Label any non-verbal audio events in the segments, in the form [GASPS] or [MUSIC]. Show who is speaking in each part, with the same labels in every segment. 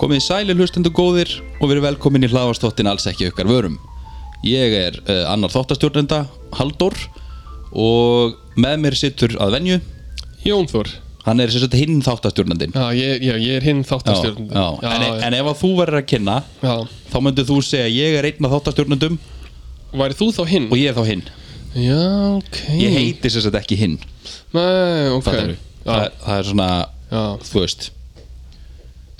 Speaker 1: Komið sæli hlustendur góðir og verið velkomin í hlaðarstóttin alls ekki ykkar vörum. Ég er uh, annar þáttastjórnenda, Haldur, og með mér sittur að venju.
Speaker 2: Jón Þór
Speaker 1: Hann er sem sagt hinn þáttastjórnendin.
Speaker 2: Já, ég, já, ég er hinn þáttastjórn
Speaker 1: já.
Speaker 2: já,
Speaker 1: En, e-
Speaker 2: já.
Speaker 1: en ef að þú verður að kynna,
Speaker 2: já.
Speaker 1: þá myndir þú segja ég er einn af þáttastjórnendum
Speaker 2: Væri þú þá hinn?
Speaker 1: og ég er þá hinn.
Speaker 2: Já, ok
Speaker 1: Ég heiti sem sagt ekki hinn.
Speaker 2: Nei, Mm. ok
Speaker 1: Okay. Það,
Speaker 2: já,
Speaker 1: það er svona,
Speaker 2: já.
Speaker 1: þú veist,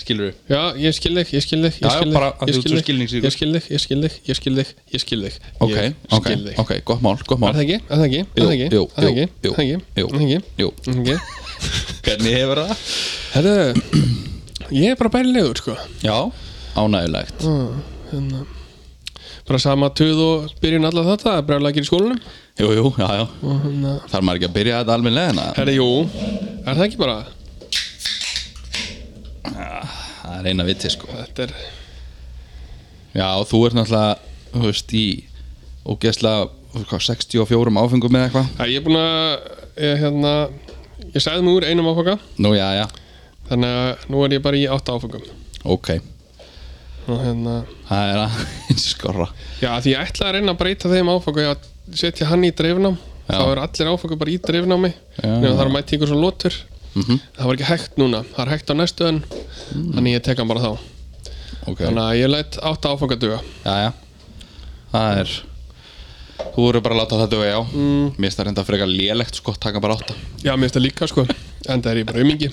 Speaker 1: skilur þú?
Speaker 2: já, ég skil þig, ég skil þig
Speaker 1: Já,
Speaker 2: Ég
Speaker 1: já,
Speaker 2: skil
Speaker 1: bara að
Speaker 2: þig, ég
Speaker 1: þú-
Speaker 2: skil
Speaker 1: þú
Speaker 2: þig
Speaker 1: skilningsríkur.
Speaker 2: Ég skil þig, ég skil þig, ég skil þig Ég skil þig,
Speaker 1: Ok,
Speaker 2: ég
Speaker 1: ok,
Speaker 2: skil þig
Speaker 1: ok, gott mál, gott mál.
Speaker 2: Er það ekki? Er það ekki? Er
Speaker 1: Jú,
Speaker 2: það ekki?
Speaker 1: jú,
Speaker 2: Er það ekki?
Speaker 1: jú, jú,
Speaker 2: Er það ekki? Er það ekki?
Speaker 1: Jú,
Speaker 2: Er það ekki?
Speaker 1: hvernig hefur það?
Speaker 2: Herðu, ég er bara bærilegur, sko
Speaker 1: Já, ánægulegt.
Speaker 2: Hérna Bara sama töð og byrjun alla þetta Bræðlega í skólanum
Speaker 1: Jú, jú, já, já.
Speaker 2: Og hérna
Speaker 1: Þarf maður ekki að byrja þetta almennilega hérna?
Speaker 2: Herri, jú, er það ekki bara?
Speaker 1: Það er eina viti sko
Speaker 2: Þetta er,
Speaker 1: Já, þú ert náttúrulega, þú veist, í ógeðslega, hvað, 64 áfengum eða eitthvað
Speaker 2: að ég er búin að, ég, hérna, ég sæði mig úr einum áfanga,
Speaker 1: Nú, já, já,
Speaker 2: þannig að nú er ég bara í átta áfangum.
Speaker 1: ok
Speaker 2: Og hérna,
Speaker 1: Það er að [LAUGHS] skorra
Speaker 2: já, því ég ætla að reyna að breyta þeim áfanga, ég að setja hann í dreifnám,
Speaker 1: Já.
Speaker 2: þá er allir áfanga bara í dreifnámi,
Speaker 1: Já.
Speaker 2: nema þar mæti ykkur svo lotur.
Speaker 1: Mhm. Mm.
Speaker 2: Það var ekki hægt núna, það er hægt á næstu en, þannig ég tek hann bara þá.
Speaker 1: Ok,
Speaker 2: Þannig að ég læt átta áfanga duga.
Speaker 1: já, já Það er Þú eru bara að láta það duga, já mm. Mér finnst það reynda frekar lélegt sko, taka bara átta
Speaker 2: Já, mér finnst það líka, sko, en það er ég bara umingi.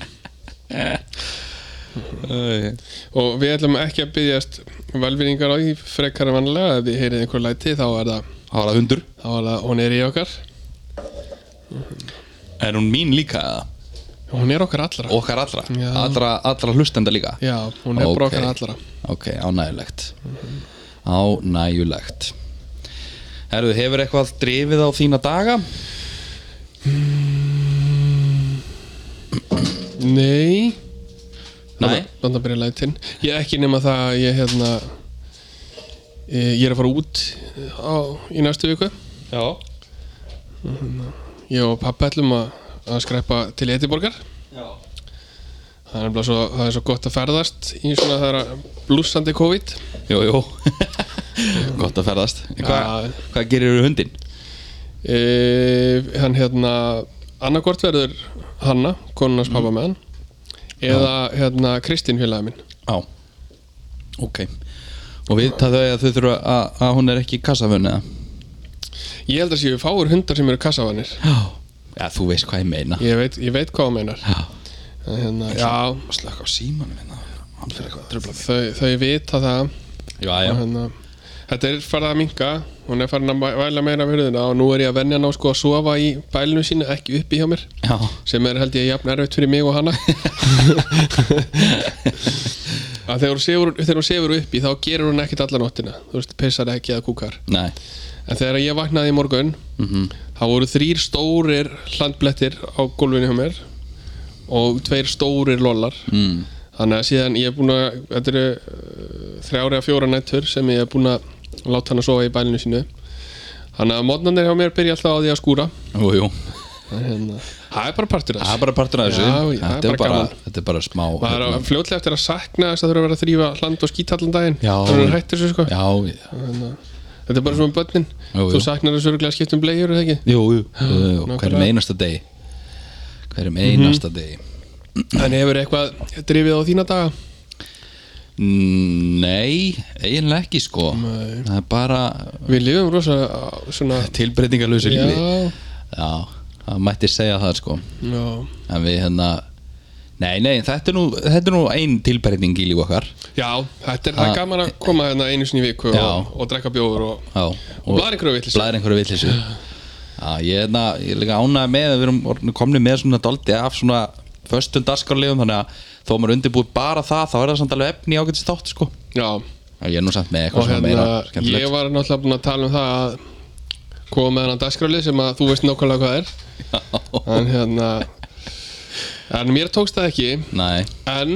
Speaker 1: Æ.
Speaker 2: Og við ætlum ekki að byggjast velvinningar á í frekar en vanlega ef þið heyrið einhver læti þá er það
Speaker 1: Það var að hundur
Speaker 2: þá er það, hún er í okkar
Speaker 1: Er hún mín líka eða?
Speaker 2: hún er okkar allra
Speaker 1: Okkar allra,
Speaker 2: Já.
Speaker 1: allra, allra hlustenda líka
Speaker 2: Já, hún er bara
Speaker 1: Ok.
Speaker 2: okkar allra
Speaker 1: Ok, ánægulegt Ánægulegt Herðu, hefur eitthvað drifið á þína daga?
Speaker 2: Nei
Speaker 1: Nei.
Speaker 2: Þannig að byrja lætin Ég er ekki nema það að ég hérna eh, Ég er að fara út eh, á, í næstu viku
Speaker 1: Já
Speaker 2: Ég og pappa ætlum að, að skræpa til Ediborgar
Speaker 1: Já
Speaker 2: Það er nefnilega svo, það er svo gott að ferðast í svona það er blúsandi COVID
Speaker 1: Jú, jú [LAUGHS] Gott að ferðast Hva,
Speaker 2: Já.
Speaker 1: Hvað gerir þú hundin?
Speaker 2: Eh, hann hérna annarkort verður Hanna, konunars pappa með hann
Speaker 1: Mm.
Speaker 2: eða hérna Kristín félagi minn
Speaker 1: Já Ok Og við það þau að þau þurfa að, að hún er ekki kassafun eða?
Speaker 2: ég held að séu fáur hundar sem eru kassavanir
Speaker 1: Já Já, þú veist hvað ég meina
Speaker 2: ég veit, ég veit hvað hann meinar
Speaker 1: Já
Speaker 2: En hérna, já,
Speaker 1: Slökk á símanum hérna Hann fyrir eitthvað að tröfla mig
Speaker 2: þau, þau vita það
Speaker 1: Já, já
Speaker 2: og hérna, þetta er farið að minka hún er farin að væ- væla meira við hurðina og nú er ég að venja ná sko að sofa í bælinu sínu ekki uppi hjá mér
Speaker 1: Já [LAUGHS]
Speaker 2: sem er held ég jafn erfitt fyrir mig og hana að þegar hún sefur, þegar hún sefur uppi þá gerur hún ekkert alla nóttina þú veist, pissar ekki eða kúkar
Speaker 1: Nei Mhm.
Speaker 2: en þegar ég vaknaði í morgun þá voru þrýr stórir hlandblettir á gólfinu hjá mér og tveir stórir lollar
Speaker 1: mm.
Speaker 2: þannig að síðan ég er búin að þetta eru uh, þrjári að fjóra nættur sem ég er búin að láta hann að sofa í bælinu sínu þannig að mótnarnir hjá mér byrja alltaf á því að skúra
Speaker 1: Jú, jú
Speaker 2: En hérna, það er bara partur
Speaker 1: Það er bara partur af þessu
Speaker 2: Já, já, það er
Speaker 1: þetta, er
Speaker 2: bara
Speaker 1: bara,
Speaker 2: gaman.
Speaker 1: þetta er bara smá
Speaker 2: maður er
Speaker 1: hérna.
Speaker 2: að fljótlega eftir að sakna þess að þurfa að vera að þrýfa hland og skít allan daginn
Speaker 1: Já.
Speaker 2: þannig að hættir þessu sko
Speaker 1: Já, já,
Speaker 2: Þannig að- þetta er bara svona börnin
Speaker 1: Jú, jú.
Speaker 2: þú saknar þessu örgulega að skipta um blegjur eða ekki
Speaker 1: jú, jú, jú, jú.
Speaker 2: nákvæmlega. Mhm.
Speaker 1: hverjum einasta degi Hverjum einasta degi
Speaker 2: en hefur eitthvað drifið á þína daga
Speaker 1: Nei, eiginlega ekki sko
Speaker 2: Nei.
Speaker 1: Það er bara
Speaker 2: við lifum rosa á svona
Speaker 1: tilbreytingalösu
Speaker 2: já,
Speaker 1: lífi Já, það mætti segja það sko
Speaker 2: já
Speaker 1: En við hérna Nei, nei, þetta er nú, þetta er nú ein tilbreyting í líf okkar
Speaker 2: já, þetta er það er gaman að koma hérna einu sinni í viku
Speaker 1: Já.
Speaker 2: og, og drekka bjóður og
Speaker 1: Já,
Speaker 2: Og blaðra einhverju vitleysu.
Speaker 1: Blæðir einhverju vitleysu. Já, ég, hefna, ég er líka ánægð með að við erum orðnir komnir með svona doldi af svona föstum dagskarlegum þannig að þó að maður er undirbúið bara það þá er það samt alveg efni ágætist þátt sko
Speaker 2: já,
Speaker 1: Já, ég er nú samt með
Speaker 2: og
Speaker 1: eitthvað svona meira
Speaker 2: hérna ég
Speaker 1: skemmtilegt
Speaker 2: var náttúrulega búin að tala um það að koma með hennan dagskrálið sem að þú veist nákvæmlega hvað er
Speaker 1: [LAUGHS]
Speaker 2: en hérna en mér tókst það ekki
Speaker 1: Nei,
Speaker 2: En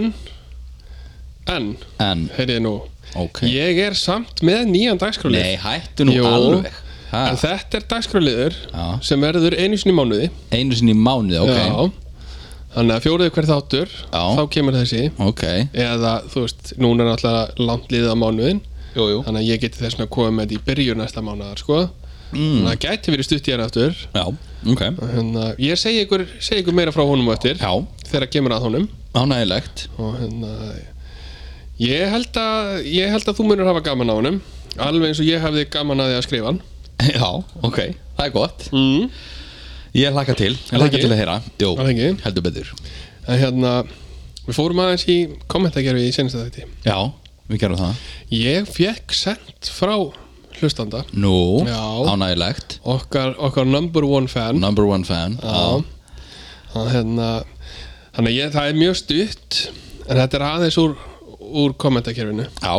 Speaker 2: En,
Speaker 1: en
Speaker 2: heyrið nú
Speaker 1: ok
Speaker 2: Ég er samt með nýjan dagskrálið
Speaker 1: Nei, hættu nú
Speaker 2: Jú.
Speaker 1: alveg ha,
Speaker 2: En þetta er dagskráliður
Speaker 1: Já.
Speaker 2: sem verður einu sinni í mánuði
Speaker 1: Einu sinni í mánuði, ok
Speaker 2: Já, Þannig að fjóriði hver þáttur
Speaker 1: Já.
Speaker 2: Þá kemur þessi
Speaker 1: ok
Speaker 2: Eða þú veist, núna er náttúrulega langt liðið á mánuðin
Speaker 1: jú, jú.
Speaker 2: Þannig að ég geti þess að koma með þetta í byrjun næsta mánuðar sko.
Speaker 1: Mm,
Speaker 2: Þannig að það gæti verið stutt í hér aftur
Speaker 1: já, ok
Speaker 2: Þannig að ég segi ykkur, segi ykkur meira frá honum á eftir
Speaker 1: já,
Speaker 2: Þegar kemur að honum
Speaker 1: ánægilegt
Speaker 2: og hérna ég held að, ég held að þú munir hafa gaman á honum alveg eins og ég hefði gaman að því að skrifa hann
Speaker 1: [LAUGHS] já, ok, það er gott
Speaker 2: mm.
Speaker 1: ég hlakka til, ég hlakka
Speaker 2: ekki?
Speaker 1: til að heyra jú,
Speaker 2: Er það ekki?
Speaker 1: heldur betur
Speaker 2: en hérna við fórum aðeins í kommentagerfi í senasta þætti
Speaker 1: já, við gerum það
Speaker 2: ég fekk sendt frá hlustanda
Speaker 1: nú,
Speaker 2: Já.
Speaker 1: ánægilegt
Speaker 2: okkar, okkar number one fan
Speaker 1: number one fan
Speaker 2: Já. að hérna þannig að ég, það er mjög stutt en þetta er aðeins úr, úr kommentakerfinu
Speaker 1: já,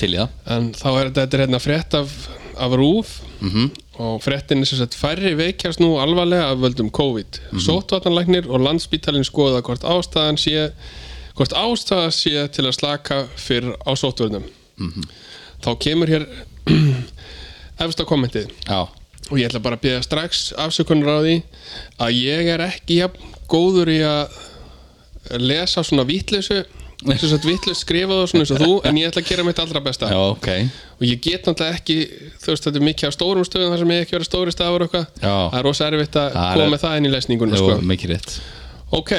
Speaker 1: til í það
Speaker 2: en þá er þetta, þetta er hérna frétt af, af rúf
Speaker 1: Mhm.
Speaker 2: og fréttin er sem sagt færri veikjast nú alvarlega af völdum COVID sótvarnarlæknir og landsbítalinn skoða hvort ástæðan sé hvort ástæða sé til að slaka fyrr á sótvarnum þá kemur hér [CLEARS THROAT] efst á kommentið
Speaker 1: já,
Speaker 2: og ég ætla bara að byrja strax afsökunar á því að ég er ekki jafn góður í að lesa svona vitleysu sem sagt vitleys skrifað og svona eins og þú en ég ætla að gera mitt allra besta
Speaker 1: já, ok
Speaker 2: og ég get náttúrulega ekki þú veist þetta er mikið af stórum stöðum þar sem ég ekki verið stóri stafur og eitthvað
Speaker 1: Já.
Speaker 2: það er rosa erfitt að
Speaker 1: Það er-
Speaker 2: koma með það inn í lesningunum
Speaker 1: jú, Mhm.
Speaker 2: sko.
Speaker 1: mikið rétt
Speaker 2: ok,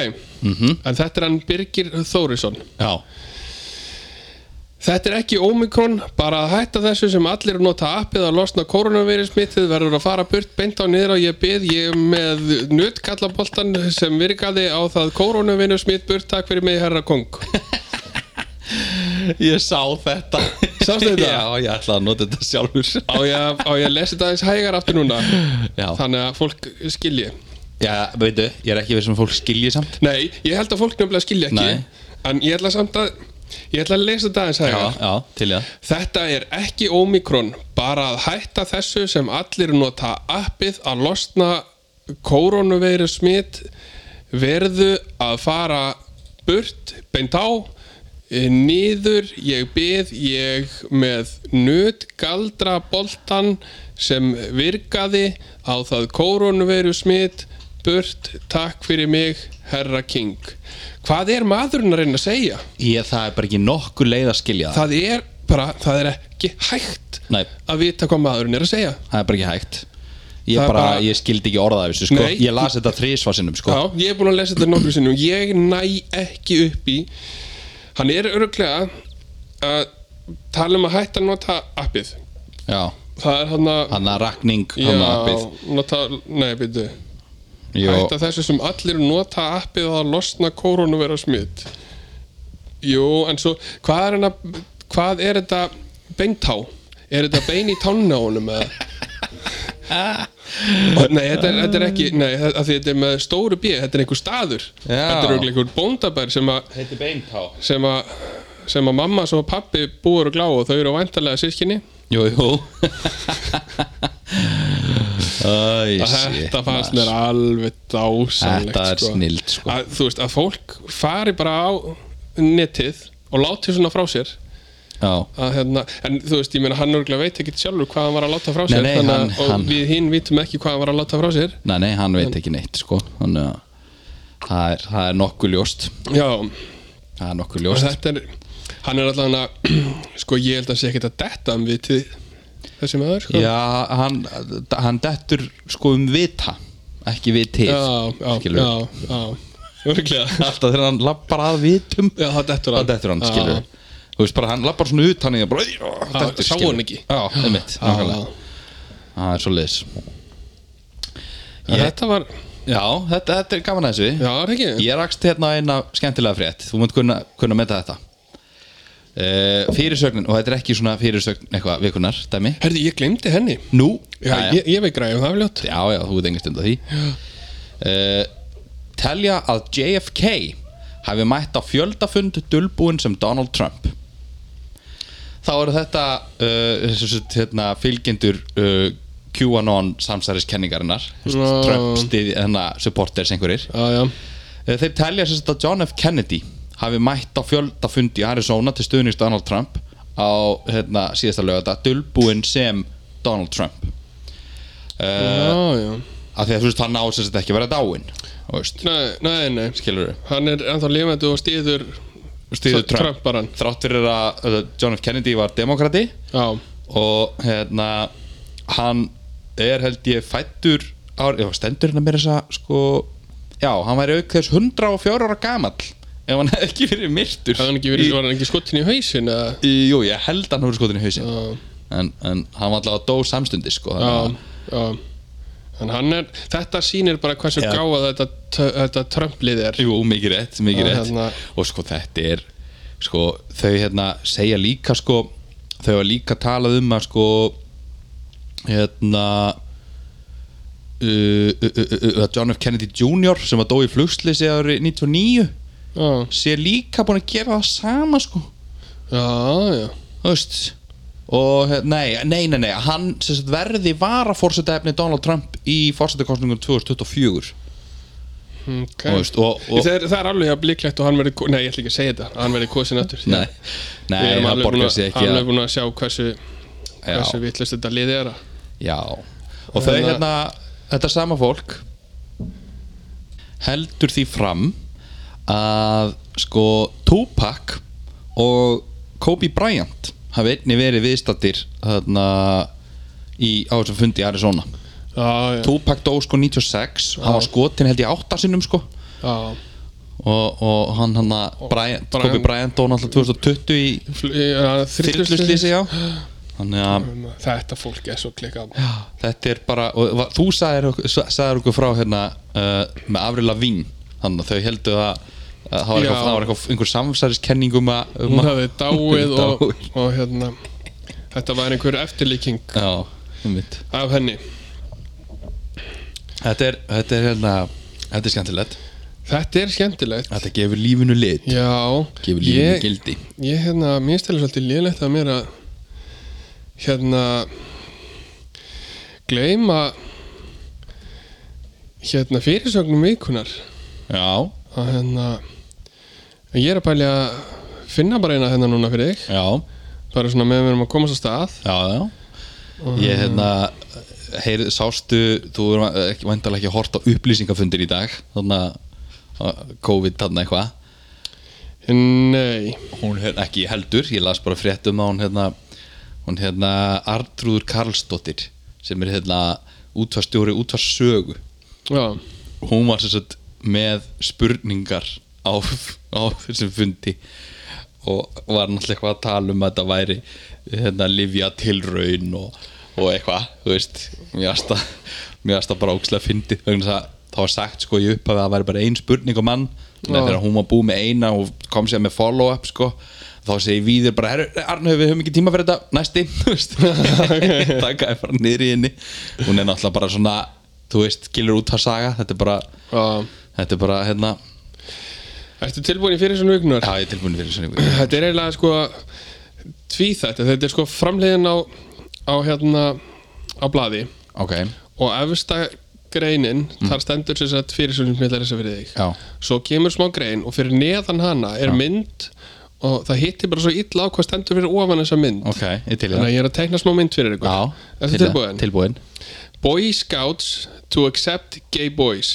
Speaker 2: en þetta er hann Birgir Þórisson
Speaker 1: já,
Speaker 2: Þetta er ekki Omikron, bara að hætta þessu sem allir nota appið að losna koronavirus smittið verður að fara burt beint á niður og ég bið ég er með nuttkallaboltan sem virkaði á það koronavirus smitt burt takk fyrir mig herra
Speaker 1: [LAUGHS]
Speaker 2: kong
Speaker 1: Ég sá þetta
Speaker 2: Sástu
Speaker 1: [LAUGHS]
Speaker 2: þetta?
Speaker 1: Já, ég ætla að nota þetta sjálfur
Speaker 2: á ég, að- á ég að lesa þetta aðeins hægar aftur núna
Speaker 1: Já,
Speaker 2: þannig að fólk skilji
Speaker 1: já veitu, ég er ekki við sem fólk skilji samt
Speaker 2: Nei, ég held að fólk nefnilega skilja ekki
Speaker 1: Nei.
Speaker 2: En ég ætla samt að Ég ætla að lesa þetta aðeins
Speaker 1: Já,
Speaker 2: hægar
Speaker 1: já, til í það
Speaker 2: Þetta er ekki ómikrón Bara að hætta þessu sem allir nota appið Að losna koronaveiru smitt Verðu að fara burt Beint á eh, Niður, ég bið Ég með nöt Galdra boltan Sem virkaði á það koronaveiru smitt Burt, takk fyrir mig, herra King Hvað er maðurinn að reyna að segja?
Speaker 1: Ég, það er bara ekki nokkuð leið að skilja það
Speaker 2: það er bara, það er ekki hægt
Speaker 1: Nei,
Speaker 2: að vita hvað maðurinn er að segja
Speaker 1: það er bara ekki hægt Ég
Speaker 2: Það er
Speaker 1: bara,
Speaker 2: bara-
Speaker 1: ég skildi ekki orðað af þessu sko
Speaker 2: Nei.
Speaker 1: Ég las þetta þrísvarsinnum sko
Speaker 2: Já, ég er búin að lesa þetta nokkru sinnum ég næ ekki upp í hann er öruglega að tala um að hætta að nota appið
Speaker 1: Já,
Speaker 2: það er hann að
Speaker 1: hann að rakning
Speaker 2: Já,
Speaker 1: hann að appið
Speaker 2: nota, nei, byrju
Speaker 1: Jó,
Speaker 2: Hætta þessu sem allir nota appið að losna koronavera smitt Jú, en svo hvað er, hana, hvað er þetta beintá? Er þetta bein í tánna honum eða?
Speaker 1: [LAUGHS]
Speaker 2: Og nei, þetta er, þetta er ekki Nei, þetta, af því þetta er með stóru bíð Þetta er einhver staður
Speaker 1: Já.
Speaker 2: Þetta er örugglega einhver bóndabær sem að
Speaker 1: Heitir beintá
Speaker 2: sem að sem að mamma og pappi búur og glá og þau eru væntalega sískinni
Speaker 1: Jú, jú Æ, shit,
Speaker 2: Þetta fannst
Speaker 1: maður.
Speaker 2: mér alveg dásamlegt
Speaker 1: Þetta er snilld, sko.
Speaker 2: að, Þú veist, að fólk fari bara á netið og láti svona frá sér
Speaker 1: Já
Speaker 2: að, hérna, en þú veist, ég meina hann örgulega veit ekkert sjálfur hvað hann var að láta frá sér
Speaker 1: nei,
Speaker 2: þannig,
Speaker 1: hann-
Speaker 2: að- og
Speaker 1: hann-
Speaker 2: við hinn vitum ekki hvað hann var að láta frá sér
Speaker 1: Nei, nei, hann veit ekki neitt sko Þannig að það er, það er nokkuð ljóst
Speaker 2: Já,
Speaker 1: Það er nokkuð
Speaker 2: og
Speaker 1: ljóst
Speaker 2: þetta er hann er allan að [CLEARS THROAT] sko, ég held að sé ekkert að detta um vitið þessi maður, sko
Speaker 1: Já, hann, hann dettur sko um vita Ekki við til
Speaker 2: já,
Speaker 1: skilur
Speaker 2: já, já, örgulega
Speaker 1: Alltaf þegar hann lappar að vitum
Speaker 2: Já, það dettur
Speaker 1: Það
Speaker 2: hann
Speaker 1: dettur hann, skilur
Speaker 2: Já.
Speaker 1: Þú veist bara, hann lappar svona ut Hann er bara, já, dettur,
Speaker 2: sá
Speaker 1: skilurðu.
Speaker 2: hann ekki.
Speaker 1: Já, einmitt,
Speaker 2: Já, já.
Speaker 1: nákvæmlega Það er svo leis
Speaker 2: En
Speaker 1: Ég-
Speaker 2: Þetta var,
Speaker 1: Já, þetta, þetta er gaman að þessu
Speaker 2: já, er ekki
Speaker 1: Ég rakst hérna eina skemmtilega frétt Þú munt kunna, kunna meta þetta uh, Fyrirsögnin, og þetta er ekki svona fyrirsögn eitthvað vikunar, dæmi
Speaker 2: Herði, ég glemdi henni
Speaker 1: Nú,
Speaker 2: Já,
Speaker 1: jæja.
Speaker 2: ég, ég veit græðum það er fljótt
Speaker 1: já, já, þú veit engin stund að því uh, Telja að JFK hafi mætt á fjöldafund dulbúinn sem Donald Trump Þá eru þetta uh, sem sagt, hérna, fylgjendur uh, QAnon samsæriskenningarinnar
Speaker 2: Já.
Speaker 1: Trump stiði, hérna, supporters einhverjir
Speaker 2: Já, já,
Speaker 1: Eh, Þeir telja sem sagt að John F. Kennedy hafi mætt á fjöldafund í Arizona til stuðnings Donald Trump á hérna, síðasta lögata, dulbúinn sem Donald Trump
Speaker 2: já, já
Speaker 1: Eh, af því að þú veist hann á sem þetta ekki að vera dáinn þú veist,
Speaker 2: Nei, nei, nei
Speaker 1: skilur
Speaker 2: Hann er ennþá lifandi og stýður
Speaker 1: Styður Trump.
Speaker 2: Trumparan
Speaker 1: þrátt fyrir að uh, John F. Kennedy var demokrati
Speaker 2: Já,
Speaker 1: og hérna hann er held ég fættur ár, já, stendur hérna mér þess að sko, já, hann væri auk þess 104 ára gamall ef hann hefði ekki verið myrtur
Speaker 2: hann ekki verið, var hann ekki skotin í hausin eða
Speaker 1: í, Jú, ég held að hann hefur skotin í hausin
Speaker 2: Já,
Speaker 1: en, en hann var allavega að dó samstundis sko, þannig
Speaker 2: já,
Speaker 1: að-
Speaker 2: já En hann er, þetta sýnir bara hversu
Speaker 1: Já.
Speaker 2: gáð þetta, þetta Trumplið er
Speaker 1: Jú, mikið rétt, mikið
Speaker 2: Já,
Speaker 1: rétt
Speaker 2: hérna.
Speaker 1: Og sko þetta er sko, Þau hérna segja líka sko, Þau hafa líka talað um að sko Hérna Uh, uh, uh, uh, uh, John F. Kennedy Jr. sem að dó í flugslýsi árið 99
Speaker 2: Já,
Speaker 1: sé líka búin að gera það sama sko
Speaker 2: já, já
Speaker 1: þú veist og hérna, nei, nei, nei, nei hann sem sagt, verði vara fórsetaefni Donald Trump í fórsetakostningum 2024
Speaker 2: Okay.
Speaker 1: Þú veist, og- og-
Speaker 2: það, er, það er alveg jafn líklegt og hann verið nei, ég ætla ekki að segja þetta, hann verið kosin aftur því að
Speaker 1: Nei, nei,
Speaker 2: við erum
Speaker 1: hann
Speaker 2: alveg búin
Speaker 1: borgar
Speaker 2: að,
Speaker 1: sig ekki að-
Speaker 2: alveg búin að sjá hversu
Speaker 1: Já.
Speaker 2: hversu vitlust þetta liði er að-
Speaker 1: Já Og þau
Speaker 2: Þannig að-
Speaker 1: hérna, þetta sama fólk heldur því fram að sko Tupac og Kobe Bryant hafi einni verið viðstattir þarna í, á þessum fundi í Arizona
Speaker 2: já, já,
Speaker 1: Tupac dó sko 96 hann var skotin held ég átta sinnum sko
Speaker 2: já
Speaker 1: og, og hann hann að Bryant, Kobe
Speaker 2: Bryant-
Speaker 1: Bryant dó náttúrulega 2020 í
Speaker 2: Fl- já,
Speaker 1: þyrluslýsi
Speaker 2: þyrluslysi.
Speaker 1: já þannig að
Speaker 2: þetta fólk er svo klikkað
Speaker 1: Já, þetta er bara og, va- þú sagðir, ok- sa- sagðir okkur frá hérna uh, með Avril Lavigne þannig að þau heldur að að það var
Speaker 2: Já.
Speaker 1: eitthvað, það var eitthvað einhver samsæriskenning um að um
Speaker 2: hún
Speaker 1: að-
Speaker 2: hafði
Speaker 1: [LAUGHS]
Speaker 2: dáið og,
Speaker 1: Dáið.
Speaker 2: og hérna þetta var einhver eftirlíking
Speaker 1: já, einmitt.
Speaker 2: af henni
Speaker 1: þetta er, þetta er hérna þetta er skemmtilegt,
Speaker 2: þetta er skemmtilegt
Speaker 1: þetta gefur lífinu lit
Speaker 2: já,
Speaker 1: gefur lífinu
Speaker 2: ég,
Speaker 1: gildi
Speaker 2: ég hérna, mér stelur svolítið lélegt að mér að hérna gleyma hérna fyrirsögnum vikunar
Speaker 1: já,
Speaker 2: að hérna en ég er að pæli að finna bara eina hérna núna fyrir þig
Speaker 1: já,
Speaker 2: bara svona meðan við erum að komast á stað
Speaker 1: já, já ég hérna heyr, sástu, þú erum ekki vandalega ekki hort á upplýsingafundir í dag þannig að COVID þarna eitthvað
Speaker 2: nei,
Speaker 1: hún er ekki heldur, ég las bara frétt um að hún hérna, hún hérna Artrúður Karlsdóttir sem er hérna útvarstjóri útvarsögu
Speaker 2: já,
Speaker 1: hún var sem sagt með spurningar á, á þessum fundi og var náttúrulega eitthvað að tala um að þetta væri hérna livja tilraun og, og eitthvað, þú veist mér varst að, mér varst að bara ókslega fyndi vegna þess að það var sagt sko í upphafi að það væri bara ein spurning á mann þannig
Speaker 2: Já.
Speaker 1: að þegar hún var búið með eina og kom sér með follow-up sko þá segi Víðir bara, herru, Arnau, við höfum ekki tíma fyrir þetta, næsti, [LAUGHS] þú veist taka er bara niður í henni hún er náttúrulega bara svona, þú veist gilur út að saga, þetta er bara
Speaker 2: já
Speaker 1: þetta er bara, hérna,
Speaker 2: Ertu tilbúin í fyrirsögnum vikunar?
Speaker 1: já, ég er tilbúin fyrir svona
Speaker 2: þetta er eiginlega sko tvíþætt, þetta er sko framleiðin á á hérna á blaði
Speaker 1: ok,
Speaker 2: og efsta greinin þar stendur sér satt fyrirsögnum millar þess að fyrir þig
Speaker 1: Mm. já,
Speaker 2: svo kemur smá grein og fyrir neðan hana er mynd og það hittir bara svo illa á hvað stendur fyrir ofan þessa mynd
Speaker 1: ok, ég til í
Speaker 2: þannig
Speaker 1: það
Speaker 2: að ég er að tekna smá mynd fyrir ykkur
Speaker 1: já,
Speaker 2: Ertu
Speaker 1: til í það.
Speaker 2: tilbúin?
Speaker 1: tilbúin,
Speaker 2: Boy Scouts to accept gay boys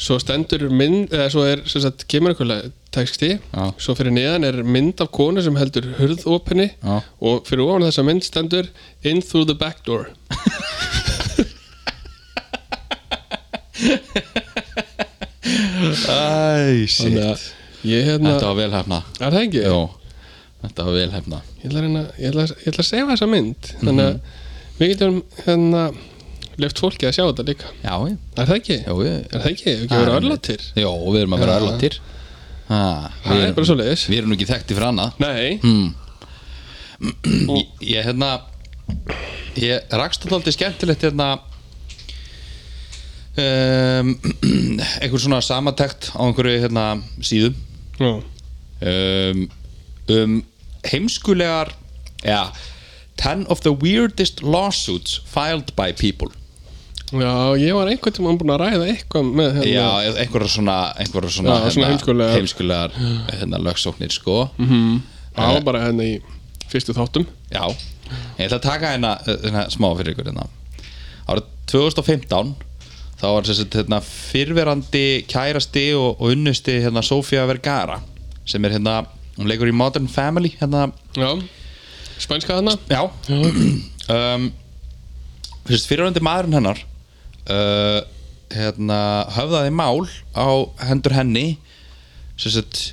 Speaker 2: svo stendur mynd eða svo er, sem sagt, kemur einhverlega texti,
Speaker 1: Já.
Speaker 2: svo fyrir neðan er mynd af konu sem heldur hurðopinni
Speaker 1: Já.
Speaker 2: og fyrir ofan þessa mynd stendur in through the back door
Speaker 1: æ, shit
Speaker 2: að ég hérna,
Speaker 1: þetta var vel hefna
Speaker 2: er það ekki?
Speaker 1: já, þetta var vel hefna
Speaker 2: Ég ætla, að reyna, ég, ætla, ég ætla að sefa þessa mynd þannig að við getum hérna left fólki að sjá þetta líka
Speaker 1: já, já,
Speaker 2: er það ekki?
Speaker 1: já, já
Speaker 2: er það ekki? Við ekki verið
Speaker 1: Ah,
Speaker 2: örlatir
Speaker 1: já, við erum að vera
Speaker 2: Já.
Speaker 1: örlátir Ha,
Speaker 2: það
Speaker 1: við
Speaker 2: er bara
Speaker 1: erum-
Speaker 2: svo leiðis
Speaker 1: við erum nú ekki þekkti fyrir annað
Speaker 2: nei,
Speaker 1: Hmm.
Speaker 2: Mm.
Speaker 1: ég, ég hérna ég rakst þetta aldrei skemmtilegt hérna um, [CLEARS THROAT] einhver svona samatekt á einhverju hérna síðum
Speaker 2: Nú.
Speaker 1: um, um heimskulegar ja, 10 of the weirdest lawsuits filed by people
Speaker 2: já, ég var einhvern tímann búin að ræða eitthvað með hérna
Speaker 1: já, einhverja svona, einhverja svona, hérna
Speaker 2: Já, svona heimskulegar. Mm.
Speaker 1: heimskulegar hérna lögsóknir sko
Speaker 2: Það var bara hérna í fyrstu þáttum
Speaker 1: Já, ég ætla að taka hérna, uh, hérna smá fyrir ykkur hérna. Árið 2015 þá var þess að hérna, fyrverandi kærasti og, og unnusti hérna, Sofía Vergara sem er hérna, hún leikur í Modern Family hérna,
Speaker 2: Já, spænska þarna
Speaker 1: já [CLEARS THROAT] um, fyrst, fyrverandi maðurinn hennar uh, hérna, höfðaði mál á hendur henni sem sagt,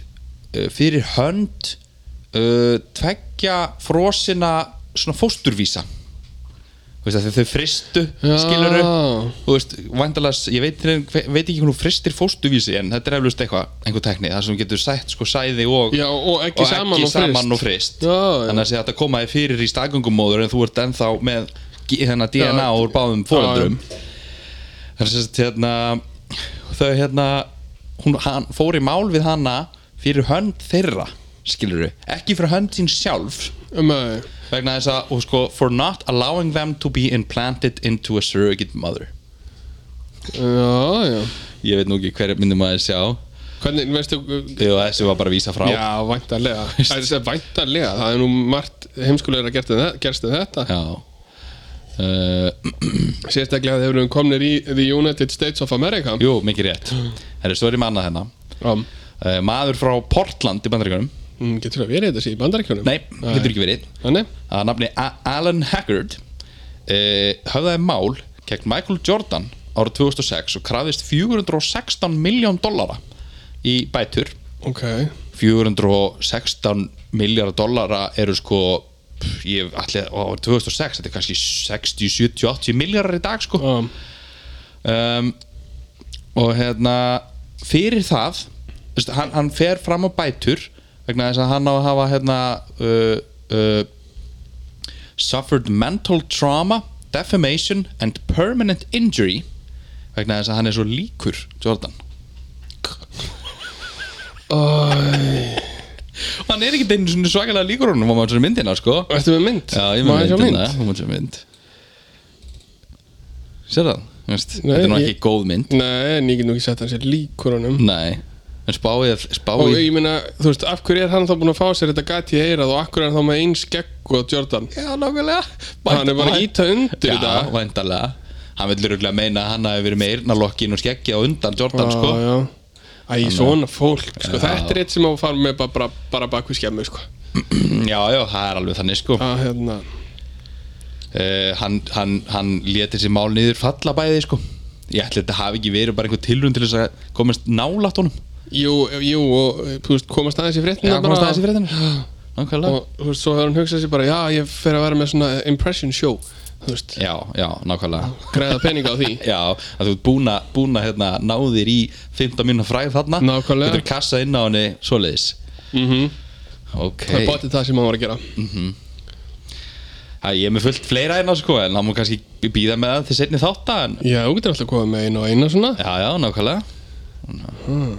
Speaker 1: uh, fyrir hönd uh, tveggja frosina svona fósturvísa Þú veist, af því að þau fristu
Speaker 2: Já.
Speaker 1: skiluru þú veist, vandalas, ég veit, veit ekki hvernig þú fristir fóstuvísi en þetta er eflust eitthvað, einhver tekni þar sem þú getur sætt sko sæði og
Speaker 2: Já, og ekki saman og
Speaker 1: saman
Speaker 2: fryst.
Speaker 1: og frist
Speaker 2: Já, já.
Speaker 1: þannig að sé þetta koma þér fyrir í staðgöngumóður en þú ert ennþá með g- hérna DNA úr báðum fóreldrum þannig að sem sagt, hérna þau hérna hún, hann, fór í mál við hana fyrir hönd þeirra skiluru, ekki fyrir hönd sín sjálf
Speaker 2: Um að
Speaker 1: vegna þess að, og sko, for not allowing them to be implanted into a surrogate mother
Speaker 2: Já, já
Speaker 1: ég veit nú ekki hverja myndum að sjá
Speaker 2: Hvernig, veistu
Speaker 1: og þessi var bara að vísa frá
Speaker 2: Já,
Speaker 1: [LAUGHS]
Speaker 2: væntarlega Það er væntarlega, það er nú margt heimskulegur að gerst en þe- gerst en þetta
Speaker 1: Já. Uh,
Speaker 2: Sérstaklega þegar við erum komnir í The United States of America
Speaker 1: jú, mikið rétt það er stóri manna hennar
Speaker 2: Já
Speaker 1: uh, maður frá Portland í bandaríkunum
Speaker 2: Mm, Getur það verið þetta sé í bandarækjunum?
Speaker 1: nei, getur ekki verið
Speaker 2: Þannig?
Speaker 1: að nafni A Alan Haggard uh, höfðaði mál gegn Michael Jordan ára 2006 og krafðist 416 miljón dollara í bætur
Speaker 2: Ok
Speaker 1: 416 miljardar dollara eru sko pff, ég ætli á 2006 þetta er kannski 60, 70, 80 miljardar í dag sko
Speaker 2: um,
Speaker 1: um, og hérna fyrir það þú veist, hann, hann fer fram á bætur vegna þess að hann á að hafa hérna uh, uh, suffered mental trauma defamation and permanent injury vegna þess að hann er svo líkur Jordan hann er ekki einu svona svakalega líkur honum á þessari myndina sko
Speaker 2: Ertu með mynd?
Speaker 1: já, ég
Speaker 2: Má
Speaker 1: með um
Speaker 2: sjá
Speaker 1: myndina hún var sér mynd sér það, Þú veist,
Speaker 2: Nei,
Speaker 1: þetta er nú
Speaker 2: ég-
Speaker 1: ekki góð mynd
Speaker 2: Nei, en ég get nú ekki sett hann sér líkur honum
Speaker 1: Nei, en spáið
Speaker 2: Og
Speaker 1: spáið
Speaker 2: ég meina, þú veist, af hverju er hann þá búin að fá sér þetta gati í eirað og af hverju er hann þá með eins gegg og Jordan?
Speaker 1: Já, nákvæmlega
Speaker 2: Hann er bara að íta undir
Speaker 1: Já,
Speaker 2: þetta
Speaker 1: væntalega Hann vil öruglega meina að hann hafi verið með eirnalokkin og skeggja á undan Jordan, sko
Speaker 2: Já, já Æ, svona fólk, sko,
Speaker 1: Já.
Speaker 2: þetta er eitt sem á að fara með bara, bara, bara bak við skemmu, sko
Speaker 1: Já, já, það er alveg þannig, sko uh,
Speaker 2: Að hérna,
Speaker 1: Hann, hann, hann leti sér mál niður falla bæði, sko Ég ætli þetta hafi ekki verið bara einhver tilrun til þess að komast nálætt honum
Speaker 2: jú, jú, og eh, þú veist, komast aðeins í fréttina
Speaker 1: Já, komast aðeins í fréttina Nákvæmlega
Speaker 2: Og þú veist, svo hefur hann hugsað sér bara, já, ég fer að vera með svona impression show Þú veist,
Speaker 1: Já, já, nákvæmlega
Speaker 2: græða peninga á því
Speaker 1: [LAUGHS] Já, að þú ert búin að- búin að hérna, náðir í 15 minna fræð þarna
Speaker 2: Nákvæmlega.
Speaker 1: Getur kassa inn á henni svoleiðis
Speaker 2: mm
Speaker 1: Ok
Speaker 2: Það er bóttið það sem hann var að gera
Speaker 1: Æ, ég er með fullt fleira hérna sko en það má kannski býða með það til setni þátt en
Speaker 2: Já, þú getur alltaf komið með einu og eina svona Mm,
Speaker 1: já, já, nákvæmlega Ná,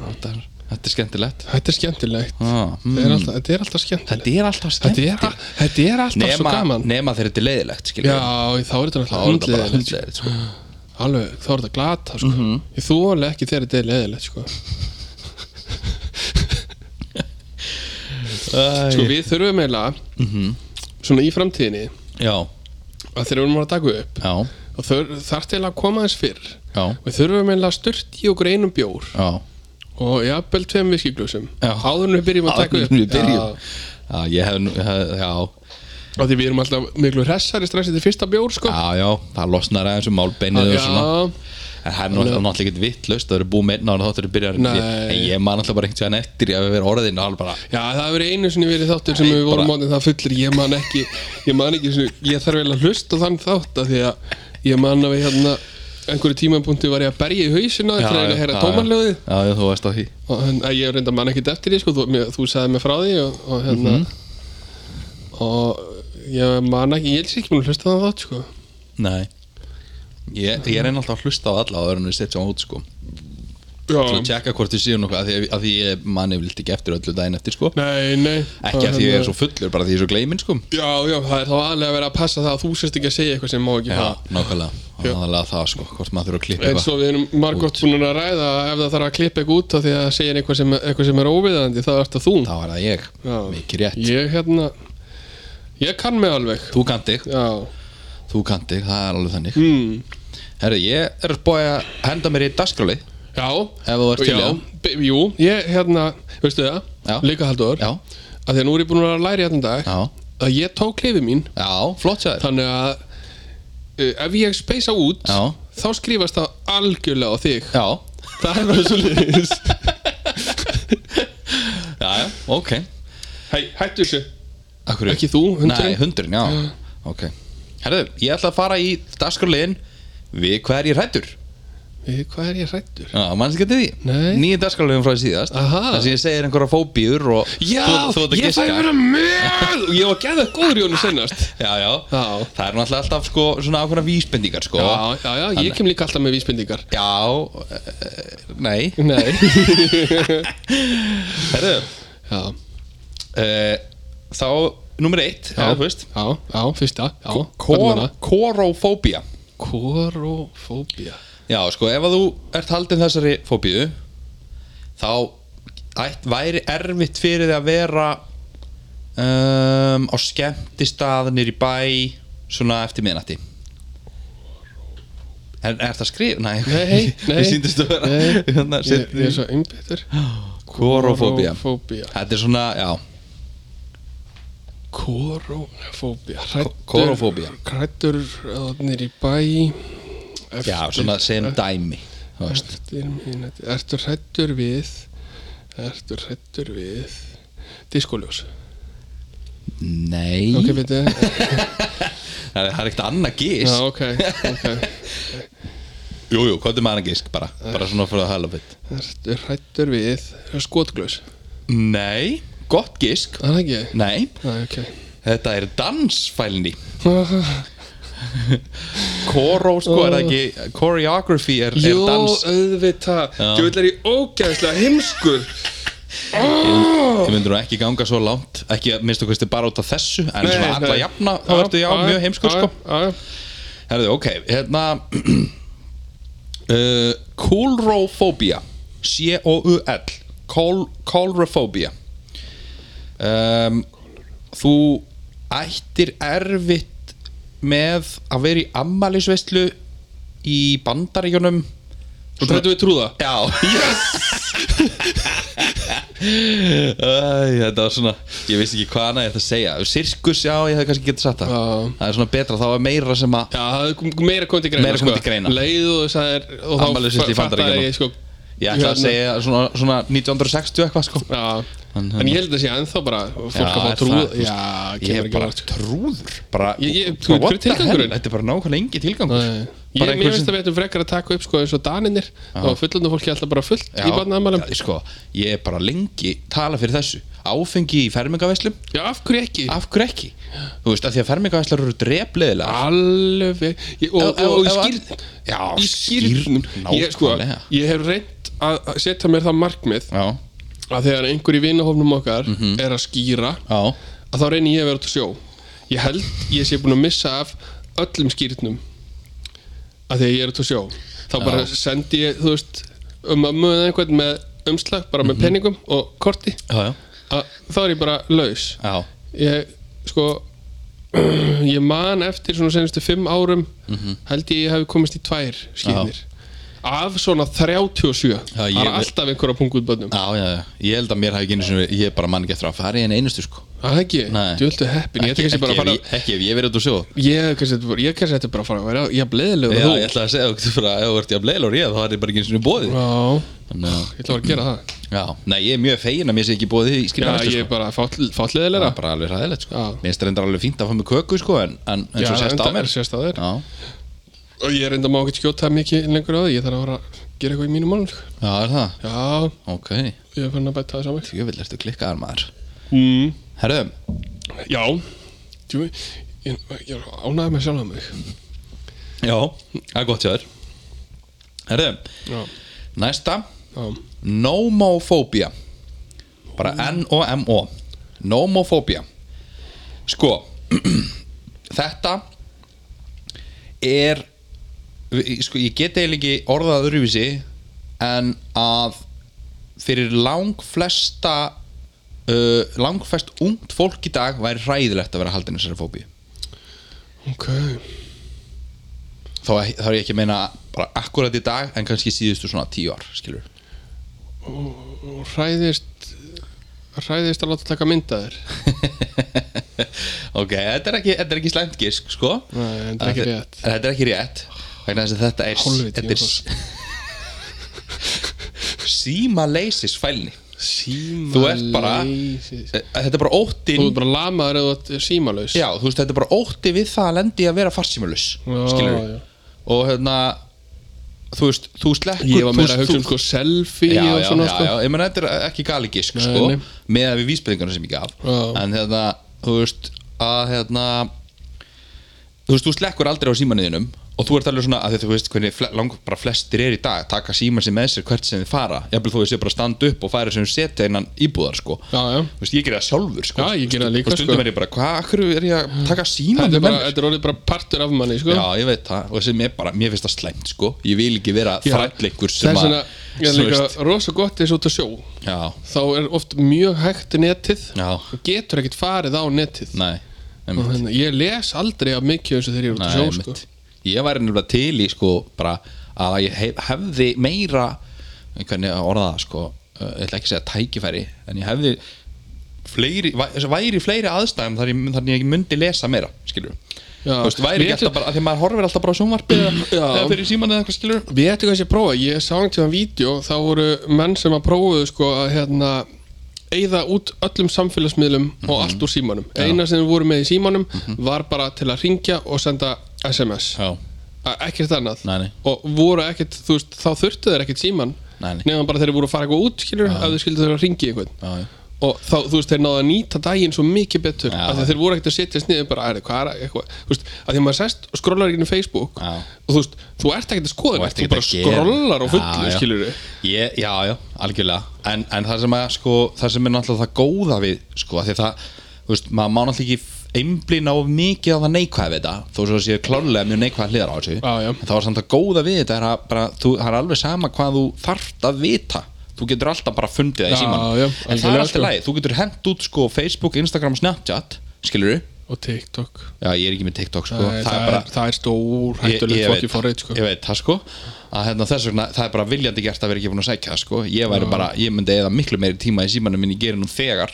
Speaker 1: þetta, er, þetta er skemmtilegt
Speaker 2: Þetta er skemmtilegt
Speaker 1: ah,
Speaker 2: Þetta
Speaker 1: mm.
Speaker 2: er alltaf, þetta er alltaf skemmtilegt
Speaker 1: Þetta er alltaf
Speaker 2: Þetta er,
Speaker 1: skemmtilegt
Speaker 2: a- þetta er alltaf svo
Speaker 1: nema,
Speaker 2: gaman
Speaker 1: nema þegar þetta er leiðilegt
Speaker 2: Já,
Speaker 1: skilja
Speaker 2: þá
Speaker 1: þá
Speaker 2: er þetta
Speaker 1: er
Speaker 2: alltaf
Speaker 1: þetta bara
Speaker 2: hundleðilegt
Speaker 1: hundleiðilegt sko.
Speaker 2: Alveg, þá er þetta glata sko.
Speaker 1: Mhm.
Speaker 2: Ég þóla ekki þegar þetta er leðilegt sko. sko,
Speaker 1: Æ, Mhm.
Speaker 2: við þurfum eiginlega Svona í framtíðinni
Speaker 1: Já,
Speaker 2: að Þegar við erum að taka upp
Speaker 1: já,
Speaker 2: og þar, Þar til að koma aðeins fyrr
Speaker 1: já,
Speaker 2: Við þurfum eiginlega að sturt í okkur einum bjór
Speaker 1: já
Speaker 2: Og jafnvel tveim viskiglúsum
Speaker 1: Já.
Speaker 2: Áður en við byrjum að taka
Speaker 1: Áður
Speaker 2: upp
Speaker 1: en við byrjum.
Speaker 2: Já,
Speaker 1: Já, ég hef, nú- hef já,
Speaker 2: af Því við erum alltaf miklu hressari strax eftir fyrsta bjór sko.
Speaker 1: já, já, það losnar aðeins um málbeinið og svona
Speaker 2: Já,
Speaker 1: En það er nú- það er náttúrulega ekkert vittlust, það eru búið með einn ára þáttur í byrjarinn
Speaker 2: Nei.
Speaker 1: En ég man alltaf bara einhvern veginn eftir ég að vera orðin og alveg bara
Speaker 2: Já, það hefur einu sinni verið þáttur sem
Speaker 1: Nei,
Speaker 2: við
Speaker 1: bara-
Speaker 2: vorum ánið það fullir Ég man ekki, ég man ekki sinni, Ég þarf eiginlega að hlusta á þann þátt af Því að ég man að við hérna einhverju tímapunkti var ég að berja í hausina til að heyra tómanljóði
Speaker 1: Já, já, þú veist á því
Speaker 2: og en, að ég reynda man ekkert eftir því sko, þú, mér, þú sagði mér frá því og, og hérna
Speaker 1: Mhm.
Speaker 2: og ég man ekki, ég helst ekki mér að hlusta á þann þátt sko.
Speaker 1: Nei Ég, ég reyna alltaf að hlusta á alla áður en við setjum út sko Til að
Speaker 2: Já,
Speaker 1: tjekka hvort þið séu nokkuð af því, af því ég manni vilt ekki eftir öllu daginn eftir sko
Speaker 2: nei, nei
Speaker 1: Ekki
Speaker 2: Og
Speaker 1: af því ég
Speaker 2: hérna-
Speaker 1: er svo fullur, bara af því ég er svo gleyminn sko
Speaker 2: Já, já, það er þá aðlega að vera að passa það að þú sérst ekki að segja eitthvað sem má ekki fara
Speaker 1: Já, nákvæmlega Það er aðalega það sko, hvort maður þurfa að klippa
Speaker 2: En
Speaker 1: eitthvað
Speaker 2: svo við erum margótt búin að ræða að ef það þarf að klippa eitthvað út af því að það segir eitthvað sem, eitthvað sem er óviðandi þá ert það þú
Speaker 1: Þá er það ég,
Speaker 2: Já.
Speaker 1: mikið rétt
Speaker 2: Ég hérna Ég kann mig alveg
Speaker 1: Þú kanti,
Speaker 2: Já
Speaker 1: þú kanti, það er alveg þannig
Speaker 2: mm.
Speaker 1: Herri, ég er búið að henda mér í dagskrálið
Speaker 2: Já
Speaker 1: Ef þú ert til í
Speaker 2: já,
Speaker 1: það.
Speaker 2: b- Jú, ég hérna, veistu það,
Speaker 1: Já.
Speaker 2: líka haldur
Speaker 1: Já.
Speaker 2: að því að nú er ég búin að vera að læra hérna í dag
Speaker 1: Já.
Speaker 2: að ég tók lifi mín
Speaker 1: Já, flott sér
Speaker 2: þannig að uh, ef ég speysa út
Speaker 1: Já.
Speaker 2: þá skrifast það algjörlega á þig
Speaker 1: Já,
Speaker 2: það er bara svo liðis
Speaker 1: [LAUGHS] já, já, ok
Speaker 2: Hei, hættu þessu
Speaker 1: Akkur,
Speaker 2: Ekki þú, hundurinn?
Speaker 1: Nei, hundurinn, já, ok Herri, ég ætla að fara í dagskráliðin Við hverjir hættur
Speaker 2: Við, Hvað er ég hrættur?
Speaker 1: Já, mannst getið því
Speaker 2: Nei.
Speaker 1: Nýju dagskráliðin frá síðast
Speaker 2: Aha.
Speaker 1: Það sem ég segir einhverja fóbíur og
Speaker 2: Já,
Speaker 1: þú, þú ert að
Speaker 2: ég fæ
Speaker 1: giska.
Speaker 2: vera
Speaker 1: [LAUGHS]
Speaker 2: með Ég var gæða góður í honum sennast
Speaker 1: Já, já,
Speaker 2: Já.
Speaker 1: það er náttúrulega alltaf sko, svona ákveðna vísbendingar sko.
Speaker 2: Já, já, já, ég kem líka alltaf með
Speaker 1: [LAUGHS]
Speaker 2: vísbendingar
Speaker 1: Já, uh, nei
Speaker 2: Nei
Speaker 1: Herðu
Speaker 2: [LAUGHS] Já,
Speaker 1: uh, Þá, nummer eitt
Speaker 2: já,
Speaker 1: eða þú veist,
Speaker 2: já, já, fyrsta já,
Speaker 1: kor,
Speaker 2: allavega.
Speaker 1: Korofóbía
Speaker 2: Korofóbía
Speaker 1: Já, sko, ef að þú ert haldin þessari fóbíu Þá ætt, væri erfitt fyrir þig að vera um, Á skemmtistað Nýr í bæ Svona eftir miðnætti Er, er það skrif? Nei, [LAUGHS]
Speaker 2: Nei, nei
Speaker 1: Við síndist að vera
Speaker 2: nei.
Speaker 1: [LAUGHS] hérna,
Speaker 2: Ég, ég er
Speaker 1: seinni-
Speaker 2: svo einbyttur
Speaker 1: Korofóbía
Speaker 2: Korofóbía
Speaker 1: Þetta er svona, já,
Speaker 2: Korofóbía
Speaker 1: Kórófóbía.
Speaker 2: Hrættur öðnir í bæ eftir,
Speaker 1: já svona sem dæmi þú veist.
Speaker 2: eftir mínúti Ertu hrættur við Ertu hrættur við Diskoljós
Speaker 1: Nei
Speaker 2: Ok,
Speaker 1: [LAUGHS]
Speaker 2: veitu
Speaker 1: Það er það er ekkert annað gís
Speaker 2: Já, ok, ok
Speaker 1: Jú, jú, hvað er maður að gísk bara Bara svona fyrir að hala fyrir
Speaker 2: Ertu hrættur við Skotgljós
Speaker 1: Nei, gott gísk
Speaker 2: Það er ekki
Speaker 1: Nei,
Speaker 2: Nei,
Speaker 1: [LAUGHS]
Speaker 2: ok
Speaker 1: þetta er dansfælni Koro, sko, er það ekki Choreography er, er
Speaker 2: Jó,
Speaker 1: dans
Speaker 2: auðvitað Ég vil er í ógæðslega heimskur
Speaker 1: Ég myndur nú ekki ganga svo langt Ekki að minnstu hverstu bara út af þessu En
Speaker 2: Nei,
Speaker 1: svona alla
Speaker 2: nei.
Speaker 1: jafna Þá ertu já, mjög heimskur, sko
Speaker 2: já,
Speaker 1: Herðu, ok, hérna [CLEARS THROAT] uh, Kólrófóbía C-O-U-L Kól- Kólrófóbía um, Þú ættir erfitt með að vera í ammælisveislu í bandaríkjunum
Speaker 2: Þú hrættu við trúða
Speaker 1: Já Yes [LAUGHS] Æ, Þetta var svona Ég vissi ekki hvað hana ég ætti að segja Sirkus, já, ég hefði kannski getið sagt það
Speaker 2: Já.
Speaker 1: Það er svona betra, þá er meira sem að
Speaker 2: Já, það er kom- meira komið til greina
Speaker 1: Meira komið til greina.
Speaker 2: sko. Leið og sagðir Og
Speaker 1: Afmælisveisla í
Speaker 2: fa- fattaði
Speaker 1: Bandaríkjunum.
Speaker 2: ég sko
Speaker 1: Ég ætla að
Speaker 2: hérna,
Speaker 1: segja svona, svona 1960 eitthvað sko
Speaker 2: Já,
Speaker 1: En-
Speaker 2: en ég held að sé ennþá bara Fólk að fá
Speaker 1: er
Speaker 2: trúða
Speaker 1: það, þú
Speaker 2: Já,
Speaker 1: veist, Ég
Speaker 2: kemur
Speaker 1: hef
Speaker 2: ekki sko.
Speaker 1: bara
Speaker 2: vart
Speaker 1: trúður bara,
Speaker 2: Ég- ég-
Speaker 1: bara,
Speaker 2: þú- hver er
Speaker 1: what the hell?
Speaker 2: tilgangurinn?
Speaker 1: Þetta er bara nákvæmlega engi tilgangur
Speaker 2: Ég,
Speaker 1: Bara
Speaker 2: mér
Speaker 1: einhver
Speaker 2: finnst
Speaker 1: sem-
Speaker 2: að við ættum frekar að taka upp sko eins og daninir og fullandu fólki alltaf bara fullt í barnaðamælum
Speaker 1: já, sko, Ég er bara lengi tala fyrir þessu Áfengi í fermingaveslum,
Speaker 2: Já, af hverju ekki?
Speaker 1: af hverju ekki? Þú veist, af því að fermingaveslur eru drefleðilega
Speaker 2: Alveg ég, Ah, Og, og, og, og skýrn
Speaker 1: Já,
Speaker 2: Í skýrn
Speaker 1: skýrn
Speaker 2: ég, sko,
Speaker 1: nákvæmlega.
Speaker 2: ég hef reynt að að setja mér það markmið
Speaker 1: Já,
Speaker 2: að þegar einhver í vinahofnum okkar
Speaker 1: Mhm.
Speaker 2: er að skýra
Speaker 1: já,
Speaker 2: að þá reynir ég að vera út að sjó ég held ég sé búin að missa af öllum skýrnum að því að ég er út að sjó þá bara sendi ég, þú veist um að möða einhvern með umslag bara
Speaker 1: Mhm.
Speaker 2: með penningum og korti
Speaker 1: já, já,
Speaker 2: að þá er ég bara laus
Speaker 1: já.
Speaker 2: ég, sko [CLEARS THROAT] ég man eftir svona senastu fimm árum
Speaker 1: Mhm.
Speaker 2: held ég ég hafi komist í tvær skýrnir af svona 37
Speaker 1: Já,
Speaker 2: það
Speaker 1: ég-
Speaker 2: er alltaf einhverja punktböndum
Speaker 1: Já, já, já, ég held að mér hafi ekki einu sinni Ég er bara mann ekki eftir að fara í en einustu sko
Speaker 2: það er ekki,
Speaker 1: Nei.
Speaker 2: djöldu heppin ég ætti
Speaker 1: ekki,
Speaker 2: kannski bara að fara
Speaker 1: ef ég- ekki ef ég verið út og sjó
Speaker 2: Ég kannski þetta bara, ég kannski þetta bara að fara að vera Ég er bleiðilega
Speaker 1: Já,
Speaker 2: þú
Speaker 1: ég ætla að segja okkur fyrir að ef þú ert jafn leilur ég þá er ég bara ekki eins og bóðið
Speaker 2: Já,
Speaker 1: Þannig að,
Speaker 2: ég ætla bara að gera það
Speaker 1: já, nei, ég er mjög fegin að mér sé ekki bóðið í
Speaker 2: Já,
Speaker 1: skýrnavestu
Speaker 2: ég
Speaker 1: sko.
Speaker 2: er bara
Speaker 1: Það
Speaker 2: fátliðilega
Speaker 1: er bara alveg ræðilegt sko.
Speaker 2: Já.
Speaker 1: Mér finnst reyndar alveg fínt að fá mig köku sko, en, en eins og sést á mér
Speaker 2: Sérst á þér
Speaker 1: Já,
Speaker 2: Og ég er enda má ekkert skjóta mikið lengur á því Ég þarf að fara að gera eitthvað í mínum málum sko.
Speaker 1: já, er það
Speaker 2: Já,
Speaker 1: Ok,
Speaker 2: ég er fann að bæta það saman
Speaker 1: ég vil ertu klikkaðar maður
Speaker 2: mm.
Speaker 1: Herðum,
Speaker 2: Já Jú, ég, ég er ánægð með sjálf mig
Speaker 1: já, það er gott hjá þér Herðum,
Speaker 2: Já,
Speaker 1: næsta
Speaker 2: já
Speaker 1: Nomofóbía Bara N-O-M-O Nomofóbía Sko [CLEARS THROAT] Þetta Er við- Sko ég get eiginlega ekki orðað öðruvísi En að Fyrir lang flesta uh, Langfest ungt fólk í dag Væri hræðilegt að vera haldin í þessari fóbíu
Speaker 2: Ok
Speaker 1: þá, þá er ég ekki að meina bara akkurat í dag en kannski síðustu svona tíu ár skilur
Speaker 2: og hræðist hræðist að láta taka mynda þér
Speaker 1: [LAUGHS] ok, þetta er ekki, þetta er ekki slæmt gisk sko
Speaker 2: Nei, þetta er ekki rétt.
Speaker 1: En þetta er ekki rétt vegna þess að þetta er,
Speaker 2: Hálfviti,
Speaker 1: þetta er
Speaker 2: Jónas.
Speaker 1: [LAUGHS] símaleysis fælni
Speaker 2: símaleysis
Speaker 1: Þú ert bara-
Speaker 2: þú
Speaker 1: Eh, þetta er bara óttinn
Speaker 2: ert bara lamaður eða þú ert símalaus
Speaker 1: Já, þú veist, þetta er bara ótti við það að lendi í að vera farsímulus
Speaker 2: Já,
Speaker 1: skilur
Speaker 2: já.
Speaker 1: og hérna þú veist, þú slekkur
Speaker 2: ég var meira
Speaker 1: þú-
Speaker 2: að hugsa um
Speaker 1: þú-
Speaker 2: sko selfie
Speaker 1: já,
Speaker 2: og
Speaker 1: já,
Speaker 2: svona
Speaker 1: já,
Speaker 2: sko
Speaker 1: já, ég menn þetta er ekki gali gisk
Speaker 2: Nei,
Speaker 1: sko,
Speaker 2: nei.
Speaker 1: með að við vísbendingarna sem ég gaf
Speaker 2: Já.
Speaker 1: en hérna, þú veist að hérna þú veist, þú slekkur aldrei á símanniðinum og þú ert alveg svona, að því þú veist hvernig fle lang, bara flestir er í dag, taka síman sem með sér hvert sem þið fara, jafnvel þú veist ég bara standa upp og færa sem setja innan íbúðar sko
Speaker 2: já, já.
Speaker 1: Þú veist, ég gerði það sjálfur sko.
Speaker 2: Já, ég geri það líka,
Speaker 1: og stundum
Speaker 2: sko.
Speaker 1: er ég bara, hvað, akkur er ég að taka síman
Speaker 2: Þetta, er bara, þetta er orðið bara partur af manni sko.
Speaker 1: Já, ég veit það og sem er bara, mér finnst það slæmt sko ég vil ekki vera
Speaker 2: Já.
Speaker 1: þrætleikur sem
Speaker 2: þess vegna ég er
Speaker 1: þú
Speaker 2: líka
Speaker 1: veist,
Speaker 2: rosa gott eins og út að sjó
Speaker 1: Já,
Speaker 2: þá er oft mjög hægt netið
Speaker 1: Já.
Speaker 2: og getur ekkert farið á netið
Speaker 1: nei,
Speaker 2: Og
Speaker 1: einmitt,
Speaker 2: hérna, ég les aldrei af mikið þessu þegar ég er út
Speaker 1: nei,
Speaker 2: að sjó sko.
Speaker 1: einmitt. Ég væri nefnilega til í sko bara að ég hef, hefði meira hvernig að orða það sko uh, ég ætla ekki að segja tækifæri en ég hefði fleiri, væ- væri í fleiri aðstæðum þar ég, þar ég myndi lesa meira skilur
Speaker 2: Já.
Speaker 1: Þú veist, væri
Speaker 2: Mér
Speaker 1: ekki alltaf bara, af því að maður horfir alltaf bara á sjónvarpið eða
Speaker 2: Já.
Speaker 1: eða fyrir síman eða eitthvað skilur
Speaker 2: Við ættum kannski að prófa, ég sá einhvern tíðan vídeo, þá voru menn sem að prófuðu sko að hérna eigða út öllum samfélagsmiðlum
Speaker 1: Mhm.
Speaker 2: og allt úr símanum. Eina sem við vorum með í símanum var bara til að ringja og senda SMS,
Speaker 1: Já,
Speaker 2: A- ekkert annað.
Speaker 1: Nei, nei.
Speaker 2: Og voru ekkert, þú veist, þá þurftu þeir ekkert síman,
Speaker 1: Nei, nei.
Speaker 2: nefnum bara þeir voru að fara eitthvað út, skilur, ef þau skildu þeir að ringja einhvern.
Speaker 1: já, já
Speaker 2: Og þá, þú veist, þeir náðu að nýta daginn svo mikið betur,
Speaker 1: Já.
Speaker 2: af því að þeir voru ekkert að setjast niður bara, er hvað er að- eitthvað, þú veist, af því að maður sest og skrólar ekki inn í Facebook,
Speaker 1: Já.
Speaker 2: og þú veist, þú ert ekkert að skoða
Speaker 1: Þú
Speaker 2: neitt,
Speaker 1: ert
Speaker 2: þú
Speaker 1: ekkert
Speaker 2: bara
Speaker 1: að gera-
Speaker 2: skrollar á fullu,
Speaker 1: Já, já.
Speaker 2: skilur
Speaker 1: Ég, já, já, algjörlega en, en það sem að, sko, það sem er náttúrulega það góða við, sko, af því að það þú veist, maður má náttúrulega ekki einblina of mikið á það neikvæða við þetta þó svo séu klárlega mjög neikvæða hliðar á þessu
Speaker 2: Já, já.
Speaker 1: en það var samt að góða við þetta er að bara, þú, það er alveg sama hvað þú þarft að vita þú getur alltaf bara fundið það í
Speaker 2: Já,
Speaker 1: síman
Speaker 2: já,
Speaker 1: en það
Speaker 2: algjörlega,
Speaker 1: er alltaf
Speaker 2: sko.
Speaker 1: lægi, þú getur hent út sko Facebook, Instagram, Snapchat skilur
Speaker 2: Og TikTok
Speaker 1: já, ég er ekki með TikTok sko,
Speaker 2: það, er, það, er, það er stór hættulegt
Speaker 1: ég,
Speaker 2: fokki
Speaker 1: ég,
Speaker 2: forrið
Speaker 1: veit,
Speaker 2: sko.
Speaker 1: ég veit það sko að hérna, þess vegna það er bara viljandi gert að vera ekki búin að sækja það sko ég, væri bara, ég myndi eða miklu meiri tíma í símanum minn ég gerir nú þegar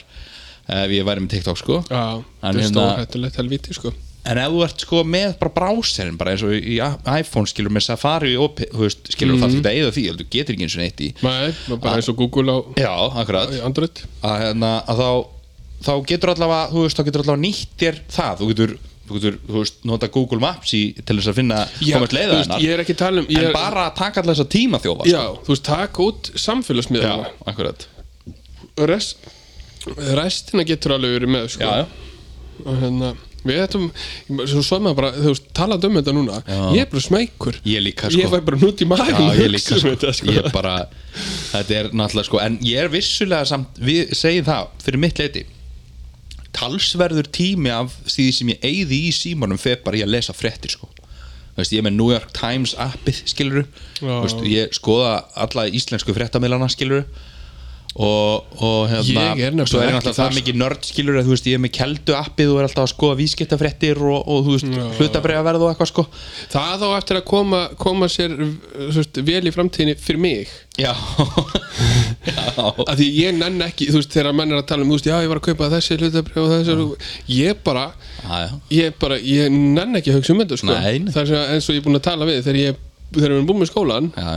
Speaker 1: ef ég væri með TikTok sko
Speaker 2: Já, það er
Speaker 1: hérna-
Speaker 2: stór hættulegt helviti sko.
Speaker 1: en ef þú ert sko með bara bráserinn bara eins og í i- iPhone skilur með Safari og P- þú veist, skilur mm. þarf þetta eða því heldur, getur ekki eins og neitt í
Speaker 2: Mhm. Nei, maður bara eins og Google á
Speaker 1: já, akkurat
Speaker 2: í Android
Speaker 1: að, hérna, að þá, þá getur allavega þú veist, þá getur allavega nýtt þér það þú getur, þú getur þú veist, nota Google Maps í, til þess að finna
Speaker 2: Já,
Speaker 1: komast leiða
Speaker 2: þú veist,
Speaker 1: hennar
Speaker 2: ég er ekki að tala um- ég
Speaker 1: en
Speaker 2: er-
Speaker 1: bara að taka allavega þess að tíma þjófa
Speaker 2: Já, þú veist, taka út samfélagsmiðlana
Speaker 1: Já, sko. akkurat
Speaker 2: Rest, Restina getur alveg verið með sko.
Speaker 1: Já, já.
Speaker 2: Og hérna, Við ættum, svo svo maður bara þú veist, talað um þetta núna,
Speaker 1: Já.
Speaker 2: ég er bara smækur
Speaker 1: Ég líka,
Speaker 2: Ég
Speaker 1: sko.
Speaker 2: fæ bara nút í maður
Speaker 1: Já, ég líka sko, ég bara, Þetta er náttúrulega sko En ég er vissulega samt, við segjum það Fyrir mitt leiti Talsverður tími af því sem ég eyði í símanum Fer bara í að lesa fréttir sko Þú Veist, ég er með New York Times appið skiluru
Speaker 2: Já.
Speaker 1: Veist, ég skoða alla íslensku fréttamilana skiluru og, og hérna
Speaker 2: Ég er nefnilega
Speaker 1: svo er ég
Speaker 2: ekki
Speaker 1: náttúrulega það
Speaker 2: þar,
Speaker 1: mikið nörd skilur að þú veist ég er með keldu appið og er alltaf að skoða vískiptafréttir og, og þú veist hlutabræðaverð og eitthvað sko
Speaker 2: Það á eftir að koma, koma sér þú veist, vel í framtíðinni fyrir mig
Speaker 1: Já, [LAUGHS] já.
Speaker 2: að því ég nenn ekki, þú veist, þegar menn er að tala um þú veist, já, ég var að kaupa þessi hlutabrif og þessi ég bara,
Speaker 1: Já, já.
Speaker 2: ég bara ég nenn ekki að hugsa um þetta, sko
Speaker 1: Nei, nei.
Speaker 2: það er svona eins og ég er búin að tala við þegar ég þegar við erum búin með skólan
Speaker 1: Já, já.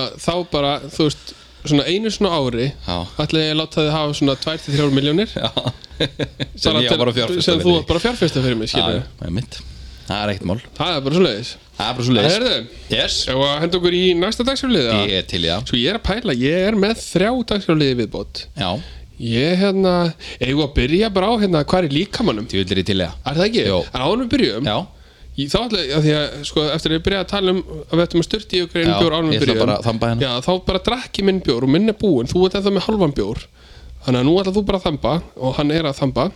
Speaker 2: að þá bara, þú veist, svona einu svona ári
Speaker 1: Já.
Speaker 2: ætla ég að láta þið hafa svona 2-3 miljónir
Speaker 1: sem ég á bara fjárfesta
Speaker 2: sem þú bara fjárfesta fyrir mig, skilur við.
Speaker 1: það er mitt það er ekkert mál
Speaker 2: það er bara svo leiðis
Speaker 1: það er bara svo leiðis
Speaker 2: Herðu.
Speaker 1: yes
Speaker 2: og að henda okkur í næsta dagsfjörlið
Speaker 1: ég er til í það
Speaker 2: Sko ég er að pæla, ég er með þrjá dagsfjárliði viðbót
Speaker 1: já
Speaker 2: Ég hérna, eigum við að byrja bara á hérna hvað er í líkamannum
Speaker 1: þú vildir í til í það
Speaker 2: Er það ekki?
Speaker 1: Jó.
Speaker 2: En áðurum við byrjum
Speaker 1: já
Speaker 2: ég, Þá ætla ég, af því að sko, eftir að ég byrja að tala um að við ættum að styrta í okkur einu
Speaker 1: Já,
Speaker 2: bjór
Speaker 1: ég
Speaker 2: áðurum við
Speaker 1: ætla
Speaker 2: byrjum
Speaker 1: bara að þamba hérna.
Speaker 2: Já, þá bara drakk ég minn bjór og minn er búinn Þú ert ennþá með halvan bjór Þannig að nú ætla þú bara að þamba og hann er að þamba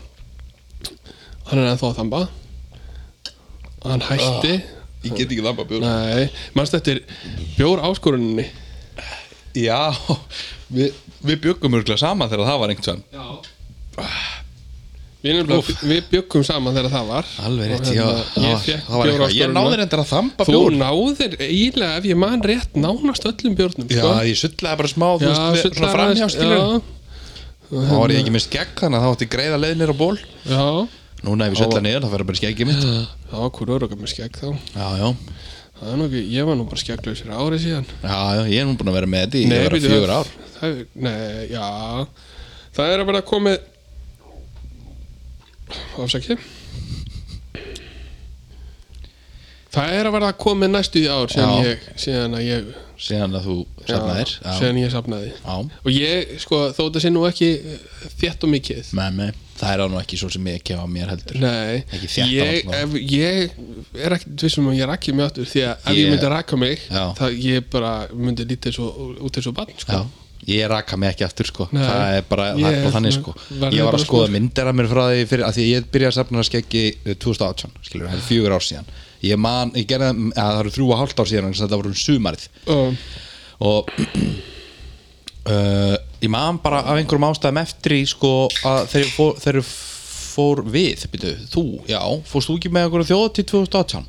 Speaker 2: Hann er ennþá að þamba Hann hætti
Speaker 1: ég get ekki þamba bjór
Speaker 2: Nei, mannst eftir bjór áskoruninni
Speaker 1: já við, við byggum örgulega saman þegar það var einhvern
Speaker 2: Já Við, nefnilega, við byggum saman þegar það var
Speaker 1: Alveg rétt,
Speaker 2: Og
Speaker 1: já,
Speaker 2: hérna,
Speaker 1: já,
Speaker 2: Ég fekk
Speaker 1: það var
Speaker 2: bjóra á
Speaker 1: eitthvað Ég náði reyndar að þamba
Speaker 2: Þú
Speaker 1: bjór
Speaker 2: náðir eiginlega ef ég man rétt nánast öllum
Speaker 1: Já,
Speaker 2: bjórnum sko.
Speaker 1: ég sullaði bara smá, þú veist, við- svona
Speaker 2: sullar
Speaker 1: framhjá
Speaker 2: aðeins,
Speaker 1: skilur Þá var ég ekki með skegg þannig að þá átti ég greiða leið nýra ból
Speaker 2: Já, já
Speaker 1: Núna ef ég sulla niður, þá fer bara í skeggið mitt
Speaker 2: Já, hver örugum með skegg þá
Speaker 1: Já, já,
Speaker 2: Það er nú ekki, ég var nú bara skegglaus fyrir árið síðan
Speaker 1: já, já, ég er nú búin að vera með þetta í yfir
Speaker 2: bíddu,
Speaker 1: fjögur
Speaker 2: það-
Speaker 1: ár
Speaker 2: það er- Nei, já Það er að vera komið Afsaki Það er að vera komið næstu í ár síðan,
Speaker 1: Já.
Speaker 2: ég, síðan að ég
Speaker 1: Síðan að þú
Speaker 2: já,
Speaker 1: safnaðir Já,
Speaker 2: Síðan ég safnaði
Speaker 1: já,
Speaker 2: Og ég, sko, þó þetta sé nú ekki eh, þétt og mikið
Speaker 1: með mig Það er á nú ekki svo sem ég kefa mér heldur
Speaker 2: Nei,
Speaker 1: Ekki þétt
Speaker 2: ég,
Speaker 1: allavega.
Speaker 2: ef, ég er ekkert vissum að ég rakki mig áttur því að ef ég
Speaker 1: Ég-
Speaker 2: myndi rakka mig
Speaker 1: Já.
Speaker 2: það ég bara myndi lítið svo, út eins og barn sko.
Speaker 1: Já, ég raka mig ekki aftur sko
Speaker 2: Nei.
Speaker 1: Það er bara, það er
Speaker 2: Ég-
Speaker 1: bara þannig sko
Speaker 2: verður
Speaker 1: Ég var
Speaker 2: bara
Speaker 1: að skoða
Speaker 2: sko-
Speaker 1: myndir af mér frá því fyrir, að Því að ég byrjaði að safna skeggi eh, 2018 Skilur, það er fjögur ár síðan Ég man, ég gerði, að það eru þrjú og hálft ár síðan vegna þess að Þetta voru um sumarið
Speaker 2: Um,
Speaker 1: Og [CLEARS THROAT] uh, Ég man bara af einhverjum ástæðum eftir í sko að Þegar ég fór, þegar ég fór við byrju, Þú, já, fórst þú ekki með einhverjum þjóð til 2018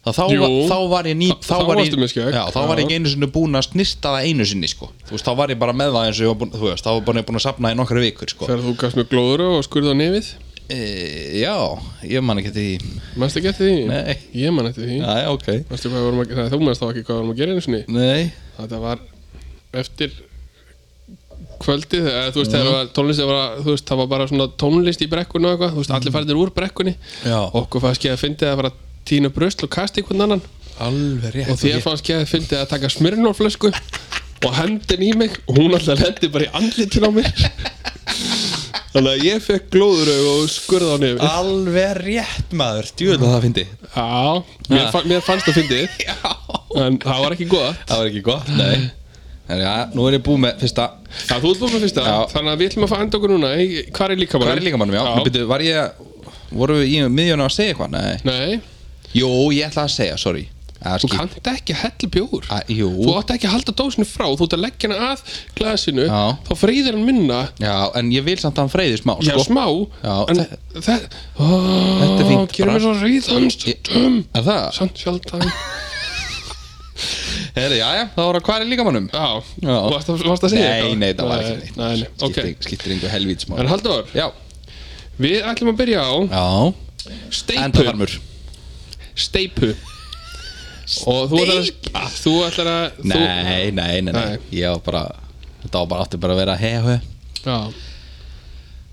Speaker 1: Það þá,
Speaker 2: Jú.
Speaker 1: var, þá var ég ný
Speaker 2: Þá- þá
Speaker 1: var ég,
Speaker 2: varstu með skegg.
Speaker 1: já, þá var ég
Speaker 2: Já.
Speaker 1: ekki einu sinni búin að snista það einu sinni sko. þú veist, þá var ég bara með það eins og ég var búin, þú veist, þá var bara ég búin að safna í nokkra vikur sko.
Speaker 2: Þegar þú gafst mér glóður og skurði á nefið
Speaker 1: e, já, ég man ekki eftir því
Speaker 2: Manstu ekki eftir því?
Speaker 1: Nei.
Speaker 2: Ég man eftir því
Speaker 1: já, já, ok
Speaker 2: Manstu hvað við vorum að gera? Þú manst þá ekki hvað við vorum að gera einu sinni
Speaker 1: nei,
Speaker 2: Þetta var eftir kvöldið eða, þú veist, þegar var tónlist það var, þú veist, það var bara svona tónlist í brekkunni og eitthvað þú veist, allir færðir úr brekkunni
Speaker 1: Mm. Já.
Speaker 2: okkur fannst ekki að fyndi að fara að tína brösl og kasta í hvern annan
Speaker 1: alveg rétt
Speaker 2: og þér fannst ekki að fyndi að taka smyrnólflösku og hendin í mig og hún alltaf lendi bara í andlitin á mér þannig að ég fekk glóðurög og skurð á nefið
Speaker 1: alveg rétt maður, djúvel að það fyndi
Speaker 2: Já, mér,
Speaker 1: Ha.
Speaker 2: fa mér fannst það fyndið En það var ekki gott
Speaker 1: það var ekki gott, nei Þannig að nú er ég búið með fyrsta
Speaker 2: Já, þú ert búin með fyrsta
Speaker 1: Já.
Speaker 2: Þannig að við ætlum að fara enda okkur núna Í- Hvar er líkamannum?
Speaker 1: Hvað er líkamannum, já, já. Byrju, Var ég, voru við í miðjunum að segja eitthvað? Nei
Speaker 2: Nei,
Speaker 1: Jú, ég ætla að segja, sorry Að
Speaker 2: þú
Speaker 1: skip-
Speaker 2: kannt ekki að hella bjór
Speaker 1: Að- Jú,
Speaker 2: Þú átt ekki að halda dósinu frá Þú átt að leggja hana að glasinu
Speaker 1: Já.
Speaker 2: Þá freyðir hann minna
Speaker 1: já, en ég vil samt að hann freyði smá
Speaker 2: Já,
Speaker 1: sko.
Speaker 2: smá
Speaker 1: Já,
Speaker 2: En
Speaker 1: þe-
Speaker 2: það Þetta
Speaker 1: er fínt,
Speaker 2: Gerum
Speaker 1: bara.
Speaker 2: mér svo reyðan stundum
Speaker 1: Er það?
Speaker 2: Sann sjaldan
Speaker 1: Heri, já, já, það voru að hvað er líkamannum?
Speaker 2: Já,
Speaker 1: Já.
Speaker 2: varst að, varst að segja
Speaker 1: Nei, nei, það var ekki neitt
Speaker 2: neitt Nei, nei,
Speaker 1: Skiptir-
Speaker 2: ok
Speaker 1: Skiptir einhver helvít smá
Speaker 2: En Halldór,
Speaker 1: Já,
Speaker 2: við ætlum að byrja á
Speaker 1: já
Speaker 2: Steipu
Speaker 1: Endafarmur
Speaker 2: steipu og þú ætlar að þú ætlar að þú,
Speaker 1: nei, nei, nei, nei
Speaker 2: Nei.
Speaker 1: Ég var bara Þetta var bara átti bara að vera hei, hei
Speaker 2: já,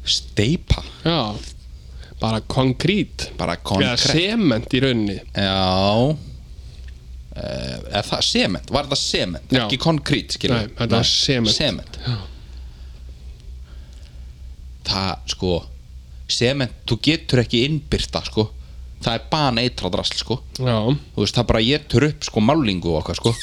Speaker 1: Steipa
Speaker 2: já bara konkrít
Speaker 1: Bara
Speaker 2: eða
Speaker 1: konkrétt
Speaker 2: sement í rauninni
Speaker 1: Já Eh, Er það sement? Var það sement?
Speaker 2: Já.
Speaker 1: Ekki konkrít, skilur
Speaker 2: Nei, þetta var sement.
Speaker 1: Sement
Speaker 2: Já.
Speaker 1: Það, sko Sement, þú getur ekki innbyrta, sko Það er bara neitra drasl, sko
Speaker 2: já,
Speaker 1: Þú veist, það bara getur upp, sko, málingu og okkar, sko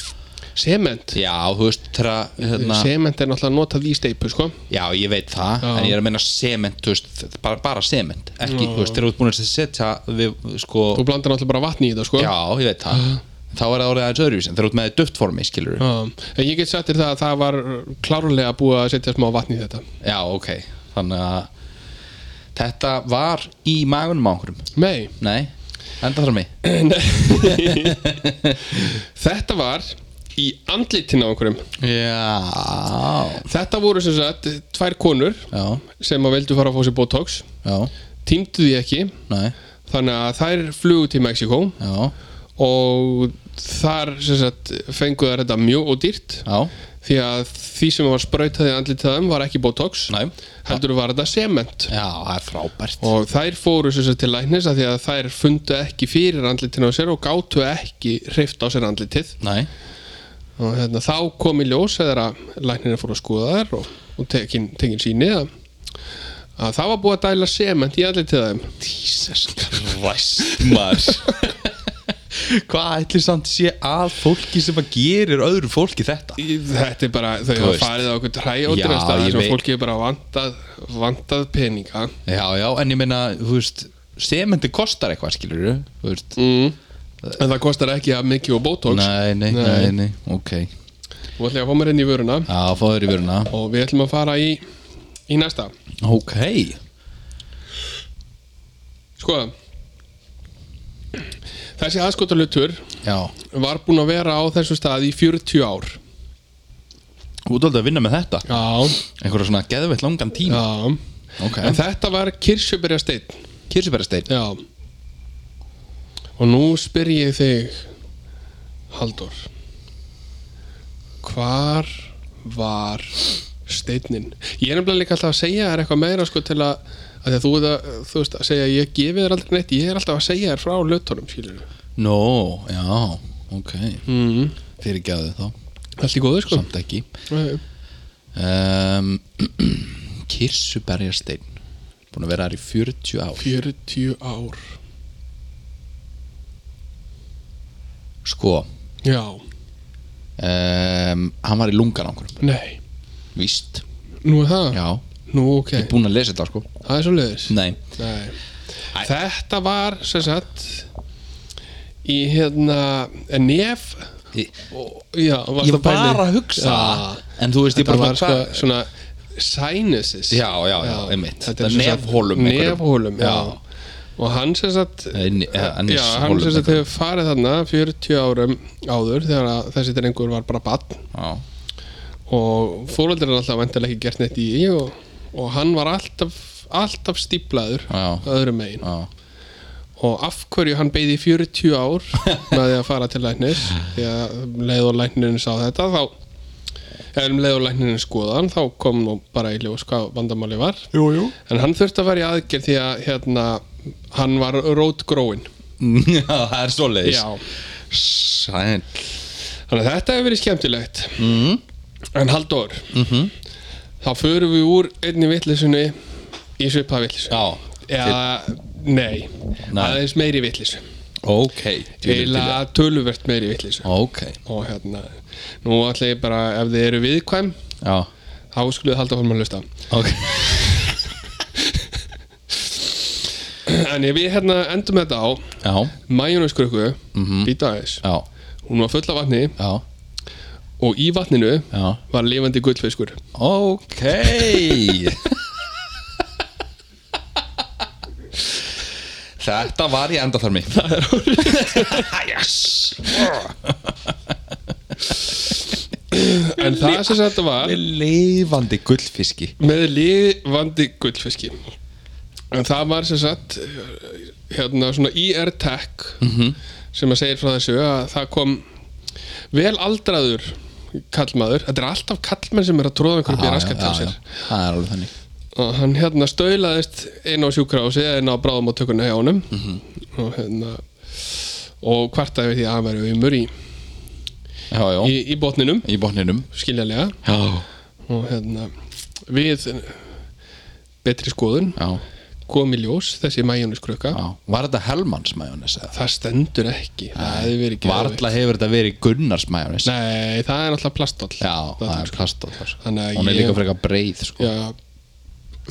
Speaker 2: sement
Speaker 1: Já, þú veist, þegar hérna,
Speaker 2: sement er náttúrulega notað í steipu sko
Speaker 1: Já, ég veit það,
Speaker 2: Já.
Speaker 1: en ég er að meina sement, þú veist, bara, bara sement Ekki, þú veist, þegar þú ert búin að setja við, sko
Speaker 2: þú blandar náttúrulega bara vatni í þetta sko
Speaker 1: Já, ég veit [GASPS] það Þá er það orðið aðeins öðruvísin, þegar þú ert með duftformi, skilur
Speaker 2: Já, en ég get sagt þér það að það var klárlega búið að setja smá vatni í þetta
Speaker 1: Já, ok, þannig að Þetta var í magunum á einhverjum
Speaker 2: nei,
Speaker 1: Nei, enda þar mig
Speaker 2: þetta var í andlitin á einhverjum
Speaker 1: Já
Speaker 2: þetta voru sem sagt tvær konur
Speaker 1: Já,
Speaker 2: sem að veldu fara að fá sér botox
Speaker 1: já,
Speaker 2: týndu því ekki
Speaker 1: nei,
Speaker 2: þannig að þær flugu til Mexiko
Speaker 1: já,
Speaker 2: og þar sem sagt, fengu þær þetta mjög ódýrt
Speaker 1: já,
Speaker 2: því að því sem var sprautaði andlitið á þeim var ekki botox
Speaker 1: nei
Speaker 2: heldur var þetta sement
Speaker 1: Já, það er frábært
Speaker 2: og þær fóru sem sagt, til læknis að því að þær fundu ekki fyrir andlitinu á sér og gátu ekki hreift á sér andlitið
Speaker 1: Nei,
Speaker 2: og hérna, þá kom í ljós þegar að læknirinn fór að skoða þær og, og tekin, tekin síni að, að það var búið að dæla sement í andlitið á þeim
Speaker 1: Jesus Christ [LAUGHS] maður Hvað ætlir samt sé að fólki sem að gerir öðru fólki þetta?
Speaker 2: Í- Þetta er bara, þau
Speaker 1: Þú
Speaker 2: hafa
Speaker 1: veist.
Speaker 2: farið á okkur
Speaker 1: Já,
Speaker 2: hræjóttirasta þar
Speaker 1: ég
Speaker 2: sem
Speaker 1: veit.
Speaker 2: fólki er bara vantað, vantað peninga
Speaker 1: Já, já, en ég meina, þú veist Sementi kostar eitthvað, skilur þú veist
Speaker 2: mm. En það kostar ekki að mikið og botox
Speaker 1: Nei, nei, nei, nei, ok
Speaker 2: Þú ætlum að fá mér inn í vöruna
Speaker 1: Já, fóður í vöruna
Speaker 2: og við ætlum að fara í, í næsta
Speaker 1: Ok
Speaker 2: Sko Þessi aðskotalutur
Speaker 1: Já
Speaker 2: var búinn að vera á þessu stað í 40 ár
Speaker 1: Þú ert aldrei að vinna með þetta
Speaker 2: Já,
Speaker 1: Einhverja svona geðveitt langan tíma
Speaker 2: já.
Speaker 1: Ok
Speaker 2: En þetta var Kirsuberja steinn
Speaker 1: Kirsibærasteinn
Speaker 2: Já Og nú spyr ég þig Haldur Hvar var steinin? Ég er nefnilega líka alltaf að segja þér eitthvað meira sko til að, að því að þú, ert að, þú veist að segja ég gefi þér aldrei neitt, ég er alltaf að segja þér frá lötunum skilur
Speaker 1: Nó, já, ok
Speaker 2: mm.
Speaker 1: Fyrirgjáðu þá,
Speaker 2: Allt í góðu sko
Speaker 1: samt ekki
Speaker 2: Nei.
Speaker 1: [CLEARS THROAT] um, Kirsuberjasteinn Búin að vera þar í 40 ár
Speaker 2: 40 ár
Speaker 1: Sko,
Speaker 2: Já,
Speaker 1: um, hann var í lungan á einhverjum
Speaker 2: nei,
Speaker 1: Víst,
Speaker 2: nú er það
Speaker 1: já
Speaker 2: Nú ok,
Speaker 1: Ég er búin að lesa þetta sko
Speaker 2: það er svo leiðis
Speaker 1: Nei,
Speaker 2: Nei. Þetta var sem sagt í hérna nef
Speaker 1: ég,
Speaker 2: og, já, varstu
Speaker 1: ég
Speaker 2: að pæla
Speaker 1: var
Speaker 2: í-
Speaker 1: að hugsa
Speaker 2: Já.
Speaker 1: það, En þú veist, ég
Speaker 2: Þetta
Speaker 1: bara
Speaker 2: var sko,
Speaker 1: hvað-
Speaker 2: svona sinuses
Speaker 1: Já, já, já, einmitt.
Speaker 2: Þetta
Speaker 1: Þetta
Speaker 2: er
Speaker 1: er nefholum einhverjum.
Speaker 2: Nefhólum, já.
Speaker 1: Já.
Speaker 2: Og hann sem sagt
Speaker 1: Nei, ne- ja, hann er
Speaker 2: já, hann
Speaker 1: hólum
Speaker 2: sem sagt
Speaker 1: einhverjum.
Speaker 2: hefur farið þarna 40 árum áður þegar að þessi drengur var bara barn
Speaker 1: Já,
Speaker 2: og fóröldur er alltaf vantilega ekki gert neitt í því og, og hann var alltaf, alltaf stíplaður
Speaker 1: Já.
Speaker 2: öðrum megin
Speaker 1: já
Speaker 2: og af hverju hann beigði í 40 ár með því að fara til læknis því að um leið og læknirinn sá þetta þá eða um leið og læknirinn skoðan þá kom nú bara í ljós hvað vandamáli var
Speaker 1: Jú, jú
Speaker 2: en hann þurfti að vera í aðgerð því að hérna, hann var rótgróin
Speaker 1: [LAUGHS] Já, það er svoleiðis
Speaker 2: já,
Speaker 1: Sæl
Speaker 2: þannig að þetta hefur verið skemmtilegt Mhm.
Speaker 1: mm.
Speaker 2: en Halldór þá förum við úr einni vittlisunni í svipa vittlisu
Speaker 1: Já,
Speaker 2: eða nei,
Speaker 1: Nei.
Speaker 2: aðeins meiri vittlisu
Speaker 1: ok djúvillig til
Speaker 2: eiginlega töluvert meiri vittlisu
Speaker 1: það. Ok,
Speaker 2: og hérna nú ætla ég bara ef þið eru viðkvæm
Speaker 1: já
Speaker 2: þá skulle þið halda fólum að hlusta [CLEARS THROAT]
Speaker 1: Ok
Speaker 2: en ef við hérna endum þetta á
Speaker 1: Já,
Speaker 2: majónuskrukku mm
Speaker 1: Mhm.
Speaker 2: -hmm. aðeins
Speaker 1: já,
Speaker 2: hún var full af vatni
Speaker 1: já,
Speaker 2: og í vatninu
Speaker 1: já
Speaker 2: var lifandi gullfiskur [LAUGHS]
Speaker 1: Ok Þetta var í endaþarmi Það er orðið [LAUGHS] Yes
Speaker 2: en það sem þetta var
Speaker 1: Með Lifandi gullfiski
Speaker 2: með lifandi gullfiski en það var sem sagt hérna svona IR Tech
Speaker 1: Mhm.
Speaker 2: sem að segir frá þessu að það kom vel aldraður kallmaður, þetta er alltaf kallmenn sem er að tróða einhverjum
Speaker 1: Já,
Speaker 2: býr
Speaker 1: já,
Speaker 2: raskat
Speaker 1: já,
Speaker 2: af sér
Speaker 1: já. Það er alveg þannig
Speaker 2: og hann hérna stöðlaðist inn á sjúkrahúsi eða inn á bráðum á tökunni hjá honum
Speaker 1: Mhm.
Speaker 2: og hérna og kvartaði við því að hann væri umur í,
Speaker 1: Já, já,
Speaker 2: í,
Speaker 1: í,
Speaker 2: í botninum
Speaker 1: botninum
Speaker 2: skiljanlega
Speaker 1: Já,
Speaker 2: og hérna við betri skoðun
Speaker 1: já,
Speaker 2: kom í ljós þessi majóniskrukka
Speaker 1: já Var þetta Helmans majónis eða?
Speaker 2: það stendur ekki, það hefði verið ekki
Speaker 1: Varla hefur þetta verið Gunnars majónis
Speaker 2: nei, það er náttúrulega plastoll
Speaker 1: Já, það er plastóttar
Speaker 2: Þannig að
Speaker 1: Hún er
Speaker 2: ég-
Speaker 1: líka frekar breið sko.
Speaker 2: já,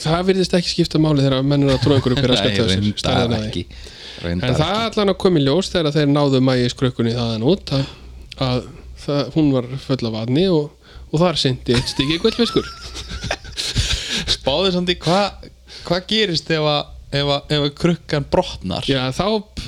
Speaker 2: það virðist ekki skipta máli þegar menn er að tróða einhverju fyrir að
Speaker 1: [LAUGHS] Nei,
Speaker 2: skapta þessu
Speaker 1: reyndar ekki Reyndar
Speaker 2: En það allan að koma í ljós þegar þeir náðu mægis krökkunni þaðan út að, að það, hún var full af vatni og, og þar sendi eitt styggi gullfiskur.
Speaker 1: ekki [LAUGHS] Spáðu samt í hvað hva gerist ef að, ef að, ef að krukkan brotnar
Speaker 2: Já, þá,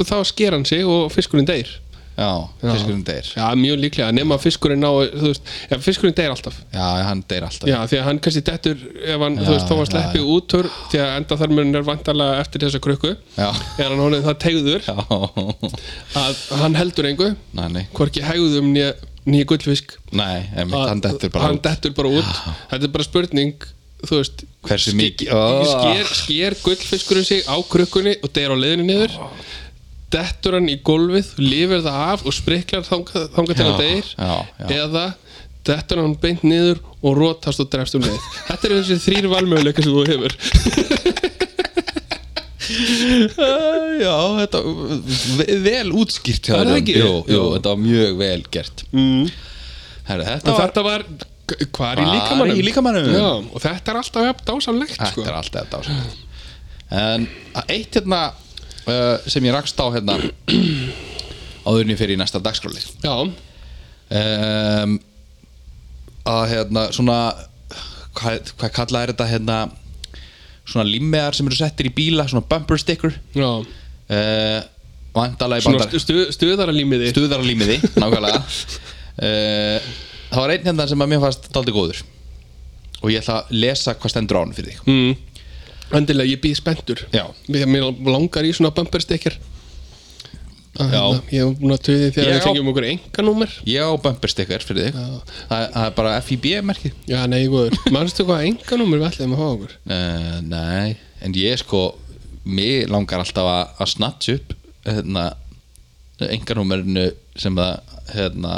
Speaker 2: þá sker hann sig og fiskurinn deyr.
Speaker 1: Já, fiskurinn deyr
Speaker 2: Já, mjög líklega, nema að fiskurinn ná, þú veist, já, fiskurinn deyr alltaf.
Speaker 1: Já, hann deyr alltaf
Speaker 2: Já, því að hann kannski dettur, ef hann,
Speaker 1: Já,
Speaker 2: þú veist, þá var
Speaker 1: já,
Speaker 2: sleppið
Speaker 1: já.
Speaker 2: út úr, því að enda þar mörn er vantarlega eftir þessa krukku,
Speaker 1: Já,
Speaker 2: er hann honið það tegður
Speaker 1: já. [LAUGHS]
Speaker 2: að hann heldur engu,
Speaker 1: Nei, nei,
Speaker 2: hvorki hegðum nýja, nýja gullfisk
Speaker 1: nei einmitt,
Speaker 2: að-
Speaker 1: hann dettur bara
Speaker 2: hann
Speaker 1: út.
Speaker 2: dettur bara út þetta er bara spurning þú veist
Speaker 1: Hversu
Speaker 2: ske-
Speaker 1: mikið- Oh.
Speaker 2: sker, sker gullfiskurinn sig á krukkunni og deyr á leiðinu niður dettur hann í gólfið, lifir það af og spriklar þangað þanga til
Speaker 1: Já,
Speaker 2: hann deyr
Speaker 1: já, já.
Speaker 2: eða dettur hann beint niður og rótast og drefst um
Speaker 1: [LAUGHS]
Speaker 2: leið þetta eru þessi þrýr valmöguleika sem þú hefur
Speaker 1: Æ, Já, þetta ve- vel útskýrt hjá
Speaker 2: Er það
Speaker 1: þeim.
Speaker 2: ekki?
Speaker 1: Jú, jú,
Speaker 2: Jú.
Speaker 1: þetta var mjög vel gert
Speaker 2: mm.
Speaker 1: Herra, þetta
Speaker 2: en
Speaker 1: var
Speaker 2: þetta var hvað er í
Speaker 1: Hvar
Speaker 2: líkamanum,
Speaker 1: í líkamanum?
Speaker 2: Já, og þetta er alltaf jafn dásamlegt
Speaker 1: Þetta
Speaker 2: sko.
Speaker 1: er alltaf þetta ásætt En að eitt hérna uh, sem ég rakst á hérna [CLEARS THROAT] áðurinn fyrir í næsta dagskráli
Speaker 2: já,
Speaker 1: um, að hérna svona hvað, hvað kallaði þetta hérna svona limmiðar sem eru settir í bíla svona bumper sticker
Speaker 2: Já.
Speaker 1: uh, vandalega í
Speaker 2: Svona
Speaker 1: bandar
Speaker 2: stu, stu, stuðaralímiði
Speaker 1: stuðaralímiði, nákvæmlega uh, það var einn hérna sem að mér fannst daldi góður og ég ætla að lesa hvað stendur á hann fyrir þig
Speaker 2: mm. Endilega, ég býð spenntur
Speaker 1: Já.
Speaker 2: Mér mér langar í svona bumper sticker Að
Speaker 1: Já.
Speaker 2: hérna, Ég hef búin að tuði
Speaker 1: Ég
Speaker 2: þegar
Speaker 1: á-
Speaker 2: við fengjum okkur enganúmer
Speaker 1: ég á bumper sticker fyrir þig
Speaker 2: Já.
Speaker 1: það, það er bara FIB merkið
Speaker 2: Já, nei, [LAUGHS] góður Manstu hvað enganúmer við ætlum að hafa okkur?
Speaker 1: Uh, nei, en ég sko mig langar alltaf að, að snatch upp hérna enganúmerinu sem það hérna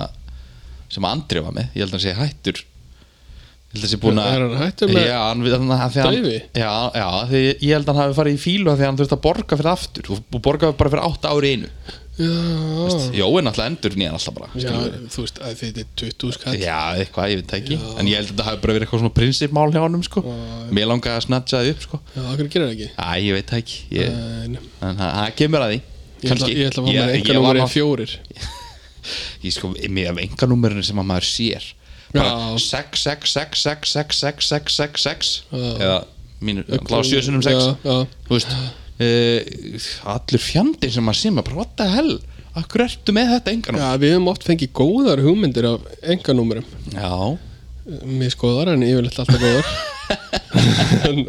Speaker 1: sem að Andri var með ég held að hann sé hættur ég held að sé búin að
Speaker 2: Er hann hættur með
Speaker 1: já, hann, hann, hann, því hann,
Speaker 2: Dauði?
Speaker 1: já, já, því ég ég held að hann hafi farið í fílu af því að hann þurfti að borga fyrir aftur og og borga bara fyrir 8 ári einu
Speaker 2: Já,
Speaker 1: Jó, en alltaf endur nýjan alltaf bara
Speaker 2: já
Speaker 1: skilurðu.
Speaker 2: þú veist, að þetta er 20 skall
Speaker 1: já, eitthvað, ég veit það ekki en ég held að þetta hafi bara verið eitthvað svona prinsipmál hjá honum sko. mér langaði að snatcha það upp sko.
Speaker 2: Já, okkur gerir það ekki
Speaker 1: Æ, ég veit það ekki ég,
Speaker 2: En
Speaker 1: En það það kemur að því
Speaker 2: Ég ætla,
Speaker 1: Kannski.
Speaker 2: ég ætla að fá mér
Speaker 1: Ég-
Speaker 2: engan
Speaker 1: ég var
Speaker 2: númerið
Speaker 1: nátt-
Speaker 2: fjórir
Speaker 1: Ég sko, mér af enganúmerinu sem að maður sér
Speaker 2: Já.
Speaker 1: Bara 6, 6, 6, 6, 6, 6, 6, 6, 6
Speaker 2: Já.
Speaker 1: Eða mínu, glá sjösunum 6
Speaker 2: Já, já.
Speaker 1: Þú veist uh, Allur fjandi sem maður sér maður bara, what the hell Akkur ertu með þetta enganúmer
Speaker 2: Já, við höfum oft fengið góðar hugmyndir af enganúmerum
Speaker 1: Já,
Speaker 2: Misgóðar en yfirleitt alltaf góðar En-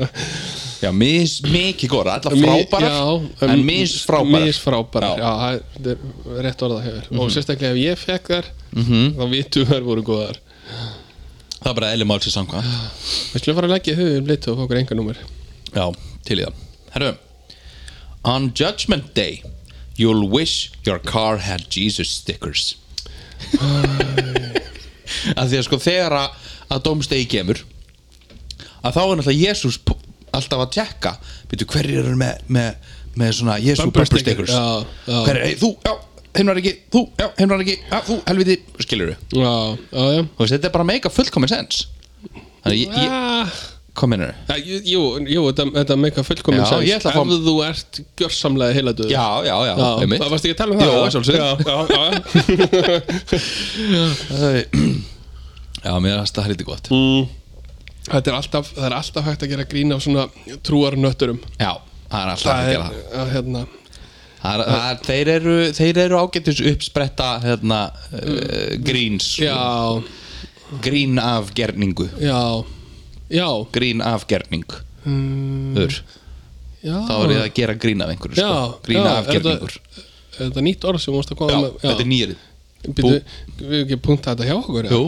Speaker 1: já, mis, mikið góra Alla
Speaker 2: mi-
Speaker 1: [LAUGHS] frábærar,
Speaker 2: já, um
Speaker 1: en mis frábærar
Speaker 2: Misfrábærar,
Speaker 1: Já. Mhm.
Speaker 2: já, það- þetta er rétt orðað hefur Og sérstaklega ef ég fekk þær þá vitum við þær voru góðar
Speaker 1: Það er bara eðli málsins samkvæmt
Speaker 2: Við slum fara að leggja höfum litu og fá okkur enganúmer
Speaker 1: Já, til í það Herru On judgment day You'll wish your car had Jesus stickers [LAUGHS] Að því að sko þegar að, að dómstegi kemur að þá er náttúrulega Jesus p- alltaf að tjekka Býtu hverjir eru með, með, með svona Jesus
Speaker 2: Bumper
Speaker 1: bumper stickers
Speaker 2: stickers, já, já.
Speaker 1: Hver er, hey, þú, já, hinn var ekki þú, já, hinn var ekki, já, þú, helviti skilur við,
Speaker 2: Já, já, já
Speaker 1: þú veist, þetta er bara að meika fullkomin sens Þannig, ég, ég,
Speaker 2: Ah.
Speaker 1: hvað mennur
Speaker 2: Já, jú, jú, jú, þetta, þetta meika fullkomin
Speaker 1: Já, ég ætla að fá-
Speaker 2: Ef þú ert gjörsamlega heiladöður
Speaker 1: Já, já, já,
Speaker 2: Já,
Speaker 1: einmitt.
Speaker 2: það varst ekki að tala um það
Speaker 1: Jó,
Speaker 2: eða?
Speaker 1: að sjálfsögðu.
Speaker 2: Já, já,
Speaker 1: [LAUGHS]
Speaker 2: já
Speaker 1: Æ, [CLEARS THROAT] Já, mér finnst það heldur gott
Speaker 2: Þetta er alltaf, það er alltaf hægt að gera grín af svona trúarnötturum
Speaker 1: Já, það er alltaf hægt að
Speaker 2: Það er,
Speaker 1: gera það.
Speaker 2: að, hérna
Speaker 1: það er, það er, þeir, eru, þeir eru ágætis uppspretta hérna, uh, gríns
Speaker 2: Já,
Speaker 1: Grín af gerningu
Speaker 2: já, já
Speaker 1: Grín af gerning
Speaker 2: mm,
Speaker 1: Ur,
Speaker 2: Já,
Speaker 1: Þá er ég að gera grín af einhverju sko.
Speaker 2: Já,
Speaker 1: Grín
Speaker 2: já,
Speaker 1: af
Speaker 2: er þetta-
Speaker 1: gerningur
Speaker 2: þetta er nýtt orð sem mást að koma
Speaker 1: Já,
Speaker 2: með
Speaker 1: þetta er nýrið
Speaker 2: Býtu, við hefum ekki punktað þetta hjá okkur
Speaker 1: Jú,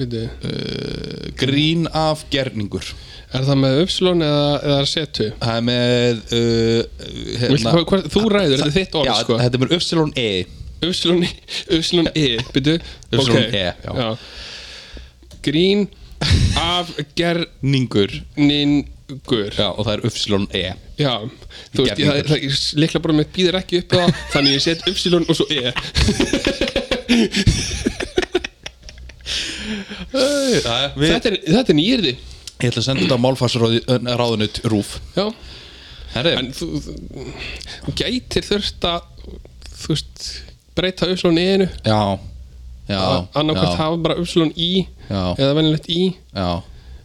Speaker 2: Býtu,
Speaker 1: uh, grín af gerningur
Speaker 2: er það með uppslón eða, eða setu?
Speaker 1: Það er með uh,
Speaker 2: Viltu, hvað, hvað, þú ræður, þetta er þitt orð
Speaker 1: Já,
Speaker 2: sko
Speaker 1: þetta er með Upsilon E
Speaker 2: Upsilon, upsilon E Býtu,
Speaker 1: Upsilon
Speaker 2: ok.
Speaker 1: E, já.
Speaker 2: Grín af
Speaker 1: Ningur
Speaker 2: gerningur
Speaker 1: Já, og það er Upsilon E
Speaker 2: Já, þú veist, ég, það, það, ég leikla bara með býðir ekki upp það Þannig ég set upsilon og svo E
Speaker 1: Við-
Speaker 2: Þetta er, þetta er nýjirði
Speaker 1: Ég ætla að senda þetta á málfarsráðunut Rúf
Speaker 2: Já,
Speaker 1: Herri,
Speaker 2: en þú, þú, þú gætir þurft að Þú veist, breyta upsilon E-inu
Speaker 1: já Já,
Speaker 2: Annarkvæmt
Speaker 1: já,
Speaker 2: hafa bara upsilon I
Speaker 1: Já.
Speaker 2: Eða venjulegt I
Speaker 1: já,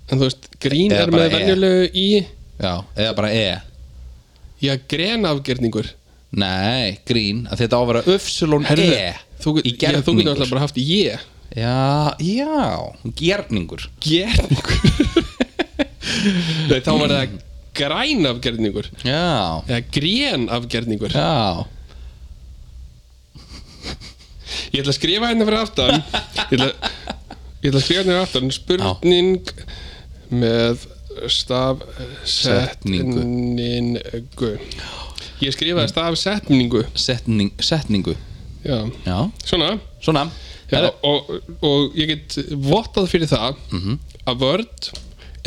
Speaker 2: En þú veist, grín
Speaker 1: Eða
Speaker 2: er
Speaker 1: bara
Speaker 2: með
Speaker 1: E.
Speaker 2: venjulegu I
Speaker 1: já, eða bara E
Speaker 2: Já, grenafgerningur
Speaker 1: Nei, grín, að þetta á að vera Ufsulun
Speaker 2: Herðu,
Speaker 1: E
Speaker 2: þú,
Speaker 1: í
Speaker 2: já, þú getur alltaf
Speaker 1: gerningur
Speaker 2: bara haft ég
Speaker 1: Já, já, gerningur
Speaker 2: Gerningur Nei, þá var það grænafgerningur
Speaker 1: Já,
Speaker 2: Eða grénafgerningur
Speaker 1: já
Speaker 2: Ég ætla að skrifa hérna fyrir aftan Ég ætla, ég ætla að skrifa hérna fyrir aftan Spurning með stafsetningu Ég
Speaker 1: Mm.
Speaker 2: skrifaði stafsetningu
Speaker 1: Setning, Setningu,
Speaker 2: Já,
Speaker 1: já,
Speaker 2: svona
Speaker 1: svona
Speaker 2: Já,
Speaker 1: Herri,
Speaker 2: og, og ég get vottað fyrir það
Speaker 1: Mhm.
Speaker 2: að vörd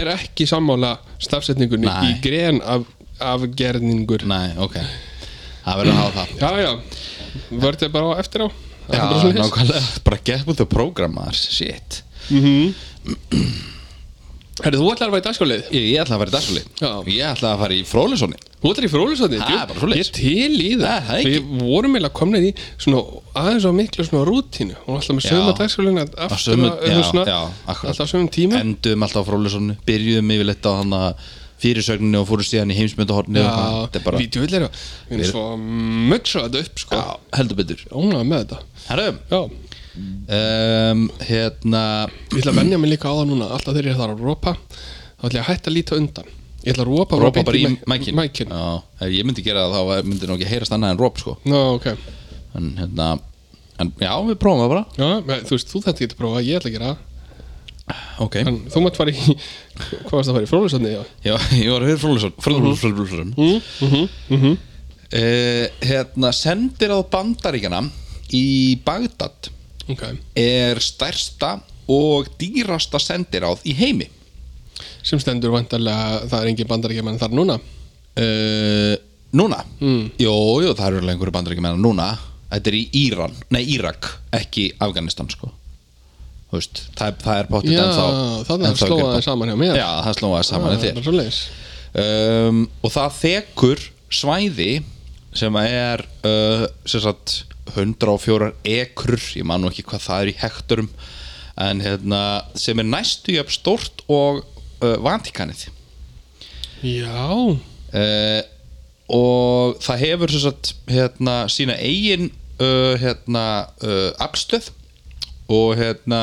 Speaker 2: er ekki sammála stafsetningunni
Speaker 1: Nei.
Speaker 2: í gren af, af gerningur
Speaker 1: Nei, ok Það verður að hafa það
Speaker 2: Já, já, vörd er bara á eftir á Það er bara
Speaker 1: Já,
Speaker 2: svoleiðis.
Speaker 1: nákvæmlega, bara get with the program maður, shit
Speaker 2: Herri, Mhm. þú ætlar að vera í dagskáleið
Speaker 1: Ég, ég ætla að fara í dagsfóli
Speaker 2: Já.
Speaker 1: Ég ætla að fara í Frólisoni
Speaker 2: Þú ætlar í frólusandi
Speaker 1: Það er bara svoleiðis.
Speaker 2: Ég er til í það
Speaker 1: Nei, það er ekki.
Speaker 2: Við vorum eiginlega komnið í svona aðeins á miklu svona rútínu Hún var alltaf með
Speaker 1: Já.
Speaker 2: sömu dagskáleina
Speaker 1: Á
Speaker 2: aftur
Speaker 1: sömu-
Speaker 2: að-
Speaker 1: já,
Speaker 2: eða
Speaker 1: já, akkurat.
Speaker 2: Alltaf sömum tíma
Speaker 1: Endum alltaf á Frólisonu Byrjuðum yfirleitt á hann að fyrirsögninu og fóru síðan í heimsmyndahornið og eitthvað. þetta er bara
Speaker 2: Vídeó er að Við erum svo mögsa þetta upp sko
Speaker 1: Já, heldur betur
Speaker 2: Ónað með þetta
Speaker 1: Herru,
Speaker 2: Já
Speaker 1: um, hérna
Speaker 2: Ég ætla að venja mig líka á það núna Alltaf þegar ég þarf að ropa Þá ætla ég að hætta að líta undan Ég ætla að ropa bara
Speaker 1: Rópa
Speaker 2: beint
Speaker 1: bara í
Speaker 2: mæ-
Speaker 1: mækin
Speaker 2: mækinn.
Speaker 1: Já, ef ég myndi gera það þá myndi nú ekki heyrast annað en róp sko
Speaker 2: Ná, ok
Speaker 1: En hérna, en já, við prófum það bara
Speaker 2: Já, með- þú veist, þú þetta getur prófa Ég ætla að gera það.
Speaker 1: Ok
Speaker 2: En þú mátt fara í Hvað varst að fara í frólusöfni?
Speaker 1: Já, [LAUGHS] ég var að höfður Frúlusson
Speaker 2: Mhm.
Speaker 1: Frúlusson, Frúlusson Hérna, sendir á bandaríkjana í Bagdad
Speaker 2: Ok
Speaker 1: er stærsta og dýrasta sendiráð í heimi
Speaker 2: Sem stendur vantarlega Það er engin bandaríkjaman þar núna
Speaker 1: uh, Núna
Speaker 2: Mm.
Speaker 1: Jó, jú, það eru alveg einhverju bandaríkjamenn núna Þetta er í Íran, nei Írak ekki Afganistan sko Þú veist, það, er- það er potið
Speaker 2: Já,
Speaker 1: ennþá
Speaker 2: þannig að
Speaker 1: ennþá
Speaker 2: slóa
Speaker 1: gerbar-
Speaker 2: það saman hjá mér
Speaker 1: Já, það slóaði saman en
Speaker 2: það
Speaker 1: þér
Speaker 2: er Ah, svoleiðis.
Speaker 1: um, og það þekur svæði sem að er uh, sem sagt 104 ekrur ég man nú ekki hvað það er í hekturum en hérna sem er næstu jöfn stort og uh, Vatikanið
Speaker 2: Já
Speaker 1: uh, og það hefur sem sagt hérna sína eigin uh, hérna uh, afstöð og hérna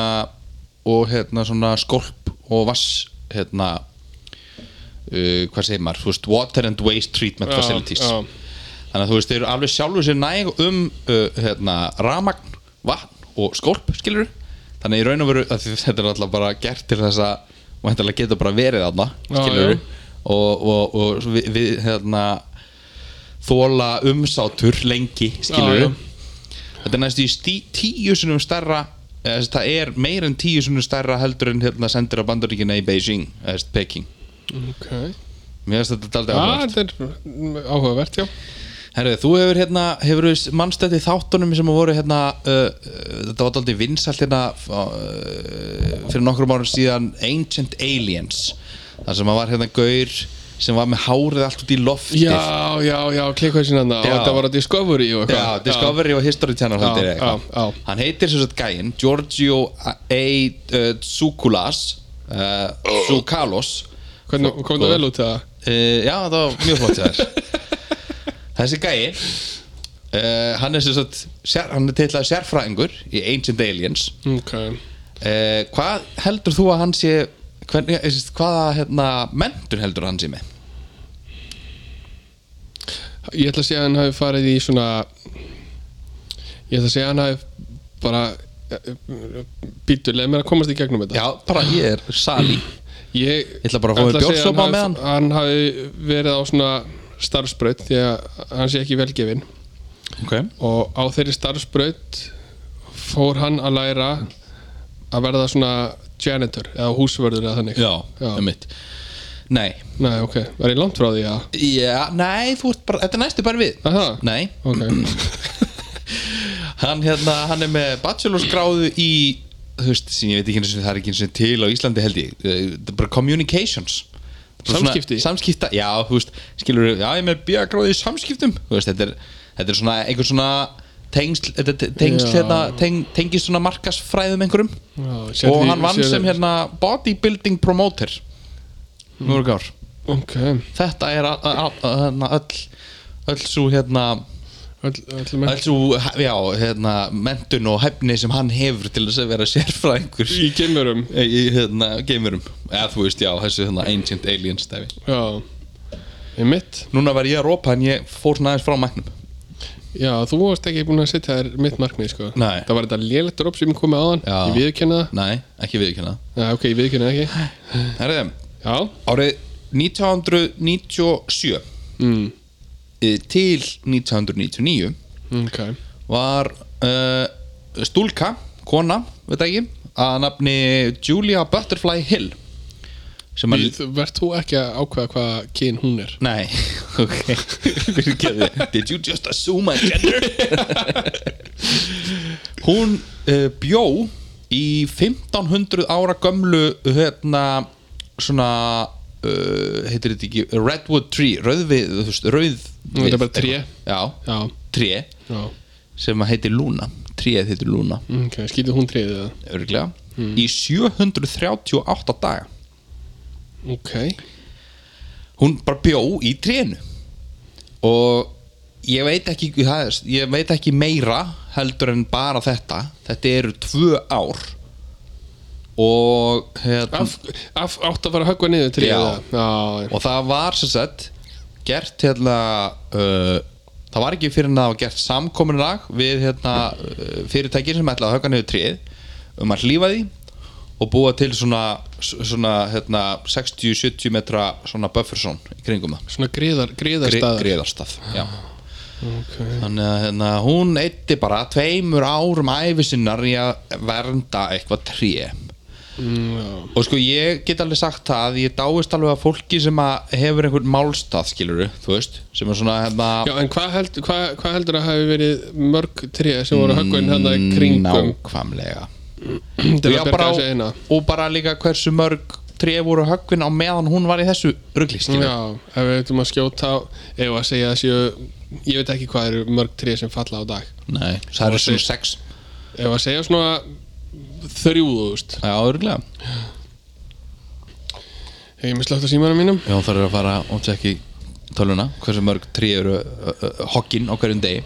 Speaker 1: og hérna svona skolp og vass hérna uh, hvað segir maður, þú veist water and waste treatment
Speaker 2: Já,
Speaker 1: facilities
Speaker 2: já.
Speaker 1: þannig að þú veist, þeir eru alveg sjálfur sér næg um uh, hérna, ramagn, vatn og skolp, skilur þannig að í raun og veru, að því þetta er alltaf bara gert til þess að væntanlega geta bara verið þarna,
Speaker 2: Já,
Speaker 1: skilur
Speaker 2: já.
Speaker 1: og, og, og svo við, við hérna, þóla umsátur lengi, skilur
Speaker 2: Já, já.
Speaker 1: þetta er næstu í stí, tíu sinnum stærra eða, þess að það er meir en tíu sinnum stærra heldur en hérna, sendir á bandaríkina í Beijing eða þess, Peking
Speaker 2: Ok
Speaker 1: Mér finnst þetta daldið
Speaker 2: Já, þetta er áhugavert, já
Speaker 1: Herru, þú hefur hérna, hefur þú mannstætti þáttunum sem voru hérna, uh, uh, þetta var aldrei vinsalt hérna uh, fyrir nokkrum árum síðan Ancient Aliens, þar sem að var hérna gaur sem var með hárið allt út í loftið.
Speaker 2: Já, já, já, klikkaði sína þarna og
Speaker 1: Já.
Speaker 2: þetta var á Discovery og
Speaker 1: Já,
Speaker 2: eitthvað
Speaker 1: Discovery og History Channel hann
Speaker 2: Já,
Speaker 1: er eitthvað.
Speaker 2: já, já.
Speaker 1: Hann heitir sem sagt gæinn Giorgio A. uh, Tsoukalos, uh, Tsoukalos,
Speaker 2: Oh. Hvernig kom það vel út það?
Speaker 1: Uh, já, það var mjög flott hjá þér Þessi gæi uh, Hann er sem sagt sér, Hann er titlaði sérfræðingur í Ancient Aliens
Speaker 2: Ok
Speaker 1: uh, Hvað heldur þú að hann sé hvern, eh, sem sagt, Hvaða hérna, menntun heldur hann sé með?
Speaker 2: Ég ætla að segja að hann hafi farið í svona Ég ætla að segja að hann hafi bara eh, Býtu, leið mér að komast í gegnum þetta
Speaker 1: Já, bara ég er sali
Speaker 2: Ég
Speaker 1: Ég ætla bara að fá mér
Speaker 2: ætla segja
Speaker 1: bjórsopa
Speaker 2: að
Speaker 1: með
Speaker 2: hann
Speaker 1: hann
Speaker 2: Hann hafi verið á svona starfsbraut því að hann sé ekki velgefin
Speaker 1: okay.
Speaker 2: og á þeirri starfsbraut fór hann að læra að verða svona janitor eða húsvörður eða þannig
Speaker 1: Já,
Speaker 2: Já.
Speaker 1: um mitt Nei,
Speaker 2: Nei, ok, var ég langt frá því að
Speaker 1: já, nei, þú ert bara Þetta er næstu bara við
Speaker 2: Aha,
Speaker 1: Nei, [CLEARS THROAT]
Speaker 2: ok
Speaker 1: [LAUGHS] hann hérna, hann er með bachelorsgráðu í þú veist, sem ég veit ekki einu sinni, það er ekki einu sinni til á Íslandi held ég, Eh, það er bara communications Bara svona-
Speaker 2: Samskipti?
Speaker 1: samskipta, já, þú veist, skilur já, ég er með bíagráðu í samskiptum þú veist, þetta er, þetta er svona, einhver svona tengsl, þetta er te- tengsl
Speaker 2: Já.
Speaker 1: hérna, teng, tengist svona markasfræðum einhverjum
Speaker 2: Já, sér
Speaker 1: og
Speaker 2: því-
Speaker 1: hann vann
Speaker 2: sér-
Speaker 1: sem hérna bodybuilding promoter mörg ár
Speaker 2: Ok,
Speaker 1: þetta er a- a- a- hérna, öll öll svo hérna
Speaker 2: öll, öll með
Speaker 1: Allt svo, já, hérna, mentun og hæfni sem hann hefur til þess að vera sérfræðingur
Speaker 2: Í geimurum
Speaker 1: í, í hérna, geimurum eða þú veist, já, þessu hérna Ancient Aliens stæfi
Speaker 2: Já, í mitt
Speaker 1: Núna var ég að rópa en ég fór svona aðeins frá mæknum
Speaker 2: Já, þú varst ekki búin að setja þér mitt markmið, sko
Speaker 1: Nei.
Speaker 2: Það var þetta lélegt drop sem ég komið á hann
Speaker 1: Já.
Speaker 2: Ég viðurkenna það
Speaker 1: Nei, ekki viðkynna
Speaker 2: Já, ok, ég viðurkenna það ekki
Speaker 1: Herriðum,
Speaker 2: Já,
Speaker 1: árið 1997
Speaker 2: mm.
Speaker 1: eh, til 1999
Speaker 2: ok
Speaker 1: var uh, stúlka, kona, veit ekki að nafni Julia Butterfly Hill sem að
Speaker 2: Þú- Vert þú ekki að ákveða hvað kyn hún er?
Speaker 1: Nei, [LAUGHS] ok Fyrirgefðu. Did you just assume my gender? [LAUGHS] Hún uh, bjó í 1500 ára gömlu hérna svona uh, heitir þetta ekki Redwood Tree, rauðvið þú veist, rauð
Speaker 2: Nú er þetta bara tré.
Speaker 1: Já,
Speaker 2: Já,
Speaker 1: tré
Speaker 2: já
Speaker 1: sem að heitir Luna Tréð heitir Luna,
Speaker 2: Ok, skýtið hún treyðið það
Speaker 1: örglega
Speaker 2: Hmm.
Speaker 1: í 738 daga
Speaker 2: Ok
Speaker 1: hún bara bjó í trénu og ég veit ekki það er- ég veit ekki meira heldur en bara þetta þetta eru tvö ár og hérna,
Speaker 2: af, af, átt að fara að höggva niður til
Speaker 1: Já.
Speaker 2: já,
Speaker 1: og það var sem sagt gert hérna uh, það var ekki fyrir en það var gert samkominlag við hérna uh, fyrirtækin sem ætlaði að höfka niður tríð um að hlífa því og búa til svona, svona hérna, 60-70 metra svona bufferson í kringum það
Speaker 2: svona gríðar,
Speaker 1: Gri-
Speaker 2: gríðarstaðar
Speaker 1: griðarstað já.
Speaker 2: okay.
Speaker 1: þannig að hérna, hún eitti bara tveimur árum æfisinnar í að vernda eitthvað tríð
Speaker 2: mm, já.
Speaker 1: og sko ég get alveg sagt það ég dáist alveg að fólki sem að hefur einhvern málstað skiluru, þú veist sem er svona hérna
Speaker 2: já, en hvað held, hva, hva heldur að hafi verið mörg tré sem voru
Speaker 1: Mm,
Speaker 2: höggvinn hann hérna í kringum
Speaker 1: nákvæmlega
Speaker 2: til
Speaker 1: Já, bara
Speaker 2: að berga
Speaker 1: á-
Speaker 2: þessi eina
Speaker 1: og bara líka hversu mörg tré voru höggvin á meðan hún var í þessu rugli skiluru,
Speaker 2: Já, ef við veitum að skjóta á- ef að segja að séu, ég veit ekki hvað eru mörg tré sem falla á dag
Speaker 1: nei, það
Speaker 2: Og
Speaker 1: eru svona
Speaker 2: þeir-
Speaker 1: sex
Speaker 2: ef að segja svona þrjúðust
Speaker 1: já, örglega
Speaker 2: hef ég mislagt á símanum mínum
Speaker 1: já, það eru að fara og tekki töluna hversu mörg tré eru uh, uh, hoggin á hverjum degi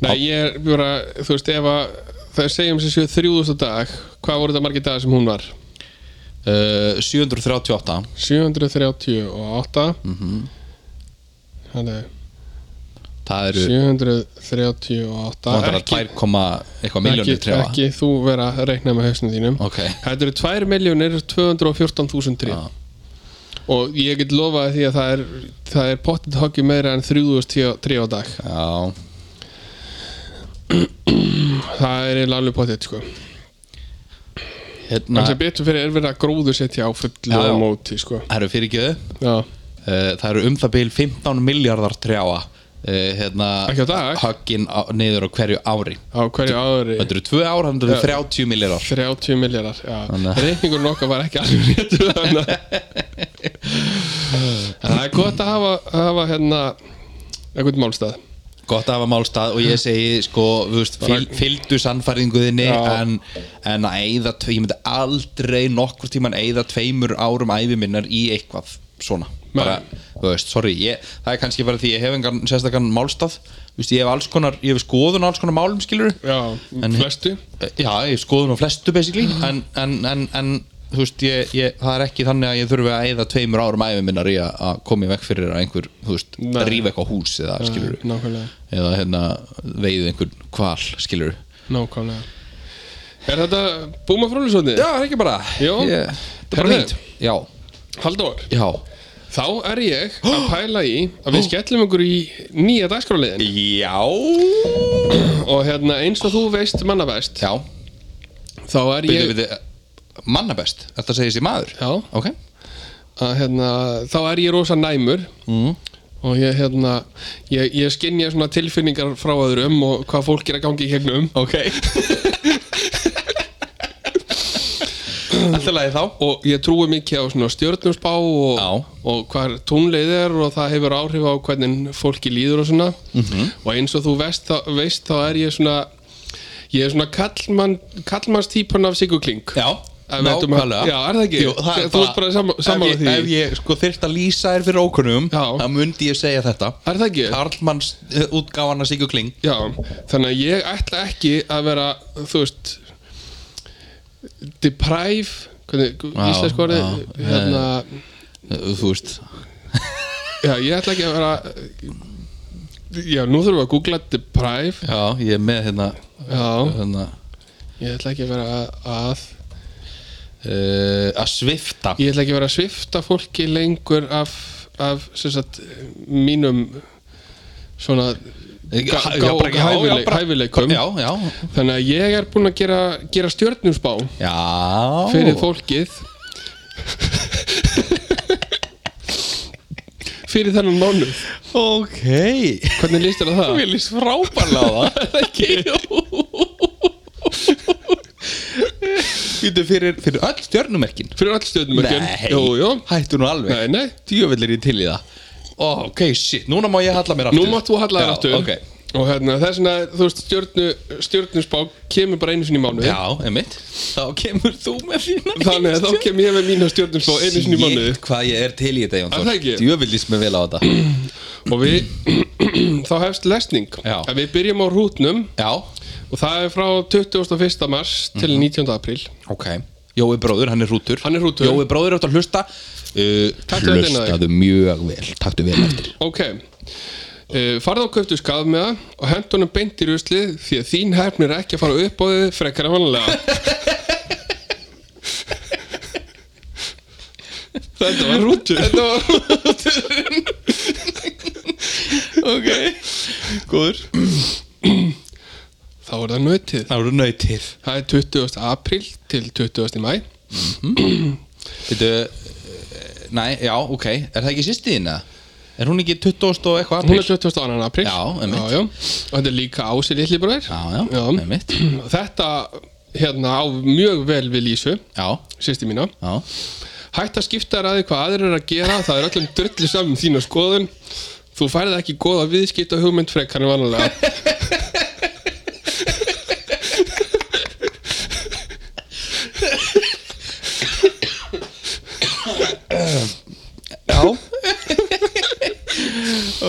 Speaker 2: Nei, ég er bara, þú veist, ef að það segjum sem séu þrjúðust á dag hvað voru þetta margir dagar sem hún var?
Speaker 1: uh, 738
Speaker 2: 738 mm -hmm.
Speaker 1: það eru
Speaker 2: 738
Speaker 1: það eru 2,
Speaker 2: ekki,
Speaker 1: eitthvað
Speaker 2: ekki,
Speaker 1: miljónir trefa
Speaker 2: ekki þú vera að reikna með hausnum þínum
Speaker 1: ok,
Speaker 2: Þetta eru 2.214.000 tré
Speaker 1: Já.
Speaker 2: og ég get lofaði því að það er, það er pottet hoggi meira en 3.000 tré á dag
Speaker 1: já
Speaker 2: það er eiginlega alveg pottet sko
Speaker 1: hérna,
Speaker 2: en sem betur fyrir er verið að gróðu setja á fullu
Speaker 1: Já, já.
Speaker 2: á móti sko
Speaker 1: það eru fyrirgjöðu
Speaker 2: Já.
Speaker 1: uh, það eru um það byrjum 15 miljardar trjáa uh, hérna,
Speaker 2: Ekki á dag?
Speaker 1: höggin á, niður á hverju ári
Speaker 2: á hverju ári
Speaker 1: þetta eru tvö ár, þannig að
Speaker 2: Já.
Speaker 1: þetta eru 30 miljardar
Speaker 2: 30 miljardar
Speaker 1: Þannig að-
Speaker 2: reikningur nokkar var ekki alveg réttur
Speaker 1: [LAUGHS]
Speaker 2: þannig að- En það er gott að hafa, hafa hérna einhvern málstað
Speaker 1: gott að hafa málstað og ég segi sko, þú veist, fyl, fylgdu sannfæringu þinni
Speaker 2: Já.
Speaker 1: en, en að eyða tve- ég myndi aldrei nokkur tíman eyða tveimur árum ævi minnar í eitthvað svona bara, þú veist, sorry ég, það er kannski bara því ég hef engan sérstakann málstað þú veist, ég hef alls konar, ég hef skoðun á alls konar málum skilur
Speaker 2: já,
Speaker 1: En-
Speaker 2: flestu
Speaker 1: Já, ég hef skoðun á flestu basically
Speaker 2: Mm.
Speaker 1: en, en, en, en þú veist, ég, ég, það er ekki þannig að ég þurfi að eyða tveimur árum æfi minnar í að, að koma í vekk fyrir að einhver, þú veist,
Speaker 2: Nei.
Speaker 1: rífa eitthvað hús eða skilur
Speaker 2: Eh, nákvæmlega,
Speaker 1: eða hérna veiðu einhvern kval, skilur
Speaker 2: nákvæmlega er þetta búma frólusóðni?
Speaker 1: það er ekki bara
Speaker 2: Jó.
Speaker 1: ég, Það er bara
Speaker 2: Herðu.
Speaker 1: fínt Já,
Speaker 2: Halldór,
Speaker 1: já
Speaker 2: þá er ég
Speaker 1: [GASPS]
Speaker 2: að pæla í að við skellum okkur í nýja dagskráliðin
Speaker 1: Já
Speaker 2: og hérna eins og þú veist manna best
Speaker 1: Já,
Speaker 2: þá er
Speaker 1: byrju,
Speaker 2: ég
Speaker 1: byrju Manna best, þetta segir sér maður
Speaker 2: já,
Speaker 1: Ok
Speaker 2: að, hérna, þá er ég rosa næmur
Speaker 1: mm.
Speaker 2: og ég hérna ég, ég skinja svona tilfinningar frá öðrum og hvað fólk er að gangi í gegnum
Speaker 1: Ok Alltaf lagi þá
Speaker 2: og ég trúi mikið á svona stjörnumspá og,
Speaker 1: Já.
Speaker 2: og hvað tónleið er og það hefur áhrif á hvernig fólki líður og svona
Speaker 1: Mhm.
Speaker 2: -hmm. og eins og þú veist þá, veist, þá er ég svona ég er svona kallmann kallmannstýpan af Sigur Kling
Speaker 1: Já,
Speaker 2: Ef við ættum að- Já, er það ekki?
Speaker 1: Jú, það
Speaker 2: Þú ert bara sam- sammála
Speaker 1: ef ég,
Speaker 2: því?
Speaker 1: Ef ég sko þyrft að lýsa þér fyrir ókunnum
Speaker 2: Já.
Speaker 1: þá myndi ég segja þetta
Speaker 2: er það ekki?
Speaker 1: Karlmanns eh, útgáfana Sigur Kling
Speaker 2: Já, þannig að ég ætla ekki að vera þú veist deprive hvernig,
Speaker 1: Já,
Speaker 2: íslensk orðið
Speaker 1: já,
Speaker 2: hérna,
Speaker 1: Þú veist
Speaker 2: já, ég ætla ekki að vera já, nú þurfum við að googla deprive
Speaker 1: Já, ég er með hérna
Speaker 2: já,
Speaker 1: hérna,
Speaker 2: ég ætla ekki að vera að e,
Speaker 1: uh, að svifta
Speaker 2: ég ætla ekki að vera að svifta fólki lengur af, af sem sagt, mínum svona gá,
Speaker 1: Já,
Speaker 2: gá,
Speaker 1: bara- já, já,
Speaker 2: hæfileik,
Speaker 1: bara-
Speaker 2: hæfileikum
Speaker 1: Já, já
Speaker 2: þannig að ég er búinn að gera, gera stjörnumspá
Speaker 1: Já
Speaker 2: fyrir fólkið fyrir þennan mánuð
Speaker 1: Ok
Speaker 2: hvernig líst þér á það?
Speaker 1: Mér líst
Speaker 2: [LAUGHS]
Speaker 1: frábærlega á [LAUGHS] það Ekki Býtu fyrir, fyrir öll stjörnumerkin
Speaker 2: fyrir öll stjórnumörkjum jú, jú.
Speaker 1: Hættu nú alveg
Speaker 2: Nei, nei.
Speaker 1: Djöfull er ég til í það Ó, Ok, shit, núna má ég halla mér
Speaker 2: nú
Speaker 1: aftur
Speaker 2: mátt þú halla þér
Speaker 1: Já,
Speaker 2: aftur
Speaker 1: ok.
Speaker 2: og hérna, þess vegna, þú veist, stjörnu, stjörnusbá kemur bara einu sinni í mánuði
Speaker 1: Já, einmitt Þá kemur þú með þína
Speaker 2: þannig að þá kem ég með mína stjörnusbá einu sinni í mánuði
Speaker 1: Sýtt hvað ég er til í þetta Jón
Speaker 2: Er það ekki?
Speaker 1: Þór Djöfull líst mér vel á þetta
Speaker 2: og við, [CLEARS THROAT] þá hefst lesning
Speaker 1: Já.
Speaker 2: að við byrjum á rútnum
Speaker 1: Já,
Speaker 2: og það er frá 21. mars til
Speaker 1: Mhm.
Speaker 2: 19. apríl
Speaker 1: ok Jói bróður, hann er hrútur
Speaker 2: Hann er hrútur.
Speaker 1: Jói bróður eftir að hlusta uh,
Speaker 2: Taktu þetta inn á þig.
Speaker 1: Hlustaðu mjög vel Taktu vel
Speaker 2: [LAUGHS]
Speaker 1: eftir
Speaker 2: ok Uh, farðu á köftu skaf með það og hendunum beint í ruslið því að þín hefn er ekki að fara upp á þið frekar
Speaker 1: [LAUGHS]
Speaker 2: en vanlega Þetta var rútur Þetta var rúturinn Ok Góður Þá er það nötið
Speaker 1: Það voru nöytið
Speaker 2: Það er 20. apríl til 20. mæ
Speaker 1: Þetta eh, Nei, já, ok Er það ekki sýstiðina? Er hún ekki 20 og eitthvað
Speaker 2: Hún
Speaker 1: apríl?
Speaker 2: er 22. apríl
Speaker 1: Já, einmitt.
Speaker 2: já, já. Og þetta er líka ási lillibróðir
Speaker 1: Já, já, einmitt
Speaker 2: Þetta hérna á mjög vel við Lísu
Speaker 1: Já,
Speaker 2: sýsti mína
Speaker 1: já
Speaker 2: Hætt að skipta þér að því hvað aðrir er að gera það er öllum drullu saman um þína skoðun Þú færði ekki góða viðskipta hugmynd frekar
Speaker 1: [LAUGHS]
Speaker 2: en vanalega
Speaker 1: Já [LAUGHS]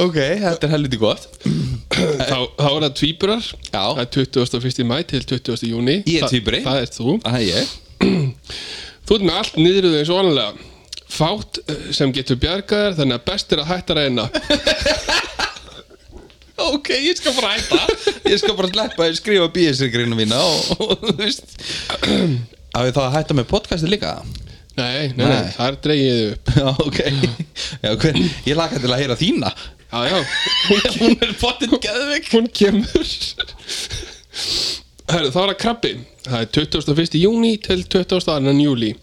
Speaker 1: Ok, þetta er helviti gott
Speaker 2: þá, þá er það tvíburar
Speaker 1: Já.
Speaker 2: Það er 21. mæ til 20. júni
Speaker 1: Ég er tvíburi.
Speaker 2: Það, það er þú
Speaker 1: Það er ég
Speaker 2: Þú ert með allt niðrið eins og vanalega Fátt eh, sem getur bjargað þér þannig að best er að hætta að reyna
Speaker 1: Ok, ég skal bara hætta Ég skal bara sleppa að skrifa bíðisirgrinu mína og, og þú veist Á ég þá að hætta með podcastið líka?
Speaker 2: Nei, nei, nei,
Speaker 1: Nei.
Speaker 2: það er dreigið upp
Speaker 1: Já, ok Já, hver, Ég laka til að heyra þína
Speaker 2: Já, já,
Speaker 1: Hún er pottin geðveik
Speaker 2: hún kemur Herru, þá er það krabbi Það er 21. júni til 22. júli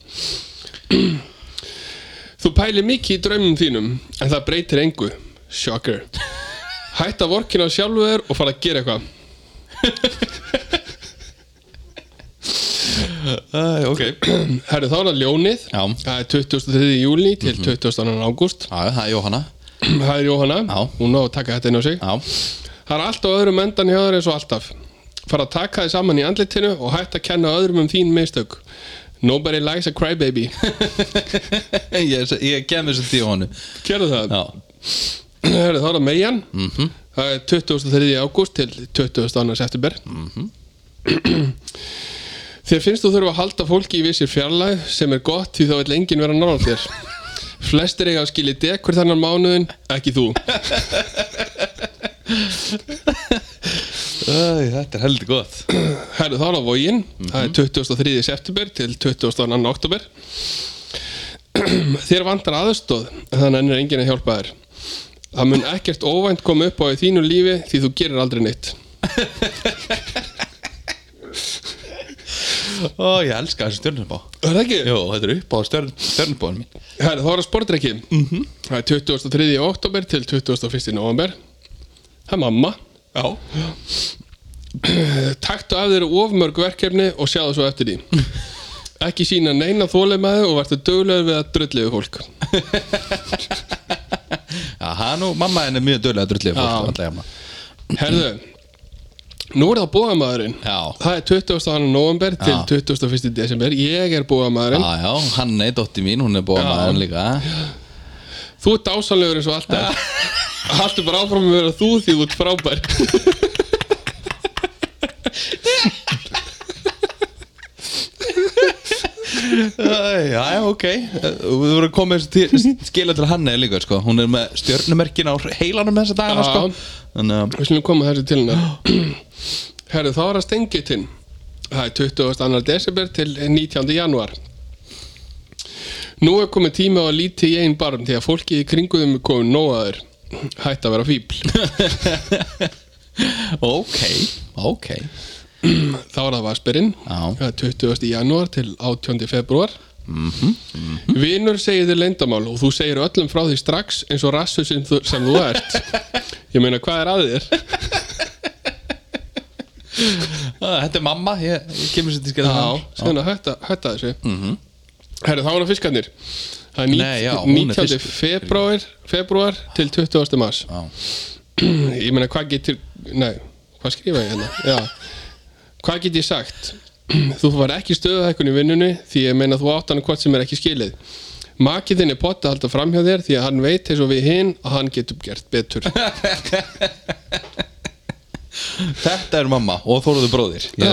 Speaker 2: Þú pælir mikið í draumum þínum En það breytir engu Shocker Hætt að vorkina sjálfu þér og fara að gera eitthvað
Speaker 1: uh, Ok Já,
Speaker 2: Herru, þá er það ljónið
Speaker 1: Já.
Speaker 2: Það er 23. júli til 22. ágúst
Speaker 1: það er Jóhanna
Speaker 2: [CLEARS THROAT] Það er Jóhanna
Speaker 1: Já.
Speaker 2: Hún á að taka þetta inn á sig
Speaker 1: Já,
Speaker 2: Það er allt á öðrum endan hjá þér eins og alltaf. Fara að taka þið saman í andlitinu og hætt að kenna öðrum um þín mistök. Nobody likes a crybaby.
Speaker 1: ég, ég kem þessu tíu honu
Speaker 2: Gerðu það. [CLEARS THROAT]
Speaker 1: Já, Mhm.
Speaker 2: Herri, þá er það megan. Það er 23. ágúst til 22. september.
Speaker 1: Mhm.
Speaker 2: [CLEARS THROAT] Þér finnst þú þurfa að halda fólki í vissir fjarlæð sem er gott því þá vill enginn vera nála
Speaker 1: [LAUGHS]
Speaker 2: þér. Flestir eiga að skilja dekur þannan mánuðin, ekki þú.
Speaker 1: Æ, þetta er heldur gott
Speaker 2: Herru, þá er það vógin Það er 23. september til 22. oktober [CLEARS THROAT] Þér vantar aðstóð Þannig ennir enginn að hjálpa þér Það mun ekkert óvænt koma upp á í þínu lífi Því þú gerir aldrei neitt
Speaker 1: Ó, ég elska þessu stjörnubá
Speaker 2: Er það ekki?
Speaker 1: Jó, þetta er upp á stjörn, stjörnubáin mín
Speaker 2: Herru, þá er það sportrekki Það er 23. oktober til 21. november Það er mamma Eh,
Speaker 1: Já
Speaker 2: Taktu af þér ofmörg verkefni og sjáðu svo eftir [LAUGHS] því Ekki sína neina þólimaði og verður döglegur við að drulluðu fólk
Speaker 1: Aha, nú, mamma henni er mjög dölulega drullið
Speaker 2: Já.
Speaker 1: fólk Já,
Speaker 2: Herðu Nú er það bóðamaðurinn
Speaker 1: Já.
Speaker 2: Það er 20. november til
Speaker 1: Já.
Speaker 2: 21. desember Ég er bóðamaðurinn
Speaker 1: já, já Hanna er dótti mín, hún er búin
Speaker 2: Já.
Speaker 1: að hann líka
Speaker 2: Þú ert dásanlegur eins og alltaf Haltu bara áfram að vera þú því þú ert frábær
Speaker 1: Æ, Eh, Já, já, ok Þú voru að koma þessu til, skila til Hanna líka, sko Hún er með stjörnumerkin á heilanum þessa dagana,
Speaker 2: Já.
Speaker 1: sko Þannig að,
Speaker 2: Við slum koma þessu til hennar Herðu þá er það stengitinn Það er 22. desember til 19. januar Nú er komið tíma á að líti í einn barm því að fólkið í kringuðum er komið nóaður Hætt að vera fíbl
Speaker 1: [LAUGHS] ok, ok
Speaker 2: Þá er það Vasperinn
Speaker 1: Já.
Speaker 2: Það er 20. janúar til 18. februar
Speaker 1: Mhm,
Speaker 2: Vinur segir þér leyndamál og þú segir öllum frá því strax eins og rassu sem þú, sem þú
Speaker 1: [LAUGHS]
Speaker 2: ert Ég meina hvað er að þér?
Speaker 1: Æ, Ah, Þetta er mamma, ég, ég kemur sér til skila til
Speaker 2: Já,
Speaker 1: hennar.
Speaker 2: svona hætta, hætta þessu mm -hmm. Herru, þá er það fiskarnir Það er
Speaker 1: Mhm. Nei, já, hún er
Speaker 2: 19.
Speaker 1: fiskur.
Speaker 2: februar, februar til 20. mars
Speaker 1: Já.
Speaker 2: ég meina hvað getur nei, hvað skrifa ég hérna já, hvað get ég sagt [CLEARS THROAT] þú var ekki stöðuhækkun í vinnunni því ég meina þú átt hann hvort sem er ekki skilið makið þinn er potta að halda framhjá þér því að hann veit eins og við hinn að hann getur gert
Speaker 1: [LAUGHS]
Speaker 2: betur
Speaker 1: [LAUGHS] Þetta er mamma og Þóruður bróðir
Speaker 2: já,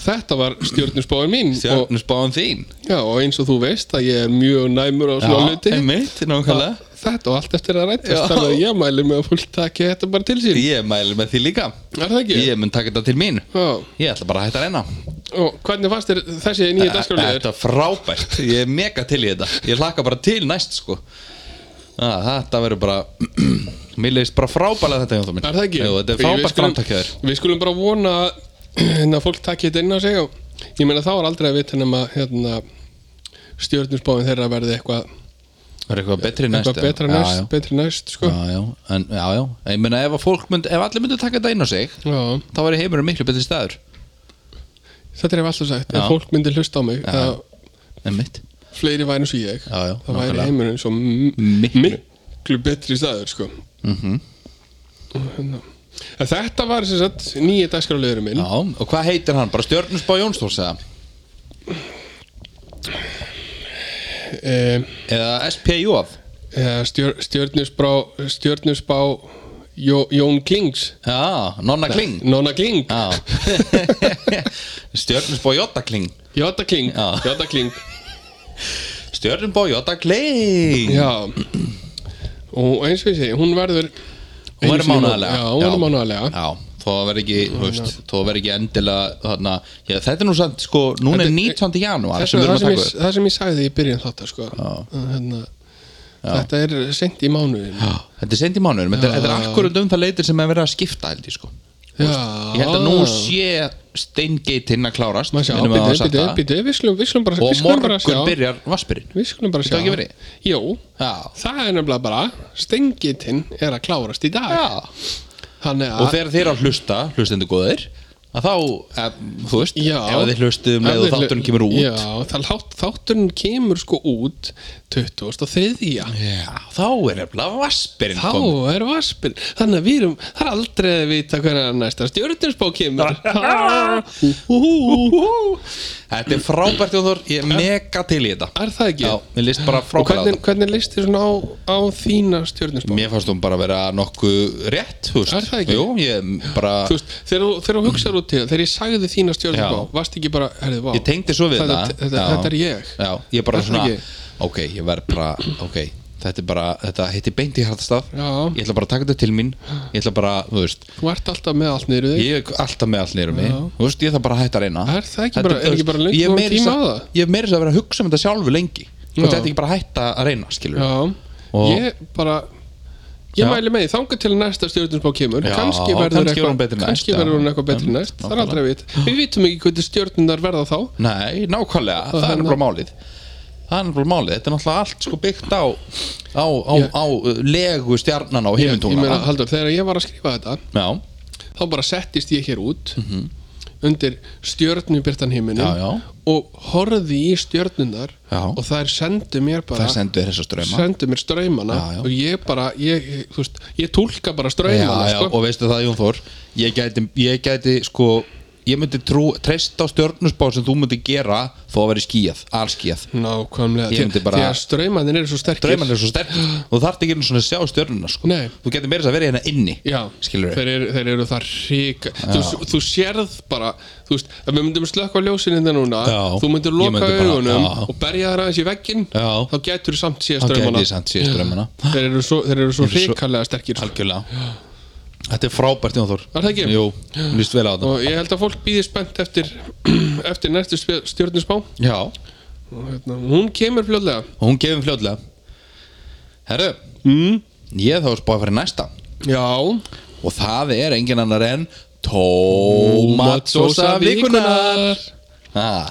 Speaker 2: þetta var stjórnusbáin mín og,
Speaker 1: Stjörnusbáðan þín
Speaker 2: já, og eins og þú veist að ég er mjög næmur á svona hluti
Speaker 1: einmitt, nákvæmlega
Speaker 2: Þa- þetta og allt eftir að
Speaker 1: Já.
Speaker 2: rættast þannig að ég mæli með að fólk taki þetta bara til sín
Speaker 1: Ég mæli með því líka
Speaker 2: er það ekki?
Speaker 1: Ég mun taka þetta til mín
Speaker 2: Já.
Speaker 1: Ég ætla bara að hætta að reyna
Speaker 2: og hvernig fannst þér þessi nýja dagskráliður?
Speaker 1: Þetta er frábært, ég er mega til í þetta Ég hlakka bara til næst sko ah, Þetta verður bara [CLEARS THROAT] Mér leist bara frábælega þetta Jónþór minn.
Speaker 2: Er það ekki?
Speaker 1: Jú, þetta er
Speaker 2: Við- við
Speaker 1: frábært
Speaker 2: skulum-
Speaker 1: framtakjaður
Speaker 2: Við skulum bara vona [CLEARS THROAT] að hérna, fólk takki þetta inn á sig og ég meina þá er aldrei að vita nema hérna, stjórnusbáin þeirra verði eitthvað
Speaker 1: Það er eitthvað betri næst
Speaker 2: eitthvað betra næst,
Speaker 1: já, já.
Speaker 2: betri næst sko.
Speaker 1: Já, já, en, já, já. Ég meina ef, að fólk mynd, ef allir myndu taka þetta inn á sig
Speaker 2: Já.
Speaker 1: Þá væri heimurinn miklu betri staður
Speaker 2: Þetta er ef alltaf sagt,
Speaker 1: Já.
Speaker 2: ef fólk myndi hlusta á mig að
Speaker 1: En mitt
Speaker 2: fleiri væri eins og ég
Speaker 1: Já, já,
Speaker 2: það væri
Speaker 1: nákvæmlega.
Speaker 2: heimurinn svo m-
Speaker 1: Miklu.
Speaker 2: miklu betri staður sko.
Speaker 1: Mhm.
Speaker 2: mm -hmm. Þetta var sem sagt nýja dagskráliður minn
Speaker 1: Já, og hvað heitir hann? Bara stjörnusbá Jónsdórs eða?
Speaker 2: um,
Speaker 1: Eða SPJF?
Speaker 2: eða eh, stjör, stjörnusbrá stjörnusbá Jó, Jón Klings
Speaker 1: Já, Nonna Kling
Speaker 2: Nonna Kling,
Speaker 1: Já [LAUGHS] Stjörnusbá Jóta Kling
Speaker 2: Jóta Kling
Speaker 1: Já.
Speaker 2: Jóta Kling
Speaker 1: Stjörnusbá Jóta Kling
Speaker 2: já og eins og ég segi, hún verður
Speaker 1: Hún verður
Speaker 2: einu sinni í
Speaker 1: mánaðarlega
Speaker 2: mánuði. já, hún verður mánaðarlega
Speaker 1: Já, þó að verður ekki, þú veist, þó að verður ekki endilega þarna, já, þetta er nú samt, sko, núna er
Speaker 2: Þetta-
Speaker 1: 19. janúar
Speaker 2: Þess
Speaker 1: sem
Speaker 2: vegna
Speaker 1: við
Speaker 2: það,
Speaker 1: erum
Speaker 2: sem
Speaker 1: að taka
Speaker 2: ég,
Speaker 1: upp
Speaker 2: það sem ég sagði í byrjun þáttar sko. Að hérna, þetta er sent í mánuðin já,
Speaker 1: Þetta er sendi mánuður, þetta er, þetta er
Speaker 2: Já.
Speaker 1: akkurat um það leitir sem er verið að skipta, held ég, sko Ég held að nú sé steingeitin að klárast
Speaker 2: maður Ah. sjá,
Speaker 1: minnum við á að
Speaker 2: býtu,
Speaker 1: sagt
Speaker 2: býtu,
Speaker 1: það.
Speaker 2: býtu, við skulum við skulum bara við
Speaker 1: Og
Speaker 2: skulum bara
Speaker 1: morgun
Speaker 2: sjá.
Speaker 1: byrjar vassbyrjun
Speaker 2: við skulum bara
Speaker 1: Þetta ekki
Speaker 2: sjá
Speaker 1: verið?
Speaker 2: jú,
Speaker 1: Já,
Speaker 2: það er nefnilega bara stengitinn er að klárast í dag
Speaker 1: já
Speaker 2: Þannig að
Speaker 1: og þegar þeir eru að hlusta, hlustendur góðir að þá, ef, þú veist
Speaker 2: Já.
Speaker 1: ef þið hlustið um leið
Speaker 2: Ef
Speaker 1: og
Speaker 2: þið-
Speaker 1: þátturinn kemur út
Speaker 2: Já, það, þátt, þátturinn kemur sko út 23.
Speaker 1: Já, þá er nefnilega vassbyrinn
Speaker 2: Þá
Speaker 1: komin
Speaker 2: er vaspil Þannig að við erum, það er aldrei að vita hvernig næsta stjórninsbó
Speaker 1: [LAUGHS]
Speaker 2: kemur
Speaker 1: Þetta er frábært Jónþór, ég er mega til í þetta
Speaker 2: Er það ekki?
Speaker 1: Já, mér líst bara
Speaker 2: Og
Speaker 1: frábært á
Speaker 2: hvernig, hvernig leist þér svona á, á þína
Speaker 1: þetta
Speaker 2: stjórninsbó?
Speaker 1: Mér fannst hún bara að vera nokkuð rétt, þú veist
Speaker 2: Er það ekki?
Speaker 1: Jú, ég bara
Speaker 2: Þú veist, þegar þú- þegar þú hugsaður út til það, þegar ég sagði þína stjórninsbó
Speaker 1: Já.
Speaker 2: Varst ekki bara, herrið, vá
Speaker 1: Ég tengdi svo við
Speaker 2: þetta,
Speaker 1: það
Speaker 2: þetta,
Speaker 1: Já.
Speaker 2: þetta er ég
Speaker 1: Já, ég bara
Speaker 2: Er það
Speaker 1: svona
Speaker 2: ekki?
Speaker 1: Ok, ég verð bara, ok Þetta er bara, þetta heitir beint í hjartastað
Speaker 2: Já.
Speaker 1: Ég ætla bara að taka þetta til mín Ég ætla bara, þú veist
Speaker 2: Þú ert alltaf með allt niður í þig
Speaker 1: Ég er alltaf með allt niður um mig Þú veist, ég þarf bara að hætta að reyna
Speaker 2: Er það ekki bara- er ekki bara lengur
Speaker 1: Ég er
Speaker 2: komin
Speaker 1: meira
Speaker 2: tími
Speaker 1: að-
Speaker 2: á það?
Speaker 1: Ég er meira þess að vera að hugsa um þetta sjálfu lengi Þú veist,
Speaker 2: Já.
Speaker 1: þetta er ekki bara að hætta að reyna, skilur
Speaker 2: Já,
Speaker 1: Og-
Speaker 2: ég bara Ég
Speaker 1: Já.
Speaker 2: mæli með því, þanga til næsta stjórninsbá kemur
Speaker 1: Já,
Speaker 2: kannski verður
Speaker 1: kannski verður hún
Speaker 2: eitthvað
Speaker 1: betri næst,
Speaker 2: kannski
Speaker 1: já.
Speaker 2: verður hún eitthvað betri
Speaker 1: Einmitt,
Speaker 2: næst það er
Speaker 1: nákvæmlega.
Speaker 2: aldrei að vita, við vitum ekki hvernig stjórnunar verða þá
Speaker 1: Nei, nákvæmlega, það, er
Speaker 2: þannig-
Speaker 1: nefnilega málið Það er nefnilega málið, þetta er náttúrulega allt sko byggt á á, á,
Speaker 2: Ég-
Speaker 1: á uh, legu stjarnana og
Speaker 2: ég meina,
Speaker 1: heimintungana
Speaker 2: Haldur, þegar ég var að skrifa þetta
Speaker 1: Já,
Speaker 2: þá bara settist ég hér út undir stjórnubirtan himinu
Speaker 1: Mhm. Já, já.
Speaker 2: og horfði í stjórnunar
Speaker 1: Já.
Speaker 2: og þær sendu mér bara
Speaker 1: það sendu þér þessa ströma
Speaker 2: sendu mér ströymana
Speaker 1: Já, já.
Speaker 2: og ég bara, ég, þú veist ég tólka bara ströymana
Speaker 1: já, já,
Speaker 2: sko.
Speaker 1: og veistu það Jón Þór ég gæti, ég gæti sko ég myndi trú, treysta á stjörnusbá sem þú myndi gera þó að veri skíjað, alskíjað
Speaker 2: nákvæmlega,
Speaker 1: Ég
Speaker 2: því
Speaker 1: myndi bara-
Speaker 2: því að ströymanin eru svo sterkir
Speaker 1: drauman er svo sterk og þú þarft ekki einu svona að sjá stjörnuna sko.
Speaker 2: Nei.
Speaker 1: þú getur meira þess að vera hérna inni
Speaker 2: Já,
Speaker 1: skilur
Speaker 2: þeir, eru, þeir eru það ríka þú, þú sérð bara þú veist, ef við myndum slökka ljósin hérna núna
Speaker 1: Já.
Speaker 2: þú myndir
Speaker 1: Ég
Speaker 2: loka
Speaker 1: myndi bara-
Speaker 2: augunum
Speaker 1: já.
Speaker 2: og berja þær aðeins í veggin
Speaker 1: Já.
Speaker 2: þá getur þú samt síðast
Speaker 1: það
Speaker 2: draumana
Speaker 1: gæti samt síðan strömmana
Speaker 2: þeir eru svo, þeir eru svo
Speaker 1: Þeir eru svo-
Speaker 2: ríkalega sterkir sko.
Speaker 1: algjörlega þetta er frábært Jón Þór
Speaker 2: Er það ekki?
Speaker 1: Jú, mér líst vel á þetta
Speaker 2: og ég held að fólk býði spennt eftir [CLEARS THROAT] eftir næstu spjö- stjörnusbá
Speaker 1: já,
Speaker 2: Og hérna, hún kemur fljóðlega
Speaker 1: og hún gefum fljóðlega herru
Speaker 2: mm.
Speaker 1: ég er þá að spáði að fara í næsta
Speaker 2: já,
Speaker 1: og það er engin annar en Tómatsósa vikunar ah.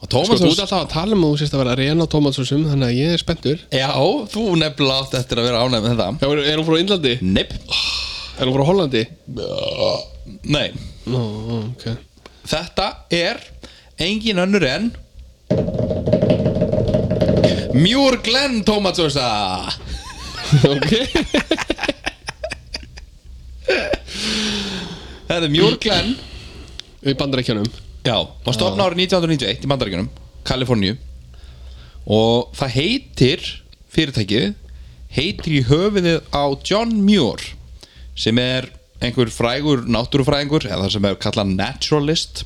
Speaker 1: og
Speaker 2: sko, þú ert
Speaker 1: Tómatsósa
Speaker 2: alltaf að tala um að þú sérst að vera að reyna á tómatsósum þannig að ég er spenntur
Speaker 1: já, þú nefnilega átt eftir að vera ánægð með þetta
Speaker 2: Já, er, er hún frá Índlandi?
Speaker 1: neip, Mm.
Speaker 2: Er hún frá Hollandi?
Speaker 1: nei
Speaker 2: Nú, ok [LAUGHS]
Speaker 1: þetta er engin önnur en Mjúr Glenn Tómatsósa
Speaker 2: Ok
Speaker 1: Þetta er Mjör Glenn
Speaker 2: í bandarækjanum
Speaker 1: Já, var stofna árið 1991 í Bandaríkjunum, Kaliforníu og það heitir fyrirtækið, heitir í höfuðið á John Muir sem er einhver frægur náttúrufræðingur, eða sem er kallað naturalist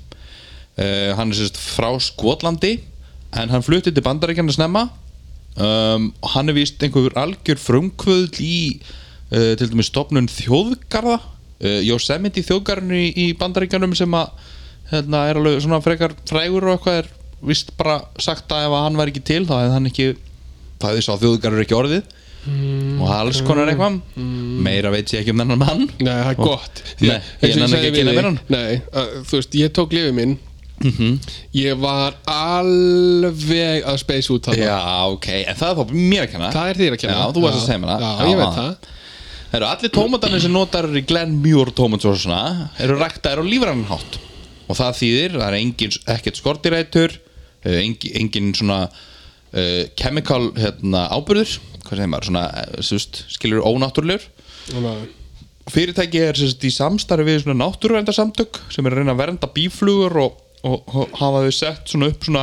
Speaker 1: uh, hann er sérst frá Skotlandi en hann flutti til Bandaríkjana snemma um, og hann er vist einhver algjör frumkvöðl í uh, til dæmis stofnun þjóðgarða uh, Yosemite þjóðgarðinu í, í Bandaríkjanum sem að hérna, er alveg svona frekar frægur og eitthvað er vist bara sagt að ef að hann væri ekki til þá hefði hann ekki þá hefði sá þjóðgarður ekki orðið og alls konar eitthvað meira veit ég ekki um þennan mann
Speaker 2: Nei, það er gott Því að-
Speaker 1: Nei, ég
Speaker 2: eins
Speaker 1: nenni
Speaker 2: og
Speaker 1: ekki
Speaker 2: sagði
Speaker 1: að
Speaker 2: við
Speaker 1: kynna
Speaker 2: þig-
Speaker 1: mér hann.
Speaker 2: Nei, að, þú veist, ég tók lifið minn
Speaker 1: Mhm.
Speaker 2: Ég var alveg að space út þarna
Speaker 1: Já, ok, en það er þá mér að kenna
Speaker 2: Það er þér að kenna
Speaker 1: Já, þú varst að segja mér það.
Speaker 2: Já,
Speaker 1: Já,
Speaker 2: ég veit
Speaker 1: já.
Speaker 2: það
Speaker 1: Það eru allir tómatarnir sem notar í Glenn Muir tómatsósuna eru ræktaðir á lífrænan hátt og það þýðir, það er engin, ekkert skortirætur engin, engin svona uh, chemical hérna, ábyrður hvað segir maður, svona eh, þú veist, skilur ónáttúrulegur
Speaker 2: Þannig að-
Speaker 1: fyrirtæki er sérst, í samstarfi við svona náttúruverndarsamtök sem er að reyna að vernda bíflugur og, og, og hafa þau sett svona upp svona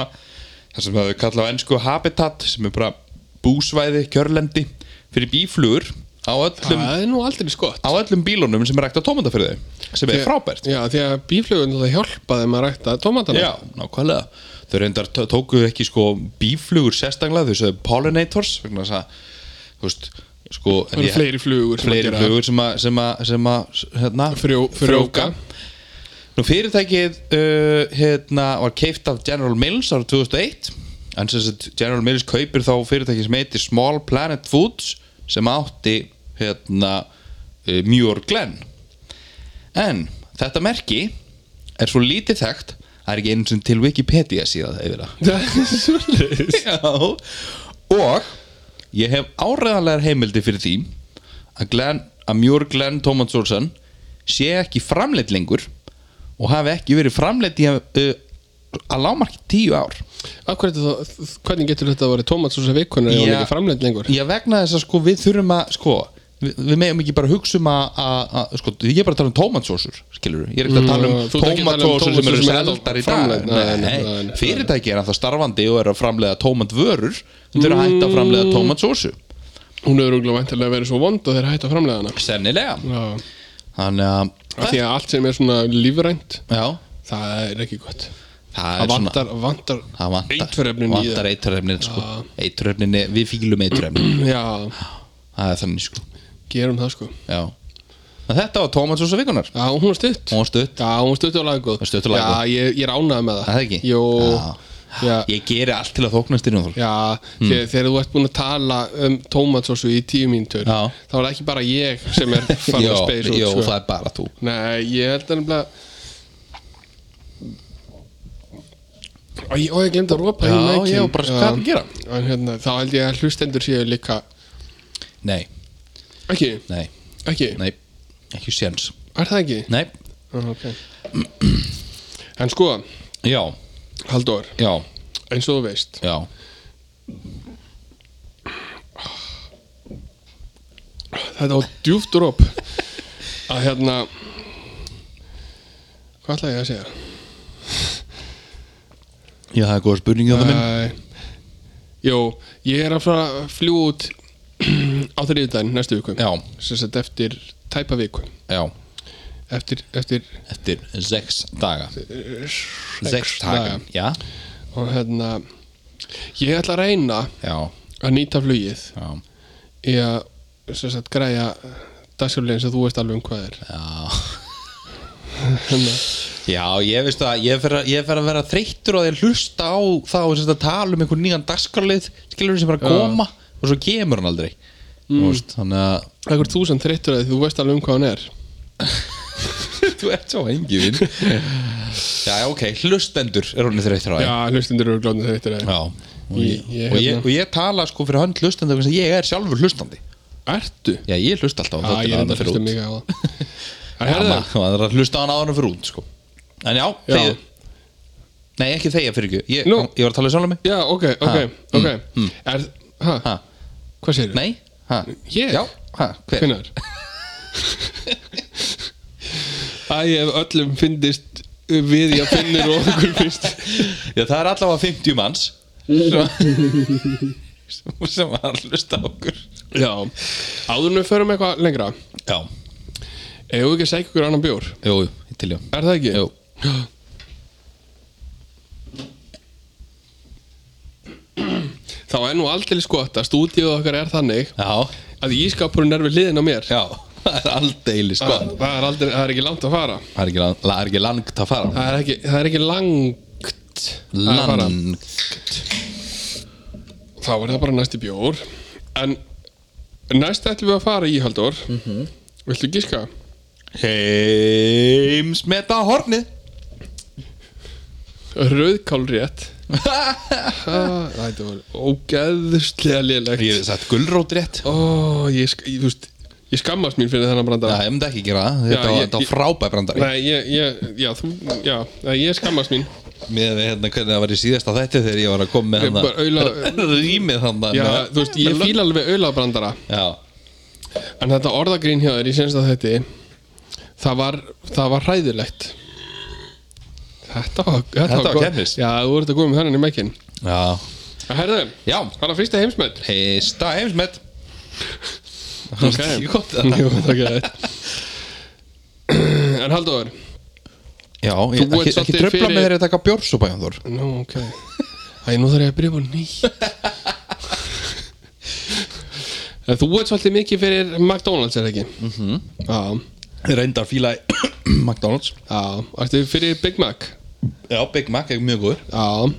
Speaker 1: það sem þau kalla á ennsku habitat sem er bara búsvæði, kjörlendi fyrir bíflugur á öllum
Speaker 2: Það er nú aldrei skott
Speaker 1: á öllum bílunum sem er rækt á tómata fyrir þau sem er frábært
Speaker 2: Já, því að bíflugun það hjálpaði maður að rækta tómatana
Speaker 1: Já, nákvæmlega Þau reyndar tó- tóku ekki sko bíflugur sérstaklega þau sagði pollinators vegna þess að þú veist sko en
Speaker 2: Það eru
Speaker 1: ég-
Speaker 2: fleiri flugur sem að
Speaker 1: fleiri
Speaker 2: gera það.
Speaker 1: flugur sem að sem að sem að hérna
Speaker 2: Frjó- frjóvga.
Speaker 1: Nú fyrirtækið uh, hérna var keift af General Mills árið 2001 en sem sagt General Mills kaupir þá fyrirtæki sem heitir Small Planet Foods sem átti hérna uh, Muir Glen En þetta merki er svo lítið þekkt það er ekki einu sem til Wikipedia síðan yfir það
Speaker 2: [LAUGHS] Það er svolítið
Speaker 1: Já Og ég hef áreðanlegar heimildi fyrir því að, Glenn, að Mjör Glenn Thomas Olsen sé ekki framleitt lengur og hafi ekki verið framleitt í að, uh, að lámarki tíu ár
Speaker 2: Akkur þetta, hvernig getur þetta að vera tómatsósa vikunar eða
Speaker 1: Já.
Speaker 2: hún ekki framleitt lengur?
Speaker 1: Já vegna þess að sko við þurfum að sko við, við meðum ekki bara hugsa um að, að, að sko, ég er bara að tala um tómatsósur skilur ég er ekki að tala um
Speaker 2: Mm, þú ert ekki að tala um
Speaker 1: tómatsósur sem eru
Speaker 2: tómatsósur sem er
Speaker 1: seldar í dag
Speaker 2: framleidd. Nei, nei, nei, nei.
Speaker 1: nei, fyrirtæki er að það starfandi og er að framleiða tómatvörur en þau eru að hætta að
Speaker 2: Mm.
Speaker 1: framleiða tómatsósu
Speaker 2: Hún hefur rúglega væntilega verið svo vond og þeir hættu að framleiða hana
Speaker 1: sennilega
Speaker 2: Já,
Speaker 1: Þannig að
Speaker 2: af því að allt sem er svona lífrænt
Speaker 1: Já,
Speaker 2: það er ekki gott
Speaker 1: það
Speaker 2: Það
Speaker 1: er svona
Speaker 2: vantar, vantar, [CLEARS THROAT]
Speaker 1: Það vantar
Speaker 2: eiturefnin í
Speaker 1: Vantar
Speaker 2: það
Speaker 1: eiturefnin sko
Speaker 2: Já.
Speaker 1: Eiturefnin, við fílum eiturefnin
Speaker 2: Já,
Speaker 1: Það er þannig sko
Speaker 2: gerum það sko
Speaker 1: Já En þetta var Tómatsósa vikunar
Speaker 2: Já, hún var stutt
Speaker 1: Hún var stutt
Speaker 2: Já, hún var stutt og laggóð
Speaker 1: Var stutt og laggóð.
Speaker 2: Já, ég, ég er ánægð með það
Speaker 1: Það er ekki?
Speaker 2: Jó,
Speaker 1: Já. Hmm.
Speaker 2: já,
Speaker 1: Ég geri allt til að þóknast þér Jónþór.
Speaker 2: já þegar, þegar þú ert búin að tala um tómatsósu í tíu mínútur
Speaker 1: Já.
Speaker 2: þá er það ekki bara ég
Speaker 1: [LAUGHS]
Speaker 2: sem er farin
Speaker 1: Jó,
Speaker 2: að space út
Speaker 1: jó,
Speaker 2: sko.
Speaker 1: það er bara þú
Speaker 2: Nei, ég held að nefnilega Ó, ég, ó, ég glemd að
Speaker 1: Já,
Speaker 2: ropa í mækin
Speaker 1: ég var bara að hvað að gera?
Speaker 2: En hérna, þá held ég að hlustendur séu líka
Speaker 1: Nei,
Speaker 2: Ekki,
Speaker 1: nei,
Speaker 2: ekki,
Speaker 1: nei Ekki séns
Speaker 2: er það ekki?
Speaker 1: Nei,
Speaker 2: Ó, ok En sko,
Speaker 1: já,
Speaker 2: Halldór,
Speaker 1: já,
Speaker 2: eins og þú veist
Speaker 1: já
Speaker 2: Þetta var djúft rop Að hérna Hvað ætla ég að segja?
Speaker 1: Já, það er góða spurningi á það minn
Speaker 2: Æ, Jó, ég er að fara að fljú út á þriðudaginn næstu viku
Speaker 1: Eh, Já,
Speaker 2: sem sagt eftir tæpa viku
Speaker 1: já
Speaker 2: eftir, eftir
Speaker 1: Eftir sex daga
Speaker 2: eh,
Speaker 1: Sex
Speaker 2: sex
Speaker 1: daga, já
Speaker 2: og hérna ég ætla að reyna
Speaker 1: Já,
Speaker 2: að nýta flugið
Speaker 1: já,
Speaker 2: í að sem sagt, græja dagsjálflegin sem þú veist alveg um hvað er
Speaker 1: já
Speaker 2: hérna,
Speaker 1: Já, ég veist að ég fer að, ég fer að vera þreyttur og að ég hlusta á þá sem þetta tala um einhvern nýjan dagskarlið skilur sem er að
Speaker 2: Já.
Speaker 1: koma og svo kemur hann aldrei mm. veist, þannig að
Speaker 2: eitthvað þú sem þreyttur að því þú veist alveg um hvað hann er
Speaker 1: [LAUGHS] þú ert svo engivinn Já, já, ok, hlustendur er hann þreyttur á því
Speaker 2: já, hlustundur eru glóðin þreyttur að
Speaker 1: já. Og,
Speaker 2: Ég-
Speaker 1: ég,
Speaker 2: ég
Speaker 1: og, ég,
Speaker 2: hérna-
Speaker 1: og ég tala sko fyrir hönd hlustandi vegna þess að ég er sjálfur hlustandi
Speaker 2: því ertu?
Speaker 1: Já, ég hlusta alltaf á
Speaker 2: já,
Speaker 1: þáttinn
Speaker 2: ég
Speaker 1: áður en
Speaker 2: reynda
Speaker 1: fer
Speaker 2: hlusta
Speaker 1: út. [LAUGHS]
Speaker 2: mig á það en
Speaker 1: Já,
Speaker 2: herðu,
Speaker 1: ma- maður er að hlusta á hann áður en fyrir út sko. En já,
Speaker 2: Já.
Speaker 1: þegið Nei, ekki þegja fyrir ekki Ég,
Speaker 2: Nú.
Speaker 1: ég var að tala í sjálfur mig
Speaker 2: já, ok, ok, ok er, hæ,
Speaker 1: Hmm, Ha.
Speaker 2: hvað segir
Speaker 1: Nei, hæ?
Speaker 2: Ég?
Speaker 1: Já, hæ, hver?
Speaker 2: Hvenær? Æ, ef öllum finnist við ég finnir og okkur finnst
Speaker 1: [LAUGHS] Já, það er allavega 50 manns sem,
Speaker 2: [LAUGHS]
Speaker 1: sem- sem var að [LAUGHS] hlusta á okkur
Speaker 2: Já, áður en við förum eitthvað lengra
Speaker 1: Já,
Speaker 2: Eigum við ekki að segja ykkur annan bjór?
Speaker 1: jú, jú, ég til já
Speaker 2: Er það ekki?
Speaker 1: Jú.
Speaker 2: Þá er nú aldrei gott að stúdíuð okkar er þannig
Speaker 1: Já,
Speaker 2: að ískapurinn er við hliðin á mér
Speaker 1: já, [LAUGHS] það er aldeilis sko
Speaker 2: það, það, er aldrei, það er ekki langt að fara
Speaker 1: Það er ekki, lang- það er ekki langt að fara
Speaker 2: Það er ekki, það er ekki langt Ah, að fara.
Speaker 1: Langt
Speaker 2: Þá er það bara næsti bjór En næst ætlum við að fara í Haldur Viltu gíska?
Speaker 1: Heimsmeta hornið
Speaker 2: Rauðkál [LAUGHS] rétt Þetta var ógeðslega lélegt
Speaker 1: Ég hef sagt gulrót rétt
Speaker 2: Ó, ég, sk ég, þú veist, ég skammast mín fyrir þennan branda
Speaker 1: Já, ég myndi ekki gera það Þetta var,
Speaker 2: Já, ég-
Speaker 1: þetta var
Speaker 2: ég-
Speaker 1: frábær brandari
Speaker 2: Nei, ég, ég, já, þú, já, nei, ég skammast mín
Speaker 1: Með við hérna hvernig það var í síðasta þætti þegar ég var að koma
Speaker 2: Ég
Speaker 1: með
Speaker 2: bara
Speaker 1: hann
Speaker 2: aula-
Speaker 1: [LAUGHS] Rýmið hann
Speaker 2: Já, þú veist, ég fíla alveg auðlabrandara
Speaker 1: Já,
Speaker 2: En þetta orðagrín hjá þér í senst að þetta Það var, það var hræðilegt Þetta var Þetta,
Speaker 1: var
Speaker 2: gott.
Speaker 1: keppnis.
Speaker 2: Já, þú voru að góð með þennan í mækin
Speaker 1: já
Speaker 2: Herðu,
Speaker 1: Já,
Speaker 2: það er að fyrsta heimsmet
Speaker 1: heista heimsmet
Speaker 2: Ok.
Speaker 1: Ekki gott, það.
Speaker 2: Jú, það er ekki þetta En Halldóður
Speaker 1: Já, ég,
Speaker 2: ert
Speaker 1: ekki, ekki
Speaker 2: svolítið
Speaker 1: tröfla
Speaker 2: fyrir-
Speaker 1: með þeirri að taka bjórsúpa hjá þór
Speaker 2: Nú, ok Æ, nú þarf ég að byrja búin ný Þú ert svolítið mikið fyrir McDonalds, er það ekki? Mm
Speaker 1: Mhm.
Speaker 2: -hmm.
Speaker 1: Reyndar fíla í
Speaker 2: [COUGHS]
Speaker 1: McDonalds
Speaker 2: Já, já Ertu fyrir Big Mac?
Speaker 1: Já, Big Mac er mjög góður
Speaker 2: Já,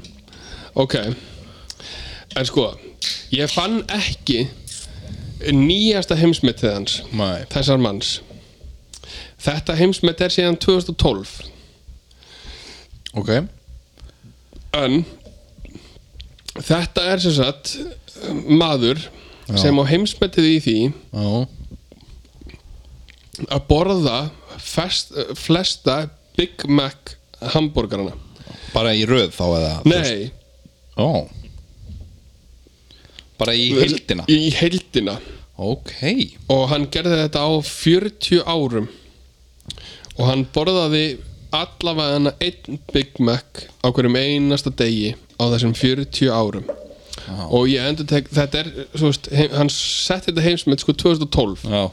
Speaker 2: ok En sko, ég fann ekki nýjasta heimsmetið hans
Speaker 1: Nei.
Speaker 2: Þessar manns Þetta heimsmet er síðan 2012
Speaker 1: Ok
Speaker 2: En Þetta er sem sagt eh, maður sem á heimsmetið í því
Speaker 1: Já,
Speaker 2: að borða fest, flesta Big Mac hambúrgarana
Speaker 1: bara í röð þá eða þú veist-
Speaker 2: Nei,
Speaker 1: Ó Bara í hildina
Speaker 2: í heildina
Speaker 1: Ok
Speaker 2: og hann gerði þetta á 40 árum og hann borðaði allavega hann einn Big Mac á hverjum einasta degi á þessum 40 árum
Speaker 1: Já.
Speaker 2: og ég endur tek þetta er, svo veist, heim, hann setti þetta heimsmynd sko 2012
Speaker 1: Já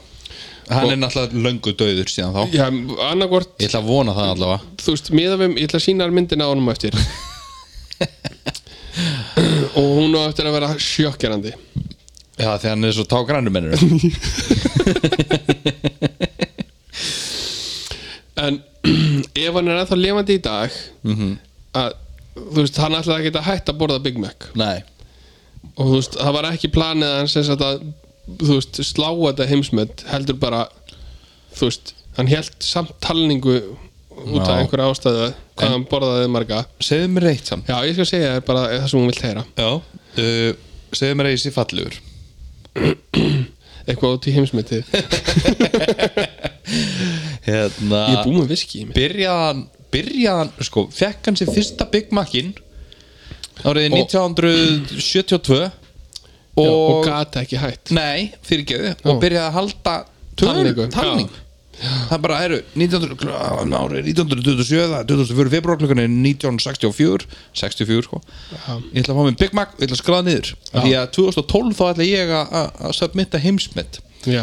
Speaker 1: Hann er náttúrulega löngu döður síðan þá
Speaker 2: Já, annarkvort,
Speaker 1: Ég ætla að vona það allavega
Speaker 2: þú veist, miða við, ég ætla að sína myndina á honum á eftir og hún á eftir að vera sjokkjarandi
Speaker 1: Já, því hann er svo tá grænum mennur [LAUGHS]
Speaker 2: en [CLEARS THROAT] ef hann er ennþá levandi í dag að, þú veist, hann ætlaði ekki að hætta að borða Big Mac
Speaker 1: Nei
Speaker 2: og þú veist, það var ekki planið að hann sem sagt að, þú veist, slá þetta heimsmet heldur bara þú veist, hann held samt talningu út af
Speaker 1: Já.
Speaker 2: einhverja ástæðu hvað hann borðaði marga
Speaker 1: Segðu mér eitt samt
Speaker 2: já, ég skal segja þér bara það sem hún vilt heyra
Speaker 1: Já uh, Segðu mér eitt sér fallegur
Speaker 2: eitthvað út í heimsmetið
Speaker 1: Hérna
Speaker 2: ég er búið með viski í mig
Speaker 1: Byrjaðan Byrjaðan Sko Fekk hann sér fyrsta Big Macin Árið 1972
Speaker 2: og, og
Speaker 1: Og,
Speaker 2: gata ekki hætt
Speaker 1: Nei, fyrirgjöðu Og byrjaði að halda
Speaker 2: Talningu,
Speaker 1: Talningu
Speaker 2: já.
Speaker 1: Talning Það bara eru 1900, kl- árið 1927 það er 24. februar klukkan er 1964 64 sko Ég ætla að fá mér Big Mac og ég ætla að skraða niður Því að 2012 þá ætla ég að- að að submitta heimsmynd
Speaker 2: já,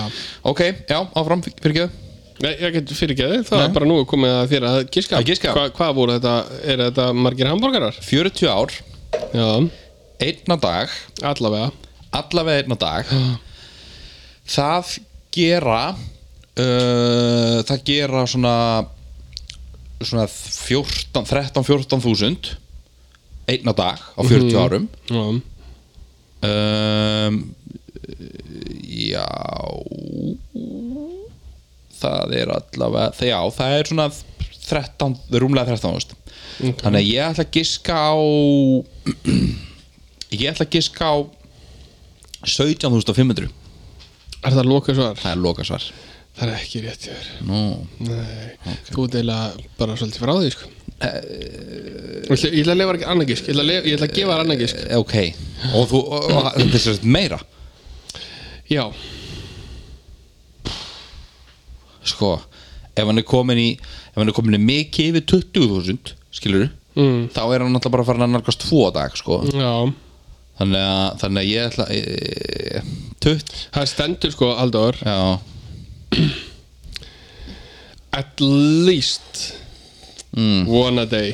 Speaker 1: Ok, já, áfram fyrirgjöðu
Speaker 2: Nei, ég get fyrirgeði það er bara nú komið að þér að giska
Speaker 1: Að giska.
Speaker 2: Hva, hvað voru þetta, er þetta margir hambúrgarar
Speaker 1: 40 ár,
Speaker 2: já,
Speaker 1: einna dag
Speaker 2: allavega
Speaker 1: allavega einna dag það gera uh, það gera svona svona 14 13-14 þúsund einna dag á 40 árum
Speaker 2: já,
Speaker 1: um, já það er allavega það, já, það er svona 13, rúmlega 13 þannig að ég ætla að giska á [CLEARS THROAT] ég ætla að giska á 17.500
Speaker 2: er það lokað svar?
Speaker 1: það er lokasvar
Speaker 2: það er ekki rétt hjá þér
Speaker 1: Nú.
Speaker 2: Nei, þú deila bara svolítið frá því sko.
Speaker 1: Eh,
Speaker 2: Ég ætla- Ég ætla að lefa ekki annað gísk Ég ætla að, lef, ég ætla að gefa þér annað gísk
Speaker 1: ok, og þú og, og, þetta er sérst meira
Speaker 2: Já,
Speaker 1: sko, ef hann er komin í ef hann er komin í mikið yfir 20.000 skilur mm. þá er hann alltaf bara farin að nálgast tvo á dag sko.
Speaker 2: Já,
Speaker 1: þannig, að, þannig að ég ætla e, tutt
Speaker 2: það stendur sko Halldór
Speaker 1: já,
Speaker 2: At least
Speaker 1: Mm.
Speaker 2: One a day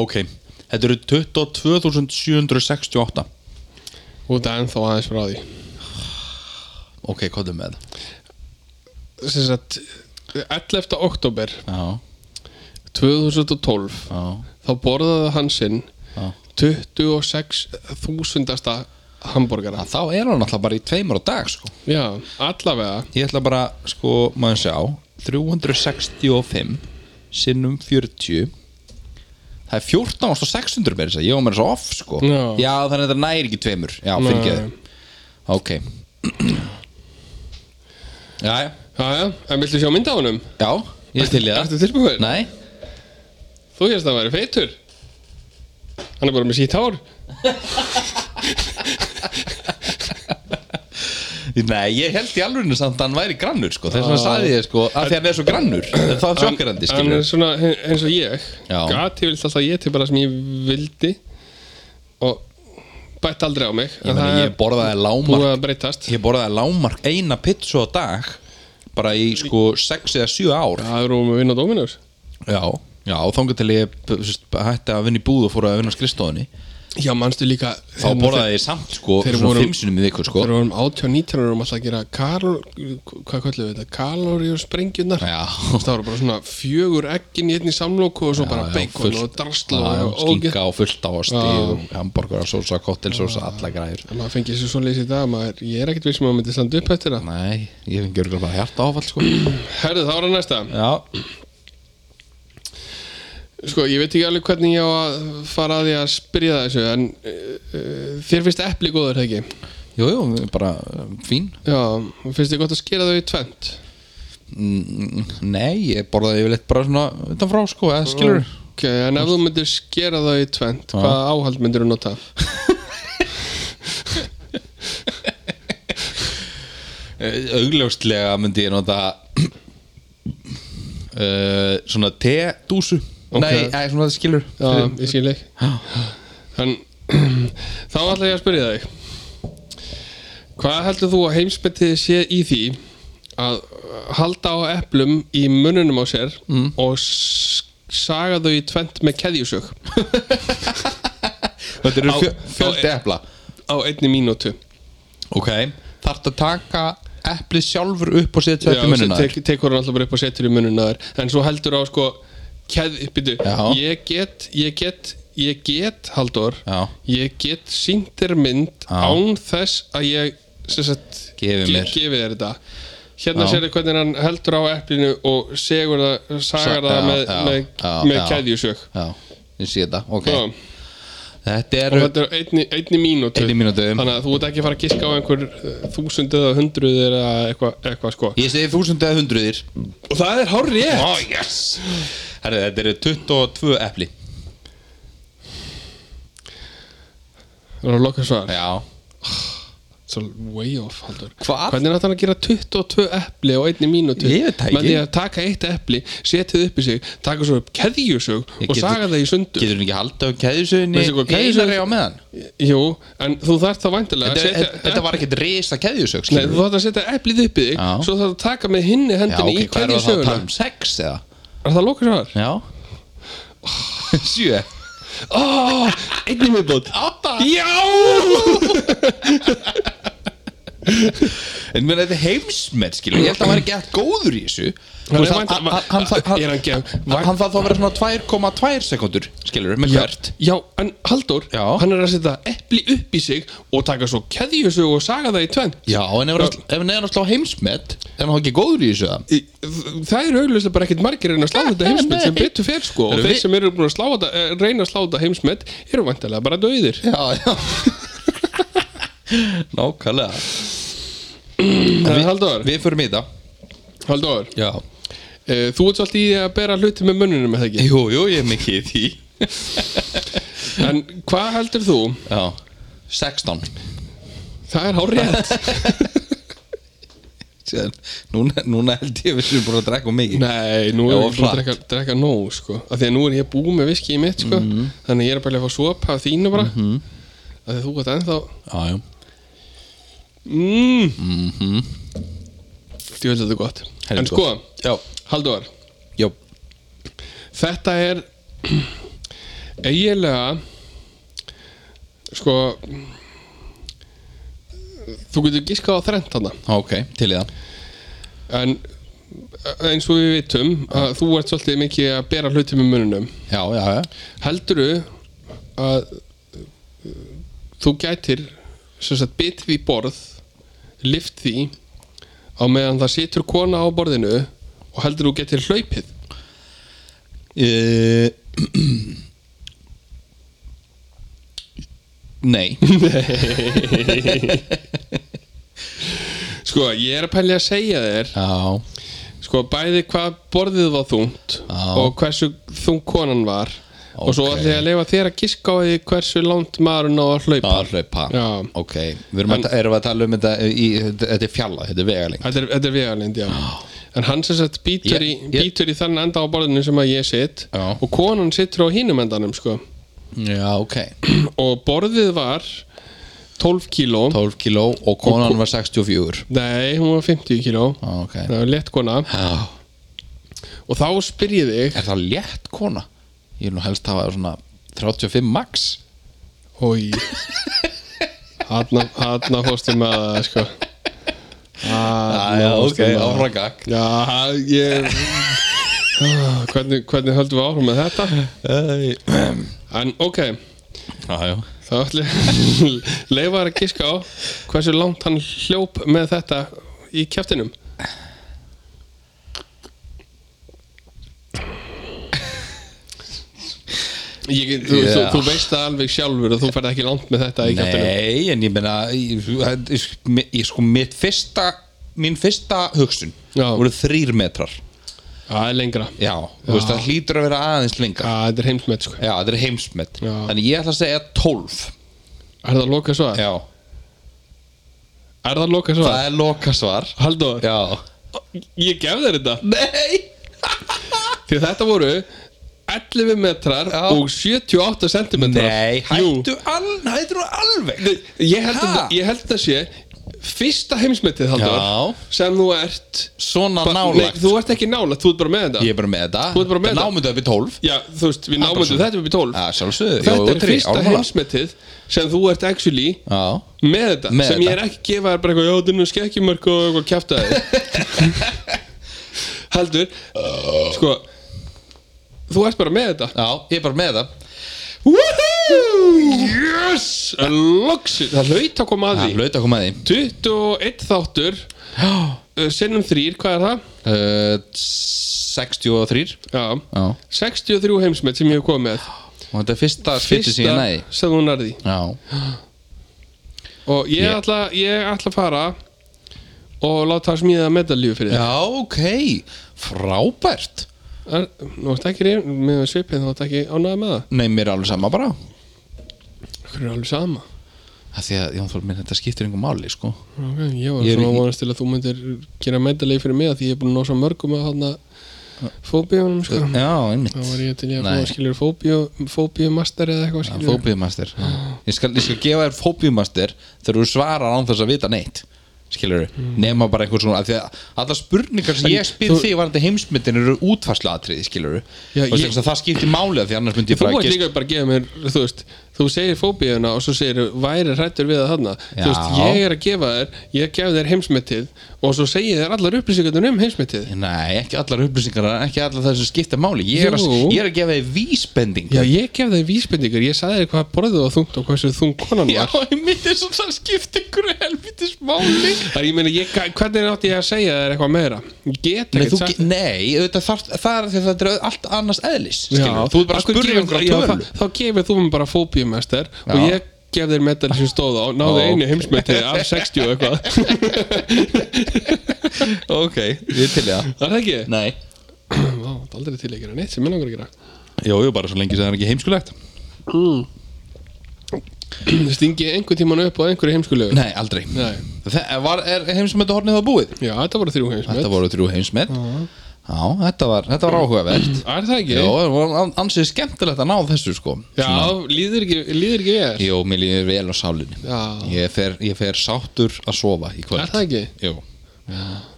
Speaker 1: ok þetta eru 22.768
Speaker 2: Út að ennþá aðeins frá því
Speaker 1: ok, hvað er með
Speaker 2: Sess að 11. oktober
Speaker 1: já,
Speaker 2: 2012
Speaker 1: já,
Speaker 2: þá borðaði hann sinn
Speaker 1: já
Speaker 2: 26.000 hambúrgara
Speaker 1: Að þá er hann alltaf bara í tveimur á dag sko.
Speaker 2: Já, allavega
Speaker 1: ég ætla bara, sko, maður sjá 365 sinnum 40 það er 14.600 mér þess að ég var mér svo off sko.
Speaker 2: Já.
Speaker 1: já þannig að það næri ekki tveimur já, fyrirgeðu ok [CLEARS THROAT] já, já,
Speaker 2: Jæja, en viltu sjá mynda á honum?
Speaker 1: já, ég er til í
Speaker 2: Ertu
Speaker 1: það
Speaker 2: tilbúin?
Speaker 1: nei,
Speaker 2: Þú hérst að hann væri feitur Hann er bara með sítt hár
Speaker 1: nei, ég held í alveg samt að hann væri grannur sko. þess
Speaker 2: Ah.
Speaker 1: vegna sagði ég sko, að því hann er svo grannur það er sjokkerandi,
Speaker 2: Hann
Speaker 1: skilur
Speaker 2: er svona he- eins og ég
Speaker 1: Já.
Speaker 2: Gat ég vilt alltaf ég til bara sem ég vildi Og bætt aldrei á mig
Speaker 1: ég, meni, ég borðaði lámark
Speaker 2: búið að breytast
Speaker 1: Ég borðaði lámark eina pizzu á dag bara í sko 6 eða 7 ár
Speaker 2: Það er um að vinna á Dominos
Speaker 1: Já, já þangað til ég p- sest, hætti að vinna í búð og fór að vinna á skrifstofunni
Speaker 2: Já, mannstu líka
Speaker 1: þá borðaði ég samt sko
Speaker 2: þeir
Speaker 1: svona
Speaker 2: voru-
Speaker 1: 5 sinum í viku sko
Speaker 2: Þegar við vorum 18 og 19 erum alltaf að gera kalor, hvað kallum við þetta, kalóri og sprengjurnar
Speaker 1: Já.
Speaker 2: Það voru bara svona fjögur ekkin í einni samlóku og svo bara
Speaker 1: Já, já,
Speaker 2: bacon
Speaker 1: fullt-
Speaker 2: og drasl
Speaker 1: Já, já,
Speaker 2: og ógeð
Speaker 1: skinka og fullt á asti og hamburgara sósa, kottelsósa, alla græður
Speaker 2: En maður fengið sér svo leysi í dag, maður, ég er ekkert viss um að maður myndi standa upp eftir það
Speaker 1: Nei, ég fengi örgulega bara hjarta áfall sko
Speaker 2: Herðu, þá er að næsta
Speaker 1: Já,
Speaker 2: Sko, ég veit ekki alveg hvernig ég á að fara að því að spyrja þessu En uh, uh, þér finnst epli góður, hegi?
Speaker 1: jú, jú, bara um, fín
Speaker 2: Já, finnst þér gott að skera þau í tvent?
Speaker 1: Mm, Nei, ég borðaði yfirleitt bara svona utanfrá sko, eða skilur
Speaker 2: Ok, en ef þú myndir skera þau í tvent,
Speaker 1: Já.
Speaker 2: hvaða áhald myndir þú nota?
Speaker 1: Eh, augljóslega myndi ég nota uh, svona te-dúsu
Speaker 2: Ok.
Speaker 1: nei, nei, svona það skilur
Speaker 2: Já,
Speaker 1: Fyrir-
Speaker 2: ég skil ekki En [CLEARS THROAT] þá ætla ég að spyrja þig Hvað heldur þú að heimsbyttið sé í því að halda á eplum í mununum á sér
Speaker 1: Mm.
Speaker 2: og s- saga þau í tvent með keðjusög
Speaker 1: [LAUGHS] þetta eru
Speaker 2: Á-
Speaker 1: fjö- fjöldi epla
Speaker 2: á einni mínútu
Speaker 1: eh, ok, þarftu að taka eplið sjálfur upp og setja þetta í mununa þér
Speaker 2: tek, tekur hann alltaf bara upp og setur í mununa þar en svo heldur á sko keð, byrju,
Speaker 1: Já.
Speaker 2: ég get ég get, ég get, Halldór
Speaker 1: Já.
Speaker 2: ég get sínt þér mynd
Speaker 1: Já.
Speaker 2: án þess að ég sem sagt,
Speaker 1: Gefi mér.
Speaker 2: gefi þér þetta hérna
Speaker 1: Já.
Speaker 2: sérðu hvernig hann heldur á eplinu og segur það,
Speaker 1: Sa-
Speaker 2: sagar það
Speaker 1: já,
Speaker 2: með,
Speaker 1: já,
Speaker 2: með,
Speaker 1: já,
Speaker 2: með
Speaker 1: já.
Speaker 2: keðjusök
Speaker 1: já, ég sé þetta, ok
Speaker 2: Já.
Speaker 1: þetta
Speaker 2: og
Speaker 1: eru
Speaker 2: þetta er einni, einni mínútu
Speaker 1: Einni mínútu.
Speaker 2: þannig að þú ert ekki að fara að giska á einhver eh, þúsund eða hundruð eða eitthvað eitthva, sko
Speaker 1: ég segi þúsund eða hundruðir
Speaker 2: og það er hár rétt
Speaker 1: oh yes Herri, þetta eru 22 epli
Speaker 2: Það er að loka svar
Speaker 1: já,
Speaker 2: Svo way off haldur
Speaker 1: Hvað?
Speaker 2: Hvernig er þetta að gera 22 epli á einni mínútu
Speaker 1: Ég veit það
Speaker 2: Með
Speaker 1: ekki.
Speaker 2: því að taka eitt epli, setja það upp í sig Taka svo upp
Speaker 1: Ég
Speaker 2: keðjusög og
Speaker 1: getur-
Speaker 2: saga það í sundur
Speaker 1: getur hún ekki halda um keðjusöðinni
Speaker 2: Veistu hvað keðjusögn-
Speaker 1: á meðan
Speaker 2: Jú, en þú þarft þá væntilega
Speaker 1: þetta,
Speaker 2: að setja
Speaker 1: þetta, þetta var ekkert risa keðjusög
Speaker 2: Nei, þú þarft að setja eplið upp í þig
Speaker 1: Já.
Speaker 2: Svo þarft að taka með hinni
Speaker 1: Já,
Speaker 2: hendinni
Speaker 1: ok,
Speaker 2: í
Speaker 1: hvað er það að
Speaker 2: keðjusöguna
Speaker 1: tala um sex eða?
Speaker 2: Er það að loka svar?
Speaker 1: Já [LAUGHS] Sjö Ah,
Speaker 2: Oh, einni miðbót
Speaker 1: Átta
Speaker 2: Já!
Speaker 1: En mér þetta er heimsmet, skilur Ég held að hann væri gett góður í þessu Þú
Speaker 2: er
Speaker 1: veist, hann-
Speaker 2: vænt-
Speaker 1: hann- hann- hann-
Speaker 2: Er hann gef-
Speaker 1: Hann þarf þá að vera svona 2,2 sekundur Skilur, með hvert
Speaker 2: Já, en Haldur,
Speaker 1: Já.
Speaker 2: hann er að setja epli upp í sig og taka svo keðjusög og saga það í tvennt
Speaker 1: Já, en ef hann- ef hann er að slá heimsmet Er hann þá ekki góður í þessu það?
Speaker 2: Í- það eru auðvitað bara ekkert margir reyna að slá þetta heimsmet sem betur fer sko og
Speaker 1: Erum
Speaker 2: þeir
Speaker 1: við-
Speaker 2: sem eru búin að slá þetta, eh, reyna að slá þetta heimsmet eru vantilega bara döðir
Speaker 1: Já, já [LAUGHS] Nákvæmlega
Speaker 2: en Eh, Halldór,
Speaker 1: Við förum í það
Speaker 2: Halldór
Speaker 1: Já
Speaker 2: eh, þú ert svolítið í því að bera hluti með munnunum eða ekki,
Speaker 1: Jú, jú, ég er mikið í því
Speaker 2: en hvað heldur þú
Speaker 1: Já 16
Speaker 2: það er hár rétt
Speaker 1: Síðan, núna, núna held ég að við séum búin að drekka of mikið
Speaker 2: Nei, nú
Speaker 1: Já,
Speaker 2: er
Speaker 1: og
Speaker 2: ég búin að
Speaker 1: hratt.
Speaker 2: drekka, drekka nóg sko. af því að nú er ég búið með viski í mitt sko. þannig að ég er bara að fá sopa af þínu bara af því að þú gott ennþá
Speaker 1: Já, já.
Speaker 2: mm. mm -hmm. Ég vil þetta er gott
Speaker 1: Helviti
Speaker 2: En sko,
Speaker 1: já,
Speaker 2: Halldór
Speaker 1: já,
Speaker 2: þetta er [CLEARS THROAT] eiginlega sko þú getur giskað á þrennt hana
Speaker 1: ok, til í það
Speaker 2: en eins og við vitum að þú ert svolítið mikið að bera hluti með mununum
Speaker 1: Já, já, já,
Speaker 2: heldurðu að uh, þú gætir sem sagt bitið í borð lift því á meðan það situr kona á borðinu og heldur þú getur hlaupið
Speaker 1: Uh, [CLEARS THROAT] Nei
Speaker 2: sko ég er að pæli að segja þér
Speaker 1: Já,
Speaker 2: sko bæði hvað borðið var þungt
Speaker 1: Já.
Speaker 2: og hversu þung konan var og svo
Speaker 1: Ókei.
Speaker 2: ætla ég að leifa þér að giska á því hversu langt maður ná að hlaupa
Speaker 1: að hlaupa
Speaker 2: Já.
Speaker 1: Ok, við erum, að, erum við að tala um þetta í, Þetta er fjalla, þetta er vegaling
Speaker 2: þetta er, þetta er vegalind, já en hann sem sagt býtur,
Speaker 1: Ég-
Speaker 2: í,
Speaker 1: ég-
Speaker 2: býtur í þann enda á borðinu sem að ég sitt
Speaker 1: Já.
Speaker 2: og konan sittur á hinum endanum sko. [CLEARS THROAT]
Speaker 1: Já, ok
Speaker 2: og borðið var 12 kíló
Speaker 1: 12 kíló og konan var 64
Speaker 2: nei, hún var 50 kíló
Speaker 1: Já, Ok
Speaker 2: það var lett kona
Speaker 1: Já.
Speaker 2: og þá spyr ég þig
Speaker 1: Er það létt kona? Ég vil nú helst hafa svona 35 max [LAUGHS]
Speaker 2: Hói Hanna, hanna fórstu með það sko
Speaker 1: Ah,
Speaker 2: Hanna
Speaker 1: gag
Speaker 2: Já,
Speaker 1: [LAUGHS]
Speaker 2: ég Ah, hvernig, hvernig höldum við áhrum með þetta? En ok,
Speaker 1: Já, já
Speaker 2: þá ætlum [LAUGHS] ég leifaður að giska á hversu langt hann hljóp með þetta í kjæftinum Ég, þú, þú,
Speaker 1: Já.
Speaker 2: þú veist það alveg sjálfur og þú færð ekki langt með þetta í kjæftinum
Speaker 1: Nei, en ég meina ég, ég, ég, sko, mitt fyrsta mín fyrsta hugsun
Speaker 2: Já.
Speaker 1: voru þrýr metrar
Speaker 2: Það er lengra
Speaker 1: Já, þú veist, það hlýtur að vera aðeins lengra
Speaker 2: Já, þetta er heimsmet sko
Speaker 1: Já, þetta er heimsmet
Speaker 2: Já.
Speaker 1: Þannig ég ætla að segja 12
Speaker 2: Er það loka svar?
Speaker 1: Já,
Speaker 2: Er það loka svar?
Speaker 1: það er lokasvar
Speaker 2: Halldór,
Speaker 1: Já
Speaker 2: ég gef þér þetta
Speaker 1: Nei
Speaker 2: Því að þetta voru 11 metrar
Speaker 1: Já.
Speaker 2: og 78 centimetrar
Speaker 1: Nei,
Speaker 2: Jú.
Speaker 1: hættu, al, hættu nú alveg
Speaker 2: Nei, Ég held,
Speaker 1: Ha?
Speaker 2: að, ég held að sé Fyrsta heimsmetið Halldór
Speaker 1: Já.
Speaker 2: Sem þú ert
Speaker 1: Svona
Speaker 2: Ba-
Speaker 1: nálægt
Speaker 2: Þú ert ekki nálægt, þú ert bara með þetta
Speaker 1: Ég er bara með þetta
Speaker 2: Þú ert bara með þetta.
Speaker 1: Námyndu upp í 12
Speaker 2: Já, þú veist, við náum
Speaker 1: bara
Speaker 2: þetta, þetta er upp í 12
Speaker 1: Já, sjálfsögðu Jú,
Speaker 2: Þetta
Speaker 1: jú,
Speaker 2: er
Speaker 1: þrír,
Speaker 2: fyrsta
Speaker 1: ármála.
Speaker 2: heimsmetið sem þú ert actually
Speaker 1: Já
Speaker 2: með þetta
Speaker 1: Með
Speaker 2: sem ég er
Speaker 1: þetta.
Speaker 2: ekki að gefa þér bara eitthvað já, þetta er nú skekkjumörk og eitthvað kjæfta
Speaker 1: [LAUGHS]
Speaker 2: þér heldur sko þú ert bara með þetta
Speaker 1: Já, ég er bara með það Woohoo!
Speaker 2: yes, loksin það hlaut að koma að
Speaker 1: Það
Speaker 2: því
Speaker 1: hlaut að koma að því
Speaker 2: 21 þáttur uh, sinnum þrýr, hvað er það?
Speaker 1: uh, 63
Speaker 2: já,
Speaker 1: Já
Speaker 2: 63 heimsmet sem ég hef komið með
Speaker 1: Og þetta er fyrsta skipti sem ég næði
Speaker 2: sem þú nærði
Speaker 1: Já
Speaker 2: og ég,
Speaker 1: Ég-
Speaker 2: ætla, ég ætla að fara og láta það smíða medalíu fyrir
Speaker 1: Já, ok Frábært
Speaker 2: Er- Nú ertu ekki reynd, með svipið þá ertu ekki ánægð með það
Speaker 1: Nei, mér er alveg sama bara
Speaker 2: Hver er alveg sama
Speaker 1: Það því að, já, þú minn, þetta skiptir engum máli, sko
Speaker 2: Ok, Ég var
Speaker 1: Ég er
Speaker 2: svona
Speaker 1: í-
Speaker 2: að vonast til að þú myndir gera meðalegi fyrir mig af Því ég er búin að ná svo mörgum að þarna Fóbíunum sko
Speaker 1: Já, einmitt
Speaker 2: Þá var ég til ég að
Speaker 1: Nei.
Speaker 2: fá skilur fóbíu Fóbíumaster eða eitthvað skilur
Speaker 1: Fóbiumaster ég skal, ég skal gefa þér fóbiumaster þegar þú svarar án þess að vita neitt skilur þú, nema bara einhvern svona af því að allar spurningar sem
Speaker 2: En
Speaker 1: ég spyr
Speaker 2: þú-
Speaker 1: þig var þetta heimsmyndin eru útfarslatriði skilur
Speaker 2: Já,
Speaker 1: þú
Speaker 2: ég-
Speaker 1: ég... það skiptir máli af því annars myndi ég
Speaker 2: Þú
Speaker 1: bara
Speaker 2: ert
Speaker 1: gist-
Speaker 2: líka bara að gefa mér, þú veist Þú segir fóbíuna og svo segir væri hrættur við það þarna Þú
Speaker 1: Já.
Speaker 2: veist, ég er að gefa þér Ég gef þér heimsmetið Og svo segir þér allar upplýsingarnir um heimsmetið
Speaker 1: Nei, ekki allar upplýsingar, ekki allar það sem skiptir máli ég er, að,
Speaker 2: Jú.
Speaker 1: ég er að gefa þér vísbending
Speaker 2: Já, ég gef þér vísbendingar, ég sagði þér hvað borðið var þungt og hversu þung konan var
Speaker 1: ég myndi svo það skiptir einhverju helvitis máli
Speaker 2: Það er, ég meina, ég, hvernig átti ég að segja þér eitthvað meira? Ég get
Speaker 1: Nei,
Speaker 2: ekkert
Speaker 1: þú,
Speaker 2: sagt
Speaker 1: ge- nei auðvitað, þarf, það er því að þetta er allt annars eðlis skilurðu.
Speaker 2: Já,
Speaker 1: Þú er bara
Speaker 2: af
Speaker 1: að
Speaker 2: hverju
Speaker 1: spurja
Speaker 2: gefur- já,
Speaker 1: einhverja tölu
Speaker 2: þá- Þá gefur þú mér bara fóbíumester og
Speaker 1: Já.
Speaker 2: ég gef þér medal sem stóð á náðu
Speaker 1: Ó,
Speaker 2: einu
Speaker 1: ok.
Speaker 2: heimsmeti af 60 og eitthvað
Speaker 1: [LAUGHS] Ok, við til í það
Speaker 2: Það er það ekki? [CLEARS THROAT]
Speaker 1: Nei
Speaker 2: Vá, það er aldrei til að gera neitt sem ég langar að gera
Speaker 1: Jú, jú, bara svo lengi sem það er ekki heimskulegt
Speaker 2: Mm. [CLEARS THROAT] Stingi einhvern tíman upp á einhverju heimskulegu
Speaker 1: Nei, aldrei
Speaker 2: Nei.
Speaker 1: Það var, er heimsmyndu hornið það búið?
Speaker 2: Já, þetta voru þrjú heimsmet
Speaker 1: Þetta voru þrjú heimsmynd Já, Mm, þetta var, þetta var áhugavert
Speaker 2: Er það ekki?
Speaker 1: Jó, það var an- ansið skemmtilegt að ná þessu sko
Speaker 2: Já, líður ekki, líður ekki við þér
Speaker 1: Jó, mér líður vel á sálinni
Speaker 2: Já.
Speaker 1: ég fer, ég fer sáttur að sofa í kvöld
Speaker 2: Er það ekki?
Speaker 1: Jó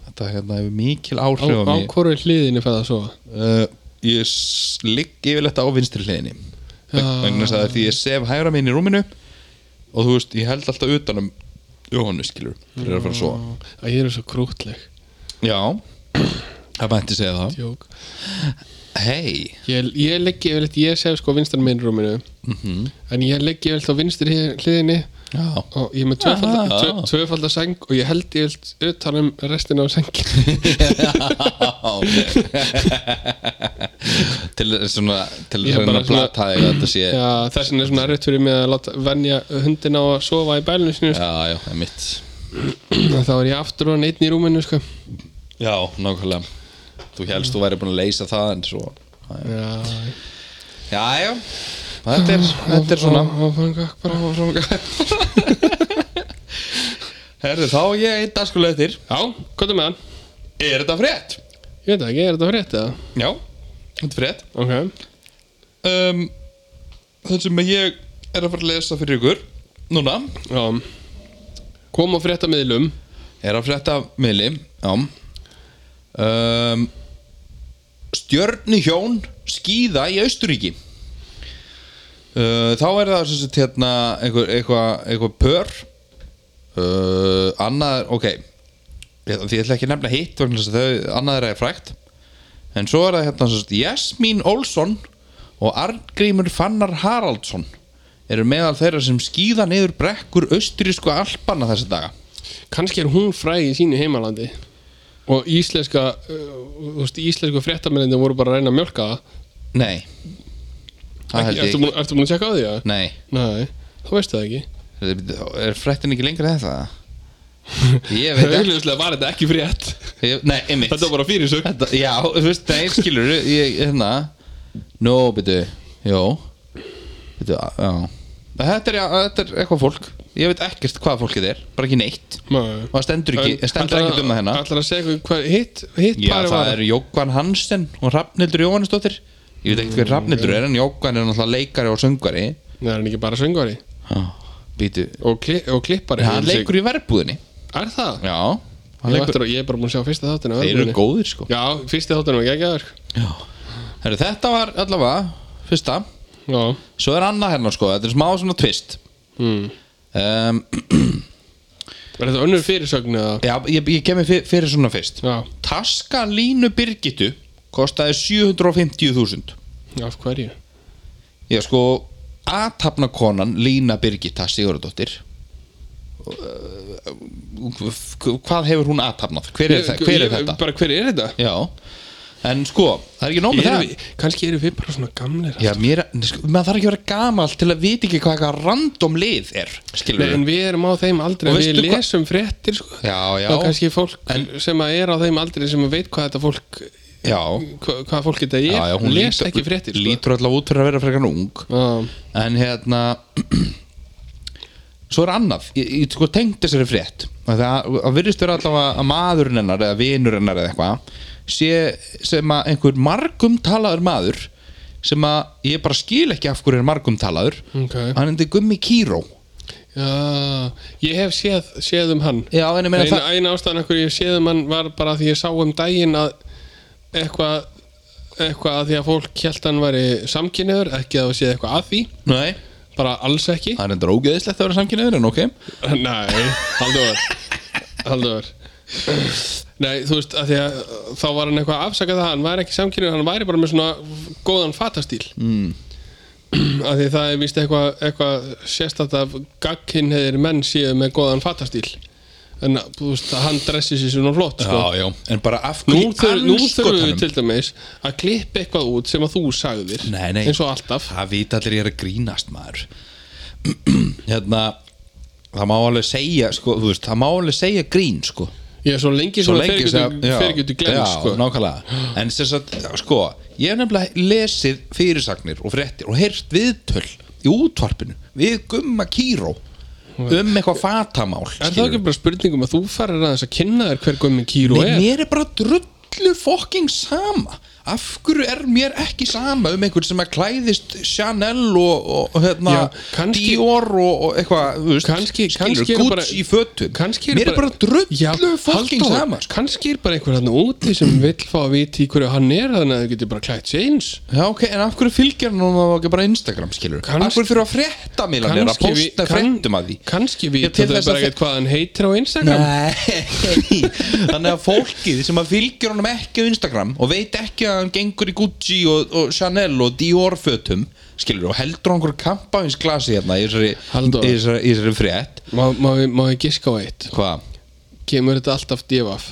Speaker 1: Þetta hérna hefur mikil
Speaker 2: Á,
Speaker 1: áhrif á
Speaker 2: á
Speaker 1: mig
Speaker 2: hvoru hliðinni fæða svo
Speaker 1: uh, Ég s- ligg yfirleitt á vinstri hliðinni Veg- vegna þess að því ég sef hægra minn í rúminu og þú veist, ég held alltaf um utanum Jóhannu skilur, fyrir að fara að sofa
Speaker 2: Að ég er svo krútleg
Speaker 1: Já, það mætti segja það
Speaker 2: Jók
Speaker 1: Hei,
Speaker 2: Ég, ég leggi yfirleitt, ég sef sko vinstan minn rúminu
Speaker 1: Mhm.
Speaker 2: En ég leggi yfirleitt á vinstri hi- hliðinni
Speaker 1: [LAUGHS] já
Speaker 2: Og ég er með tvöfalda,
Speaker 1: Aha.
Speaker 2: tvö, tvöfalda seng Og ég held yfirleitt utan um restina af sengin
Speaker 1: Til svona Til
Speaker 2: Ég
Speaker 1: að
Speaker 2: er
Speaker 1: reyna
Speaker 2: bara
Speaker 1: að
Speaker 2: svona-
Speaker 1: blata þig að þetta sé Já,
Speaker 2: Já, þess vegna er svona rétt fyrir mig að láta venja hundina á að sofa í bælinu sinu sko.
Speaker 1: já, það er mitt
Speaker 2: Þá er ég aftur og neitt í rúminu sko.
Speaker 1: Já, nákvæmlega Þú helst þú væri búin að leysa það en svo
Speaker 2: Já,
Speaker 1: Já, já Þetta er, þetta er svona
Speaker 2: Áfranga, bara áfranga
Speaker 1: Herðu, þá er ég einn dagskulega eftir
Speaker 2: Já, hvað er með hann?
Speaker 1: Er þetta frétt?
Speaker 2: Ég veit það ekki, er þetta frétt eða?
Speaker 1: Já, þetta er frétt
Speaker 2: Ok
Speaker 1: um, Það sem ég er að fara að lesa fyrir ykkur Núna
Speaker 2: Já Kom á fréttamiðlum
Speaker 1: Er að frétta miðli Já um, Stjörnuhjón skýða í Austuríki uh, Þá er það sem sagt hérna einhver, eitthvað eitthva pör uh, Annað, er- ok Ég- Því ég ætla ekki að nefna hitt vegna þess að þau annað er að frækt En svo er það hérna sem sagt Jasmín Olsson og Arngrímur Fannar Haraldsson eru meðal þeirra sem skýða niður brekkur austurísku alpana þessa daga
Speaker 2: Kannski er hún fræg í sínu heimalandi Og íslenska uh, Þú veist, íslensku fréttamiðlindin voru bara að reyna að mjölka það
Speaker 1: Nei Það held
Speaker 2: Ertu
Speaker 1: ég Mm.
Speaker 2: búin, ertu búin að tjekka á því að?
Speaker 1: Nei,
Speaker 2: Nei, þá veistu það ekki
Speaker 1: er fréttin ekki lengra en
Speaker 2: [LAUGHS]
Speaker 1: það? Ég veit ekki
Speaker 2: Auðvitað var þetta ekki frétt
Speaker 1: Ég- Nei, einmitt
Speaker 2: Þetta var bara fyrir sög
Speaker 1: Þetta- Já, þú veist, nei, skilur Ég, hérna Nó, byrju, jó Byrju, já Þetta er, já, þetta er eitthvað fólk Ég veit ekkert hvað fólkið er, bara ekki neitt Og það stendur ekki, það stendur ekki um það hérna
Speaker 2: Ætlar að segja hvað hitt, hitt
Speaker 1: Já,
Speaker 2: parið
Speaker 1: það
Speaker 2: var
Speaker 1: eru Jókvan Hansen og Rafnildur Jóhannesdóttir Ég veit ekkert hver Rafnildur er, en Jókvan er náttúrulega leikari og söngvari
Speaker 2: Nei, hann er ekki bara söngvari
Speaker 1: Býtu,
Speaker 2: og, kli, og klippari
Speaker 1: hann
Speaker 2: Ég vil
Speaker 1: leikur í verbúðinni
Speaker 2: segja- Er það?
Speaker 1: Já
Speaker 2: Ég, leikur... ég er bara búin að sjá fyrsta þáttin
Speaker 1: Þeir eru góðir sko
Speaker 2: Já, fyrsti þáttin var geggjaður
Speaker 1: Heru, Þetta var allavega fyrsta
Speaker 2: Já
Speaker 1: Svo er annað hérna sko, þetta er smá svona twist
Speaker 2: hmm.
Speaker 1: um,
Speaker 2: Er þetta önnur fyrirsögn eða?
Speaker 1: [CLEARS THROAT] Já, ég, ég kemur fyrir, fyrir svona fyrst
Speaker 2: Já,
Speaker 1: Taska Línu Birgitu kostaði 750.000
Speaker 2: af hverju?
Speaker 1: Ég sko, aðtapnakonan Lína Birgita Sigurðardóttir Uh, Hvað hefur hún aðtapnað? Hver er, það, hver er
Speaker 2: Ég- ég-
Speaker 1: þetta?
Speaker 2: Bara hver er þetta?
Speaker 1: Já, en sko, það er ekki nóg með
Speaker 2: Erum
Speaker 1: það
Speaker 2: við, kannski eru við bara svona gamlir
Speaker 1: Já, mér, nei, sko, maður þarf ekki að vera gamall til að vita ekki hvað eitthvað random lið er skilur
Speaker 2: Nei, en við erum á þeim aldrei
Speaker 1: Og
Speaker 2: Við
Speaker 1: veistu hvað-
Speaker 2: lesum fréttir sko.
Speaker 1: Já, já,
Speaker 2: Og kannski fólk
Speaker 1: En-
Speaker 2: sem að er á þeim aldrei sem að veit hvað þetta fólk
Speaker 1: já,
Speaker 2: hva, hvað fólk þetta er
Speaker 1: já, já hún
Speaker 2: les
Speaker 1: lítur-
Speaker 2: ekki fréttir sko.
Speaker 1: Lítur allavega út fyrir að vera frekar ung
Speaker 2: Já,
Speaker 1: En hérna [CLEARS THROAT] Svo er annað Ég, ég sko tengd þessari frétt Það það virðist vera allavega að maðurinn hennar eða vinur hennar eða eitthvað sé sem að einhver margum talaður maður sem að ég bara skil ekki af hverju er margum talaður
Speaker 2: Mm, ok
Speaker 1: hann hefði Gummi Kíró
Speaker 2: Já, ég hef séð, séð um hann
Speaker 1: Já, en ég meina
Speaker 2: eina,
Speaker 1: það
Speaker 2: eina ástæðan okkur ég séð um hann var bara því ég sá um daginn að eitthvað eitthvað að því að fólk held hann væri samkynniður, ekki að það séð eitthvað að því
Speaker 1: Nei,
Speaker 2: bara alls ekki
Speaker 1: það er endur ógeðislegt að vera samkynniður en ok
Speaker 2: Nei, Halldór Halldór Nei, þú veist, að því að þá var hann eitthvað að afsaka það, hann væri ekki samkynniður hann væri bara með svona góðan fatastíl mm. að því það er vist eitthvað, eitthvað sérstætt af gagkinnheðir menn séu með góðan fatastíl en þú veist, að hann dressi sér svona flott sko.
Speaker 1: já, en bara af
Speaker 2: Nú, þur, nú þurfum við
Speaker 1: anskotanum?
Speaker 2: til dæmis að klippa eitthvað út sem að þú sagðir
Speaker 1: Nei, nei.
Speaker 2: eins og alltaf
Speaker 1: það vita allir ég er að grínast maður [CLEARS THROAT] hérna það má alveg segja sko, þú veist, það má alveg segja grín sko.
Speaker 2: Ég er svo lengi
Speaker 1: svo
Speaker 2: sem
Speaker 1: lengi sem já,
Speaker 2: fyrir getur glemt
Speaker 1: já,
Speaker 2: sko.
Speaker 1: nákvæmlega en sem sagt, sko, ég hef nefnilega lesið fyrirsagnir og fréttir og heyrt viðtöl í útvarpinu við gumma kýró um eitthvað fatamál
Speaker 2: Er það ekki bara spurningum að þú farir aðeins að kynna þér hver gummi kýru
Speaker 1: mér,
Speaker 2: er?
Speaker 1: mér er bara drullu fokking sama af hverju er mér ekki sama um einhvern sem að klæðist Chanel og, og, og hérna,
Speaker 2: Já, kannski-
Speaker 1: Dior og, og eitthvað þú veist,
Speaker 2: Kannski-
Speaker 1: skilur,
Speaker 2: kannski er
Speaker 1: Gucci
Speaker 2: bara-
Speaker 1: í fötum
Speaker 2: kannski er
Speaker 1: mér er bara,
Speaker 2: bara- Já,
Speaker 1: drullu fokking
Speaker 2: Halldór,
Speaker 1: sama sko.
Speaker 2: kannski er bara einhver hann úti sem vill fá að vita í hverju hann er þannig að þau getur bara klætt sér eins
Speaker 1: Já, ok, en af hverju fylgir hann og ekki bara Instagram, skilur?
Speaker 2: Kannski-
Speaker 1: af hverju fyrir að frétta mig að að
Speaker 2: Kannski vi-
Speaker 1: posta fréttum að því?
Speaker 2: kannski
Speaker 1: Já,
Speaker 2: vita
Speaker 1: til
Speaker 2: þau
Speaker 1: þess að
Speaker 2: bara
Speaker 1: þe-
Speaker 2: ekkert hvað hann heitir á Instagram
Speaker 1: Nei, [LAUGHS] þannig að fólkið sem að fylgjur honum ekki á Instagram og veit ekki að hann gengur í Gucci og, og Chanel og Dior fötum skilur, og heldur hann einhver kampavinsglasi hérna í þessari,
Speaker 2: Halldór.
Speaker 1: í þessari, í þessari frétt
Speaker 2: Má- Má ég- má ég giska á eitt
Speaker 1: Hvað?
Speaker 2: Kemur þetta alltaf divaf?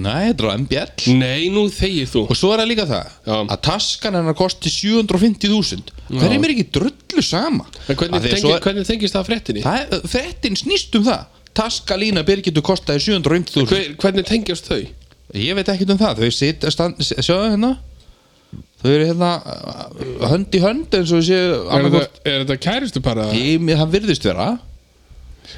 Speaker 1: Nei, þetta er á MBL
Speaker 2: Nei, nú þegir þú
Speaker 1: Og svo er það líka það
Speaker 2: Já.
Speaker 1: að taskan hennar kosti 750.000 Það er mér ekki drullu sama
Speaker 2: En
Speaker 1: Af því
Speaker 2: hvernig,
Speaker 1: að
Speaker 2: tengi,
Speaker 1: svo er-
Speaker 2: hvernig tengist það fréttinni?
Speaker 1: Það er, fréttin snýst um það Taska Lína Birgitu kostaði 750.000
Speaker 2: Hver, hvernig tengjast þau?
Speaker 1: Ég veit ekkert um það, þau sit stand, s- Sjáðu hérna Þau eru hérna uh, hönd í hönd eins og séu
Speaker 2: Er
Speaker 1: annarkvort
Speaker 2: þetta, er þetta kærustu bara?
Speaker 1: Það virðist vera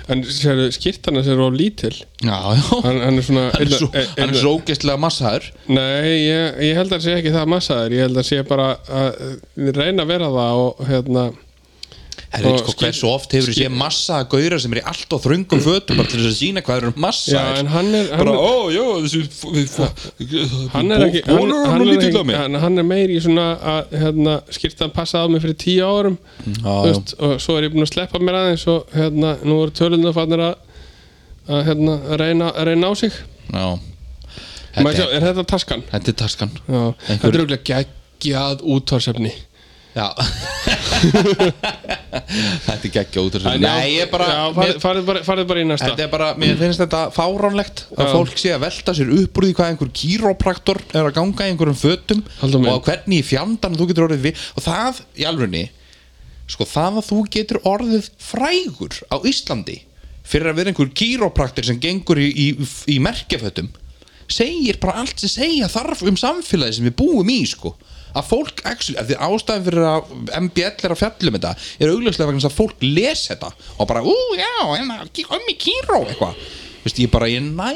Speaker 2: En sérðu, skýrtana sér á lítil
Speaker 1: Já, já
Speaker 2: Hann, hann er svona
Speaker 1: Hann er svo,
Speaker 2: er-
Speaker 1: hann er svo ógeðslega massaður
Speaker 2: Nei, ég, ég held að það sé ekki það massaður Ég held að það sé bara að að reyna að vera það og hérna
Speaker 1: Herri,
Speaker 2: Og
Speaker 1: sko,
Speaker 2: skil- Mm.
Speaker 1: hversu oft hefur þú séð massa að gauðra sem er í allt á þröngum fötum bara til þess að sína hvað þeir eru
Speaker 2: Já,
Speaker 1: massaður
Speaker 2: en hann er
Speaker 1: Bara,
Speaker 2: hann,
Speaker 1: ó, jó, þessi f- við f-
Speaker 2: hann er ekki hann,
Speaker 1: Bólur
Speaker 2: hann,
Speaker 1: hann
Speaker 2: er
Speaker 1: lítið á
Speaker 2: ekki,
Speaker 1: mig
Speaker 2: hann, hann er meir í svona að hérna, skýrtan passa á mig fyrir tíu árum
Speaker 1: Mm. já.
Speaker 2: þú veist, og svo er ég búin að sleppa mér aðeins og hérna, nú eru tölunum fannir að, að hérna, að reyna, að reyna á sig
Speaker 1: Já
Speaker 2: Maður sjá,
Speaker 1: Þetta er-
Speaker 2: er þetta taskan?
Speaker 1: þetta er taskan
Speaker 2: Já, þetta er auðvitað geggjað útvarsefni [LAUGHS]
Speaker 1: Já Þetta er geggja út
Speaker 2: En já,
Speaker 1: Nei, ég bara,
Speaker 2: já,
Speaker 1: mér,
Speaker 2: farið, farið, bara farið bara í næsta
Speaker 1: þetta er bara Mér finnst þetta fáránlegt að
Speaker 2: Já.
Speaker 1: fólk sé að velta sér upp úr því hvað einhver kýrópraktor er að ganga í einhverjum fötum
Speaker 2: Halldór minn.
Speaker 1: og hvernig í fjandann þú getur orðið við og það, í alvegni sko, það að þú getur orðið frægur á Íslandi fyrir að vera einhver kýrópraktor sem gengur í, í, í merkjafötum segir bara allt sem segja þarf um samfélagi sem við búum í sko að fólk, actually, að því ástæðan fyrir að MBL er að fjallum þetta er augljóslega vegna þess að fólk les þetta og bara, ú, já, en að ömmi kýró eitthvað, veist, ég bara, ég næ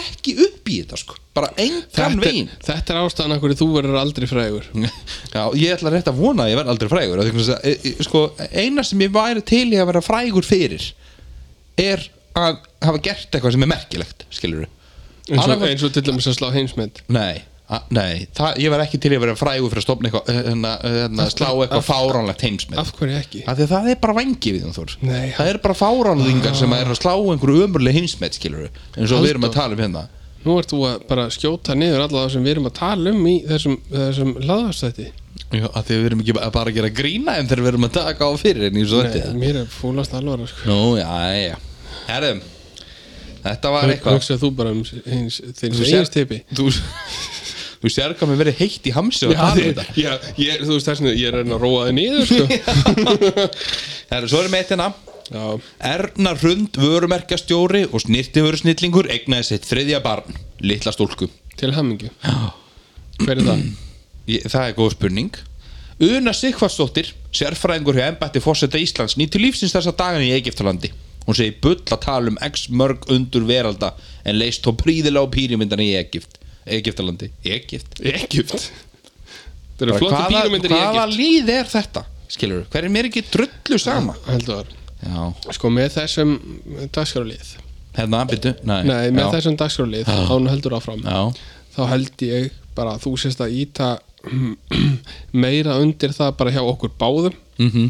Speaker 1: ekki upp í þetta sko, bara engan
Speaker 2: þetta,
Speaker 1: veginn
Speaker 2: er, þetta er ástæðan af hverju þú verður aldrei frægur
Speaker 1: Já, ég ætla rétt að vona að ég verð aldrei frægur af því að, e, e, sko, eina sem ég væri til í að vera frægur fyrir er að hafa gert eitthvað sem er merkilegt skilur
Speaker 2: eins og, eins og til dæmis að slá heimsmynd
Speaker 1: nei, a, nei það, ég verð ekki til í að vera frægur fyrir að stopna eitthvað eh, hérna, eh, hérna, slá eitthvað fáránlegt heimsmið
Speaker 2: af hverju ekki?
Speaker 1: af því að það er bara vangi við um þór
Speaker 2: Nei,
Speaker 1: það er bara fáránlingar sem er að slá einhverju ömurleg heimsmið skilur eins og við erum að tala um hérna
Speaker 2: Nú ert þú að bara skjóta niður alla það sem við erum að tala um í þessum, þessum laðastætti
Speaker 1: Já, af því að við erum ekki bara bara að gera grína en þegar við erum að taka á fyrir en eins og þetta
Speaker 2: Mér er fúlast alvara sko.
Speaker 1: Nú, já, já Herðum, þetta var eitthvað
Speaker 2: Hugsaðu þú bara um hins, þinn
Speaker 1: Þú
Speaker 2: eigin
Speaker 1: sér-
Speaker 2: stipi
Speaker 1: Þú, þú sér hvað mér verið heitt í hamsi og
Speaker 2: Já,
Speaker 1: tala um
Speaker 2: ég,
Speaker 1: þetta
Speaker 2: ég, ég, þú veist þessna, ég er að reyna að róa þið niður
Speaker 1: [LAUGHS]
Speaker 2: sko.
Speaker 1: Herðu, svo erum við eitt hérna
Speaker 2: Já,
Speaker 1: Erna Rund, vörumerkjastjóri og snirtivörusnillingur egnaði sitt þriðja barn Litla stúlku
Speaker 2: til hammingju Hver er það?
Speaker 1: [CLEARS THROAT] Ég, Það er góð spurning Una Sigfarsdóttir, sérfræðingur hjá embætti fórseta Íslands nýttu lífsins þessa dagan í Egiptalandi Hún segir bull að tala um x mörg undur veralda en leist þó príðilega á pýrimyndan í Egipt Egiptalandi, Egipt
Speaker 2: Egypt Það eru flotti píramyndir í
Speaker 1: hvaða
Speaker 2: Egypt
Speaker 1: líð er þetta skilur, hver er mér ekki drullu sama
Speaker 2: Heldur,
Speaker 1: já,
Speaker 2: sko með þessum dagskrálið
Speaker 1: hérna, byttu, nei,
Speaker 2: Nei, með
Speaker 1: já,
Speaker 2: þessum dagskrálið þá hún heldur áfram
Speaker 1: já,
Speaker 2: þá held ég bara að þú sést að íta [CLEARS THROAT] meira undir það bara hjá okkur báðum mm
Speaker 1: Mhm.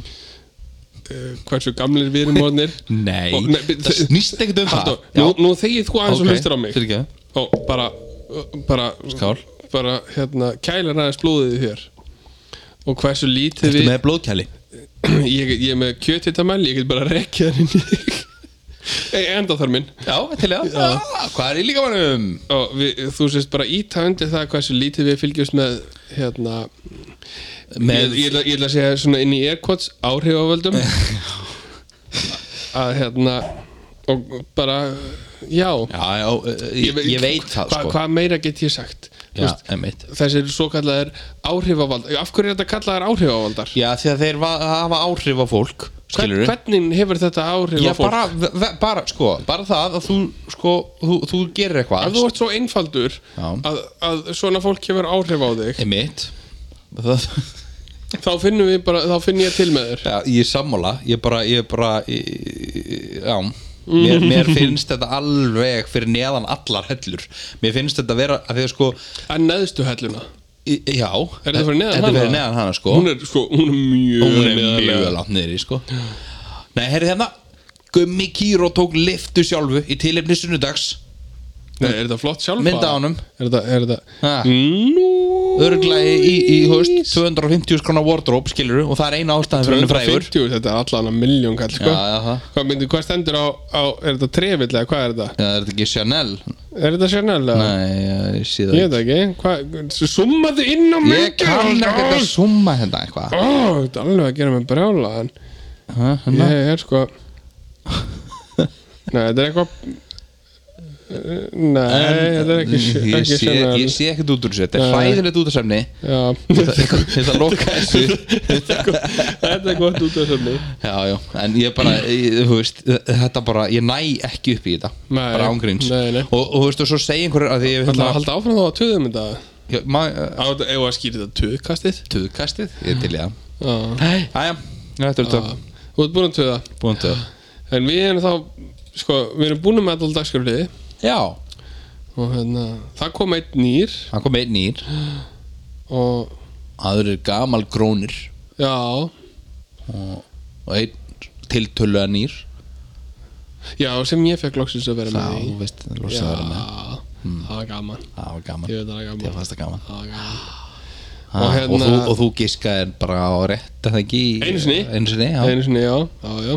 Speaker 2: hversu gamlir við erum orðnir
Speaker 1: nei,
Speaker 2: Ó, nei, byrju,
Speaker 1: það
Speaker 2: þi-
Speaker 1: snýst ekkert um
Speaker 2: Halldór,
Speaker 1: það
Speaker 2: nú, nú þegið þú aðeins og hlustir á mig
Speaker 1: fyrir ekki,
Speaker 2: og bara, bara
Speaker 1: Skál.
Speaker 2: bara hérna, kælir aðeins blóðið þér og hversu lítið
Speaker 1: þetta
Speaker 2: við
Speaker 1: með blóðkæli
Speaker 2: [CLEARS THROAT] ég, ég er með kjötitamæl, ég get bara rekkið hann inn í [LAUGHS] Ei, enda þar minn
Speaker 1: já, til ég, já, hvað er í líka mannum
Speaker 2: og við, þú sést bara íta undir það hversu lítið við fylgjumst með hérna
Speaker 1: með,
Speaker 2: ég, ég, ætla, ég ætla að
Speaker 1: [LAUGHS]
Speaker 2: segja svona inn í airquotes áhrifavöldum að hérna og bara, já,
Speaker 1: Já, já, ég, ég veit það
Speaker 2: hva,
Speaker 1: sko
Speaker 2: Hvað meira get ég sagt? Þú
Speaker 1: Já,
Speaker 2: veist,
Speaker 1: einmitt
Speaker 2: Þessir svo kallaðir áhrifavaldar Af hverju er þetta kallaðir áhrifavaldar?
Speaker 1: Já, því að þeir va- hafa áhrif á fólk Skilur við?
Speaker 2: Hvernig hefur þetta áhrif
Speaker 1: Já,
Speaker 2: á fólk?
Speaker 1: bara, ve- ve- bara, sko, bara það að þú, sko, þú, þú gerir
Speaker 2: Ef
Speaker 1: eitthvað
Speaker 2: þú ert svo einfaldur
Speaker 1: Já.
Speaker 2: að, að svona fólk hefur áhrif á þig
Speaker 1: Einmitt það,
Speaker 2: þá finnum við bara, þá finn ég til með þér
Speaker 1: Já, ég er sammála Ég bara, ég bara ég, Já Mér,
Speaker 2: Mhm.
Speaker 1: mér finnst þetta alveg fyrir neðan allar hellur Mér finnst þetta vera að því að sko
Speaker 2: en neðstu helluna
Speaker 1: í- Já
Speaker 2: Er þetta fyrir neðan
Speaker 1: Þetta
Speaker 2: hana?
Speaker 1: fyrir neðan hana sko
Speaker 2: hún er, sko, hún er mjög
Speaker 1: Hún er
Speaker 2: neðarlega.
Speaker 1: mjög langt niður í sko Nei, heyrðu hérna Gummi Kíró tók liftu sjálfu í tilefni sunnudags
Speaker 2: Nei, er þetta flott sjálfa?
Speaker 1: Mynd af honum.
Speaker 2: er þetta, er þetta
Speaker 1: Ha.
Speaker 2: nú
Speaker 1: Örglega í, í, í höst 250 skrona wardrobe skilur og það er eina ástæðan fyrir henni frægur
Speaker 2: 250, þetta er allan að miljón kall sko.
Speaker 1: Já, já, það.
Speaker 2: hvað, myndi, hvað stendur á, á er þetta trefill eða hvað er þetta?
Speaker 1: Já, er þetta ekki Chanel?
Speaker 2: er þetta sérnæðilega?
Speaker 1: Nei, ég sé það ekki
Speaker 2: ég veit það ekki hvað, summaðu inn á
Speaker 1: Ég
Speaker 2: mikið
Speaker 1: kann ekkert að summa hérna eitthvað
Speaker 2: Ó, þetta er alveg að gera mig brjála en
Speaker 1: Ha, hérna?
Speaker 2: Ég er sko Nei, þetta er eitthvað
Speaker 1: [LAUGHS]
Speaker 2: Nei, þetta er ekki,
Speaker 1: ég,
Speaker 2: ekki
Speaker 1: sé,
Speaker 2: sennal
Speaker 1: ég sé ekkert út úr þessu Þetta er
Speaker 2: Nei.
Speaker 1: hræðilegt út af semni
Speaker 2: Já,
Speaker 1: Þetta loka þessu
Speaker 2: þetta er gott út af sömni
Speaker 1: Já, já, en ég
Speaker 2: [CLEARS THROAT]
Speaker 1: bara, ég, þú veist Þetta bara, ég næ ekki upp í þetta
Speaker 2: Nei.
Speaker 1: Bara ángríns
Speaker 2: Nei, nei.
Speaker 1: Og, og þú veist, og svo segi einhverjur að því ég
Speaker 2: Það halda áfram þá að töðum þetta
Speaker 1: Já, ma-
Speaker 2: Á þetta, ef að skýra þetta töðkastið
Speaker 1: Töðkastið, ég er til í það
Speaker 2: Já,
Speaker 1: Æja, þetta er
Speaker 2: já.
Speaker 1: þetta
Speaker 2: Þú ert búin að töða
Speaker 1: Búin töð
Speaker 2: En við erum þá, sko, við erum búin með alltaf dagskrifliði
Speaker 1: Já,
Speaker 2: Og hérna, það kom einn nýr
Speaker 1: hann kom einn nýr
Speaker 2: Og,
Speaker 1: Aður er gamal grónir
Speaker 2: já,
Speaker 1: Og einn tiltöluða nýr
Speaker 2: já, sem ég fekk loksins að vera
Speaker 1: Já,
Speaker 2: með í
Speaker 1: þú veist,
Speaker 2: Já,
Speaker 1: losaður með
Speaker 2: það var gaman
Speaker 1: Það var gaman
Speaker 2: Ég veit það er
Speaker 1: Ég
Speaker 2: gaman
Speaker 1: fannst það gaman
Speaker 2: Það var gaman
Speaker 1: Ha,
Speaker 2: Og
Speaker 1: og,
Speaker 2: hérna-
Speaker 1: þú, og þú giskaðir bara á rétt er það ekki í-
Speaker 2: Einu sinni.
Speaker 1: einu sinni já.
Speaker 2: Einu sinni, já, já, já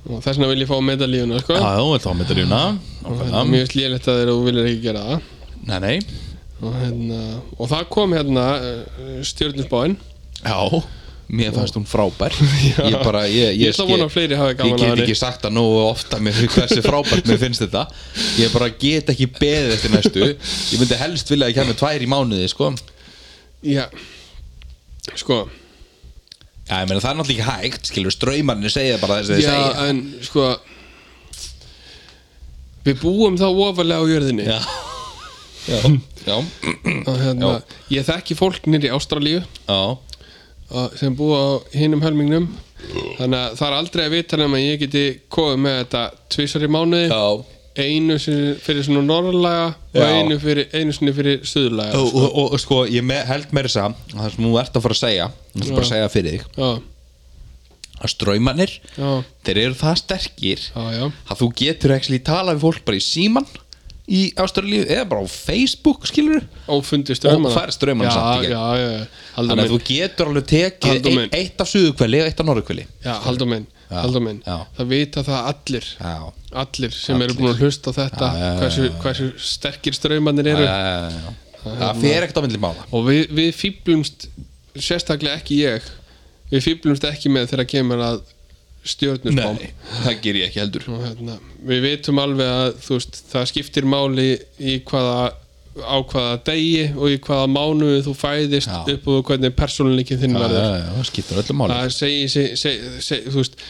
Speaker 2: Og þess vegna vil ég fá medalíuna, sko
Speaker 1: já, já, þá með það rjúna
Speaker 2: Og hérna, Mér finnst lélegt að þeir og þú vilir ekki gera það
Speaker 1: nei, nei,
Speaker 2: Og hérna, og það kom hérna stjórnusbáinn
Speaker 1: já mér fannst hún
Speaker 2: [LAUGHS]
Speaker 1: frábær ég bara, ég,
Speaker 2: Ég
Speaker 1: ég,
Speaker 2: ætla að vona að fleiri hafi
Speaker 1: ég
Speaker 2: gaman að
Speaker 1: get
Speaker 2: henni
Speaker 1: ekki sagt það nógu ofta mér finnst hversu frábært mér finnst þetta ég bara get ekki beðið eftir næstu ég myndi helst vilja að ég kemur tvær í mánuði sko. já,
Speaker 2: Já, sko
Speaker 1: ég meina það er náttúrulega ekki hægt skilur ströymarnir segja bara þess að þið
Speaker 2: Já,
Speaker 1: segja
Speaker 2: en sko Við búum þá ofalega á jörðinni
Speaker 1: já, já, já,
Speaker 2: Og hérna, ég þekki fólk nýri Ástralíu
Speaker 1: já.
Speaker 2: að- sem búa á hinum helmingnum þannig að það er aldrei að vita nema að ég geti komið með þetta tvisar í mánuði
Speaker 1: já.
Speaker 2: einu sinni fyrir svona norðlaga
Speaker 1: Já.
Speaker 2: og einu, fyrir, einu sinni fyrir suðlaga
Speaker 1: og, og, og, og sko, ég me, held meira þess að það sem þú ert að fara að segja þú ert bara að segja fyrir þig
Speaker 2: já,
Speaker 1: að ströymanir,
Speaker 2: já,
Speaker 1: þeir eru það sterkir
Speaker 2: já, já,
Speaker 1: að þú getur ekki talað við fólk bara í síman í ástralíu eða bara á Facebook skilur
Speaker 2: og fundið strömmana
Speaker 1: Og fær straumana
Speaker 2: já,
Speaker 1: samt í gegn.
Speaker 2: já, já, já, haldur
Speaker 1: þannig að
Speaker 2: minn
Speaker 1: þú getur alveg tekið
Speaker 2: Halldór minn.
Speaker 1: eitt, eitt af suðukveli og eitt af norðukveli
Speaker 2: já, haldur minn,
Speaker 1: Já,
Speaker 2: haldur minn
Speaker 1: já.
Speaker 2: það vita það allir
Speaker 1: já,
Speaker 2: allir sem eru búin að hlusta á þetta
Speaker 1: Já, já, já,
Speaker 2: hversu, hversu sterkir strömmanir eru
Speaker 1: uh, það fer ekkert á myndli mála
Speaker 2: og við, við fýblumst sérstaklega ekki ég við fýblumst ekki með þegar kemur að stjórnusbám
Speaker 1: það ger ég ekki heldur
Speaker 2: og hérna, við vitum alveg að þú veist, það skiptir máli í hvaða á hvaða degi og í hvaða mánuði þú fæðist
Speaker 1: Já.
Speaker 2: upp og hvernig persónuleikin þinn
Speaker 1: það,
Speaker 2: verður
Speaker 1: það skiptir öllu máli
Speaker 2: það segi, segi, segi, segi þú veist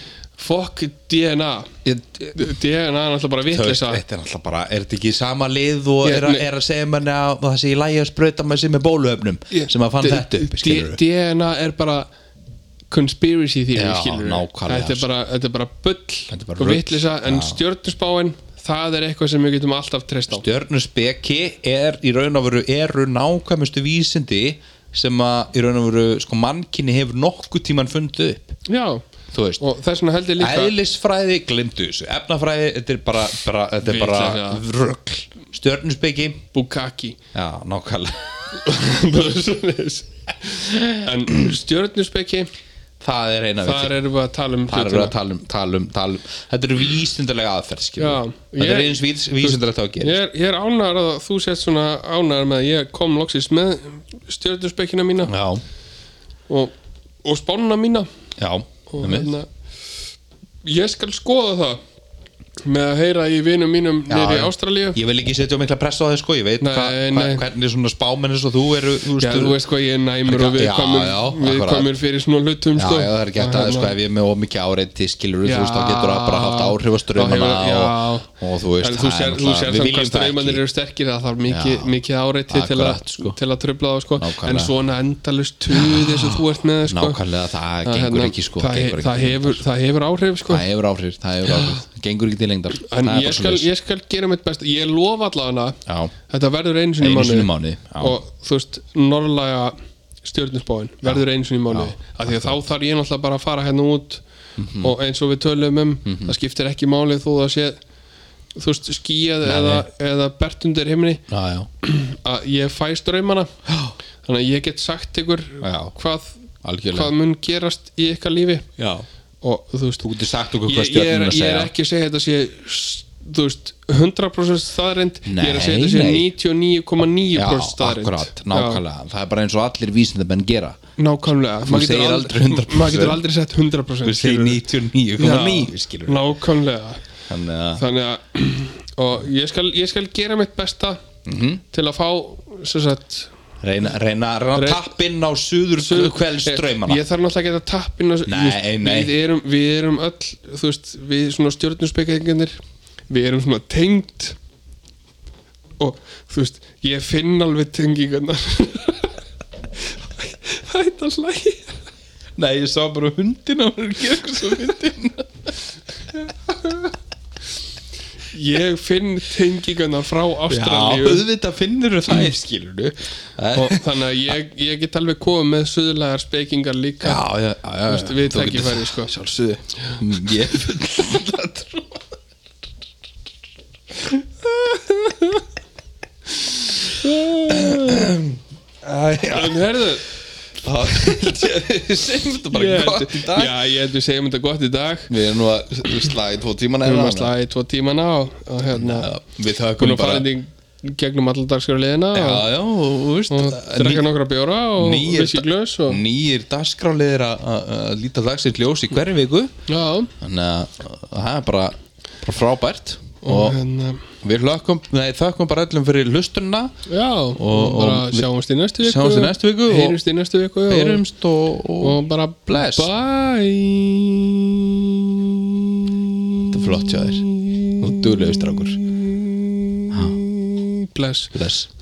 Speaker 2: fokk DNA
Speaker 1: Ég-
Speaker 2: DNA er náttúrulega bara
Speaker 1: Þú veist,
Speaker 2: vitleysa
Speaker 1: þetta er alltaf bara, er þetta ekki sama lið og
Speaker 2: Ég-
Speaker 1: er, að,
Speaker 2: nei.
Speaker 1: er að segja manni að það sé í lægi að sprauta maður sér með bóluöfnum sem að fann
Speaker 2: D-
Speaker 1: þetta upp,
Speaker 2: D-
Speaker 1: skilur við
Speaker 2: DNA er bara conspiracy theory,
Speaker 1: Já,
Speaker 2: skilur
Speaker 1: nákvæmlega,
Speaker 2: þetta er,
Speaker 1: sko.
Speaker 2: bara, þetta er bara bull
Speaker 1: Þetta er bara
Speaker 2: og
Speaker 1: rugl,
Speaker 2: vitlisa, en stjörnusbáin það er eitthvað sem við getum alltaf treyst á
Speaker 1: Stjörnusbeki er í raun og veru eru nákvæmustu vísindi sem að í raun og veru sko mannkinni hefur nokkuð tíman fundið upp
Speaker 2: já,
Speaker 1: þú veist,
Speaker 2: og þess vegna held ég líka
Speaker 1: eðlisfræði glimtu þessu, efnafræði þetta er bara, bara, þetta er bara
Speaker 2: Vitleysa.
Speaker 1: rögl, stjörnusbeki
Speaker 2: bukaki [LAUGHS]
Speaker 1: já, nákvæmlega [LAUGHS]
Speaker 2: Bara svoleiðis. en stjörnuspeki
Speaker 1: það er eina við
Speaker 2: þar erum við að tala um
Speaker 1: Það eru
Speaker 2: hlutina.
Speaker 1: að tala um, tala um, tala um Þetta eru vísindalega aðferð skilur við.
Speaker 2: Já,
Speaker 1: Þetta
Speaker 2: ég-
Speaker 1: eru eins vís, vísindalegt á að gera
Speaker 2: ég er, ég er ánægður að þú sett svona ánægður með að ég kom loksins með stjörnuspekina mína
Speaker 1: Já,
Speaker 2: og, og spánuna mína
Speaker 1: já
Speaker 2: og
Speaker 1: einmitt.
Speaker 2: hérna ég skal skoða það með að heyra í vinum mínum
Speaker 1: Já,
Speaker 2: niður í
Speaker 1: já.
Speaker 2: Ástralíu
Speaker 1: Ég vil ekki setja á mikla pressa á þeir sko Ég veit
Speaker 2: Nei,
Speaker 1: hva, hva,
Speaker 2: nei.
Speaker 1: hvernig svona spámenn eins og þú eru þú
Speaker 2: Já, þú veist hvað ég er næmur
Speaker 1: Já,
Speaker 2: og við komum,
Speaker 1: já,
Speaker 2: við
Speaker 1: akkurat.
Speaker 2: komum fyrir svona hlutum
Speaker 1: Já,
Speaker 2: sko.
Speaker 1: já, það er gett að
Speaker 2: Þannig
Speaker 1: sko, ef ég er með ómikið áreiti skilur þú
Speaker 2: Já.
Speaker 1: veist, þá getur það bara haft áhrif á strömmana
Speaker 2: Þá hefur-
Speaker 1: og,
Speaker 2: já.
Speaker 1: og þú veist,
Speaker 2: En
Speaker 1: það
Speaker 2: þú
Speaker 1: er
Speaker 2: sér, þú
Speaker 1: náttúrulega-
Speaker 2: sér
Speaker 1: við
Speaker 2: samt
Speaker 1: viljum
Speaker 2: hvað
Speaker 1: það
Speaker 2: straumanir
Speaker 1: ekki.
Speaker 2: eru sterkir það þarf mikið,
Speaker 1: Já.
Speaker 2: mikið áreiti til, að-
Speaker 1: Akkurat, sko.
Speaker 2: til að tröfla það sko.
Speaker 1: Nákvæmlega.
Speaker 2: en svona endalust tuði sem þú ert með sko.
Speaker 1: Nákvæmlega, það
Speaker 2: Það,
Speaker 1: gengur
Speaker 2: hérna,
Speaker 1: ekki sko
Speaker 2: það,
Speaker 1: gengur
Speaker 2: he-
Speaker 1: ekki
Speaker 2: það,
Speaker 1: til
Speaker 2: hefur,
Speaker 1: lengdar.
Speaker 2: það hefur áhrif sko.
Speaker 1: Það hefur áhrif, það hefur áhrif Það gengur ekki til lengdar Það er
Speaker 2: en ég
Speaker 1: bara
Speaker 2: skal,
Speaker 1: svoleiðis.
Speaker 2: ég skal gera mitt best ég lofa allavega
Speaker 1: Já.
Speaker 2: þetta verður einu sinni í
Speaker 1: Einu sinni í
Speaker 2: mánuði.
Speaker 1: mánuði, já.
Speaker 2: og þú veist, norðlaga stjörnusbóin verður einu sinni í mánuði af því að þá þarf ég náttúrulega bara að fara hérna út
Speaker 1: Mhm.
Speaker 2: og eins og við tölum um það skiptir ekki máli þó það sé þú veist, skíjað eða, eða bertundir himni
Speaker 1: Já, já,
Speaker 2: að ég fæ straumana þannig að ég get sagt ykkur
Speaker 1: Já.
Speaker 2: hvað,
Speaker 1: algjörlega
Speaker 2: hvað mun gerast í ykkar lífi
Speaker 1: Já.
Speaker 2: og þú veist
Speaker 1: Þú getur sagt okkur
Speaker 2: ég,
Speaker 1: hvað
Speaker 2: ég, er,
Speaker 1: stjörnum að
Speaker 2: ég er
Speaker 1: segja
Speaker 2: ekki að segja þetta sé s- þú veist, 100% staðarind ég er að segja þetta sé
Speaker 1: Nei, nei.
Speaker 2: 99,9% staðarind
Speaker 1: akkurat, nákvæmlega Það er bara eins og allir vísindamenn gera
Speaker 2: nákvæmlega Maður getur
Speaker 1: segir aldrei 100%.
Speaker 2: maður getur aldrei sett 100% skilurðu.
Speaker 1: 99,9 skilur
Speaker 2: nákvæmlega
Speaker 1: Þannig að
Speaker 2: þannig að [CLEARS THROAT] og ég skal, ég skal gera mitt besta
Speaker 1: Mhm.
Speaker 2: til að fá sem sagt,
Speaker 1: reyna, reyna, reyna
Speaker 2: Rey-
Speaker 1: tappinn á suður kveld
Speaker 2: Ég-
Speaker 1: straumana
Speaker 2: Ég þarf náttúrulega ekki að tappin
Speaker 1: Nei, nei.
Speaker 2: Við erum, við erum öll Þú veist, við svona stjórnuspekingarnir Við erum svona tengd Og þú veist Ég finn alveg tengingarnar [LAUGHS] Þetta slægi
Speaker 1: Nei, ég sá bara hundina og gerði svo myndin
Speaker 2: Ég finn tengingarnar frá
Speaker 1: Já,
Speaker 2: Ástralíu
Speaker 1: auðvitað finnur það skilur du
Speaker 2: Og þannig að ég, ég get alveg komið með Suðlægar spekingar líka
Speaker 1: Já, já, já, já
Speaker 2: veist, við
Speaker 1: Þú getur-
Speaker 2: tækifæri, sko.
Speaker 1: Sjálfsögðu Mm, Ég er full að trú
Speaker 2: En herðu
Speaker 1: Það held ég að við segjum þetta bara
Speaker 2: ég held-
Speaker 1: gott í dag
Speaker 2: Já, ég held við segjum þetta gott í dag
Speaker 1: Við erum nú að slæða í tvo tímana
Speaker 2: Við erum að
Speaker 1: hérna.
Speaker 2: slæða í tvo tímana og, og hérna
Speaker 1: Já, Við
Speaker 2: búin
Speaker 1: höfum
Speaker 2: að fara
Speaker 1: bara
Speaker 2: inn í gegnum allar dagskjöru liðina
Speaker 1: Já,
Speaker 2: og,
Speaker 1: já, þú veist
Speaker 2: og drekka
Speaker 1: ný-
Speaker 2: nokkra bjóra og
Speaker 1: nýir-
Speaker 2: vissi glös og
Speaker 1: Nýjir dagskráliðir að- að að líta dagsins ljós í hverju viku
Speaker 2: já,
Speaker 1: Þannig að að það er bara, bara frábært
Speaker 2: og
Speaker 1: Og
Speaker 2: hérna
Speaker 1: við hlökkum, nei þökkum bara öllum fyrir hlustunna
Speaker 2: já, og bara
Speaker 1: og-
Speaker 2: sjáumst í næstu viku
Speaker 1: Sjáumst í næstu viku og-
Speaker 2: heyrumst í næstu viku og,
Speaker 1: Heyrumst og, og,
Speaker 2: og bara
Speaker 1: Bless.
Speaker 2: bye
Speaker 1: Þetta er flott hjá þér. og duglegur strákur
Speaker 2: bless
Speaker 1: Bless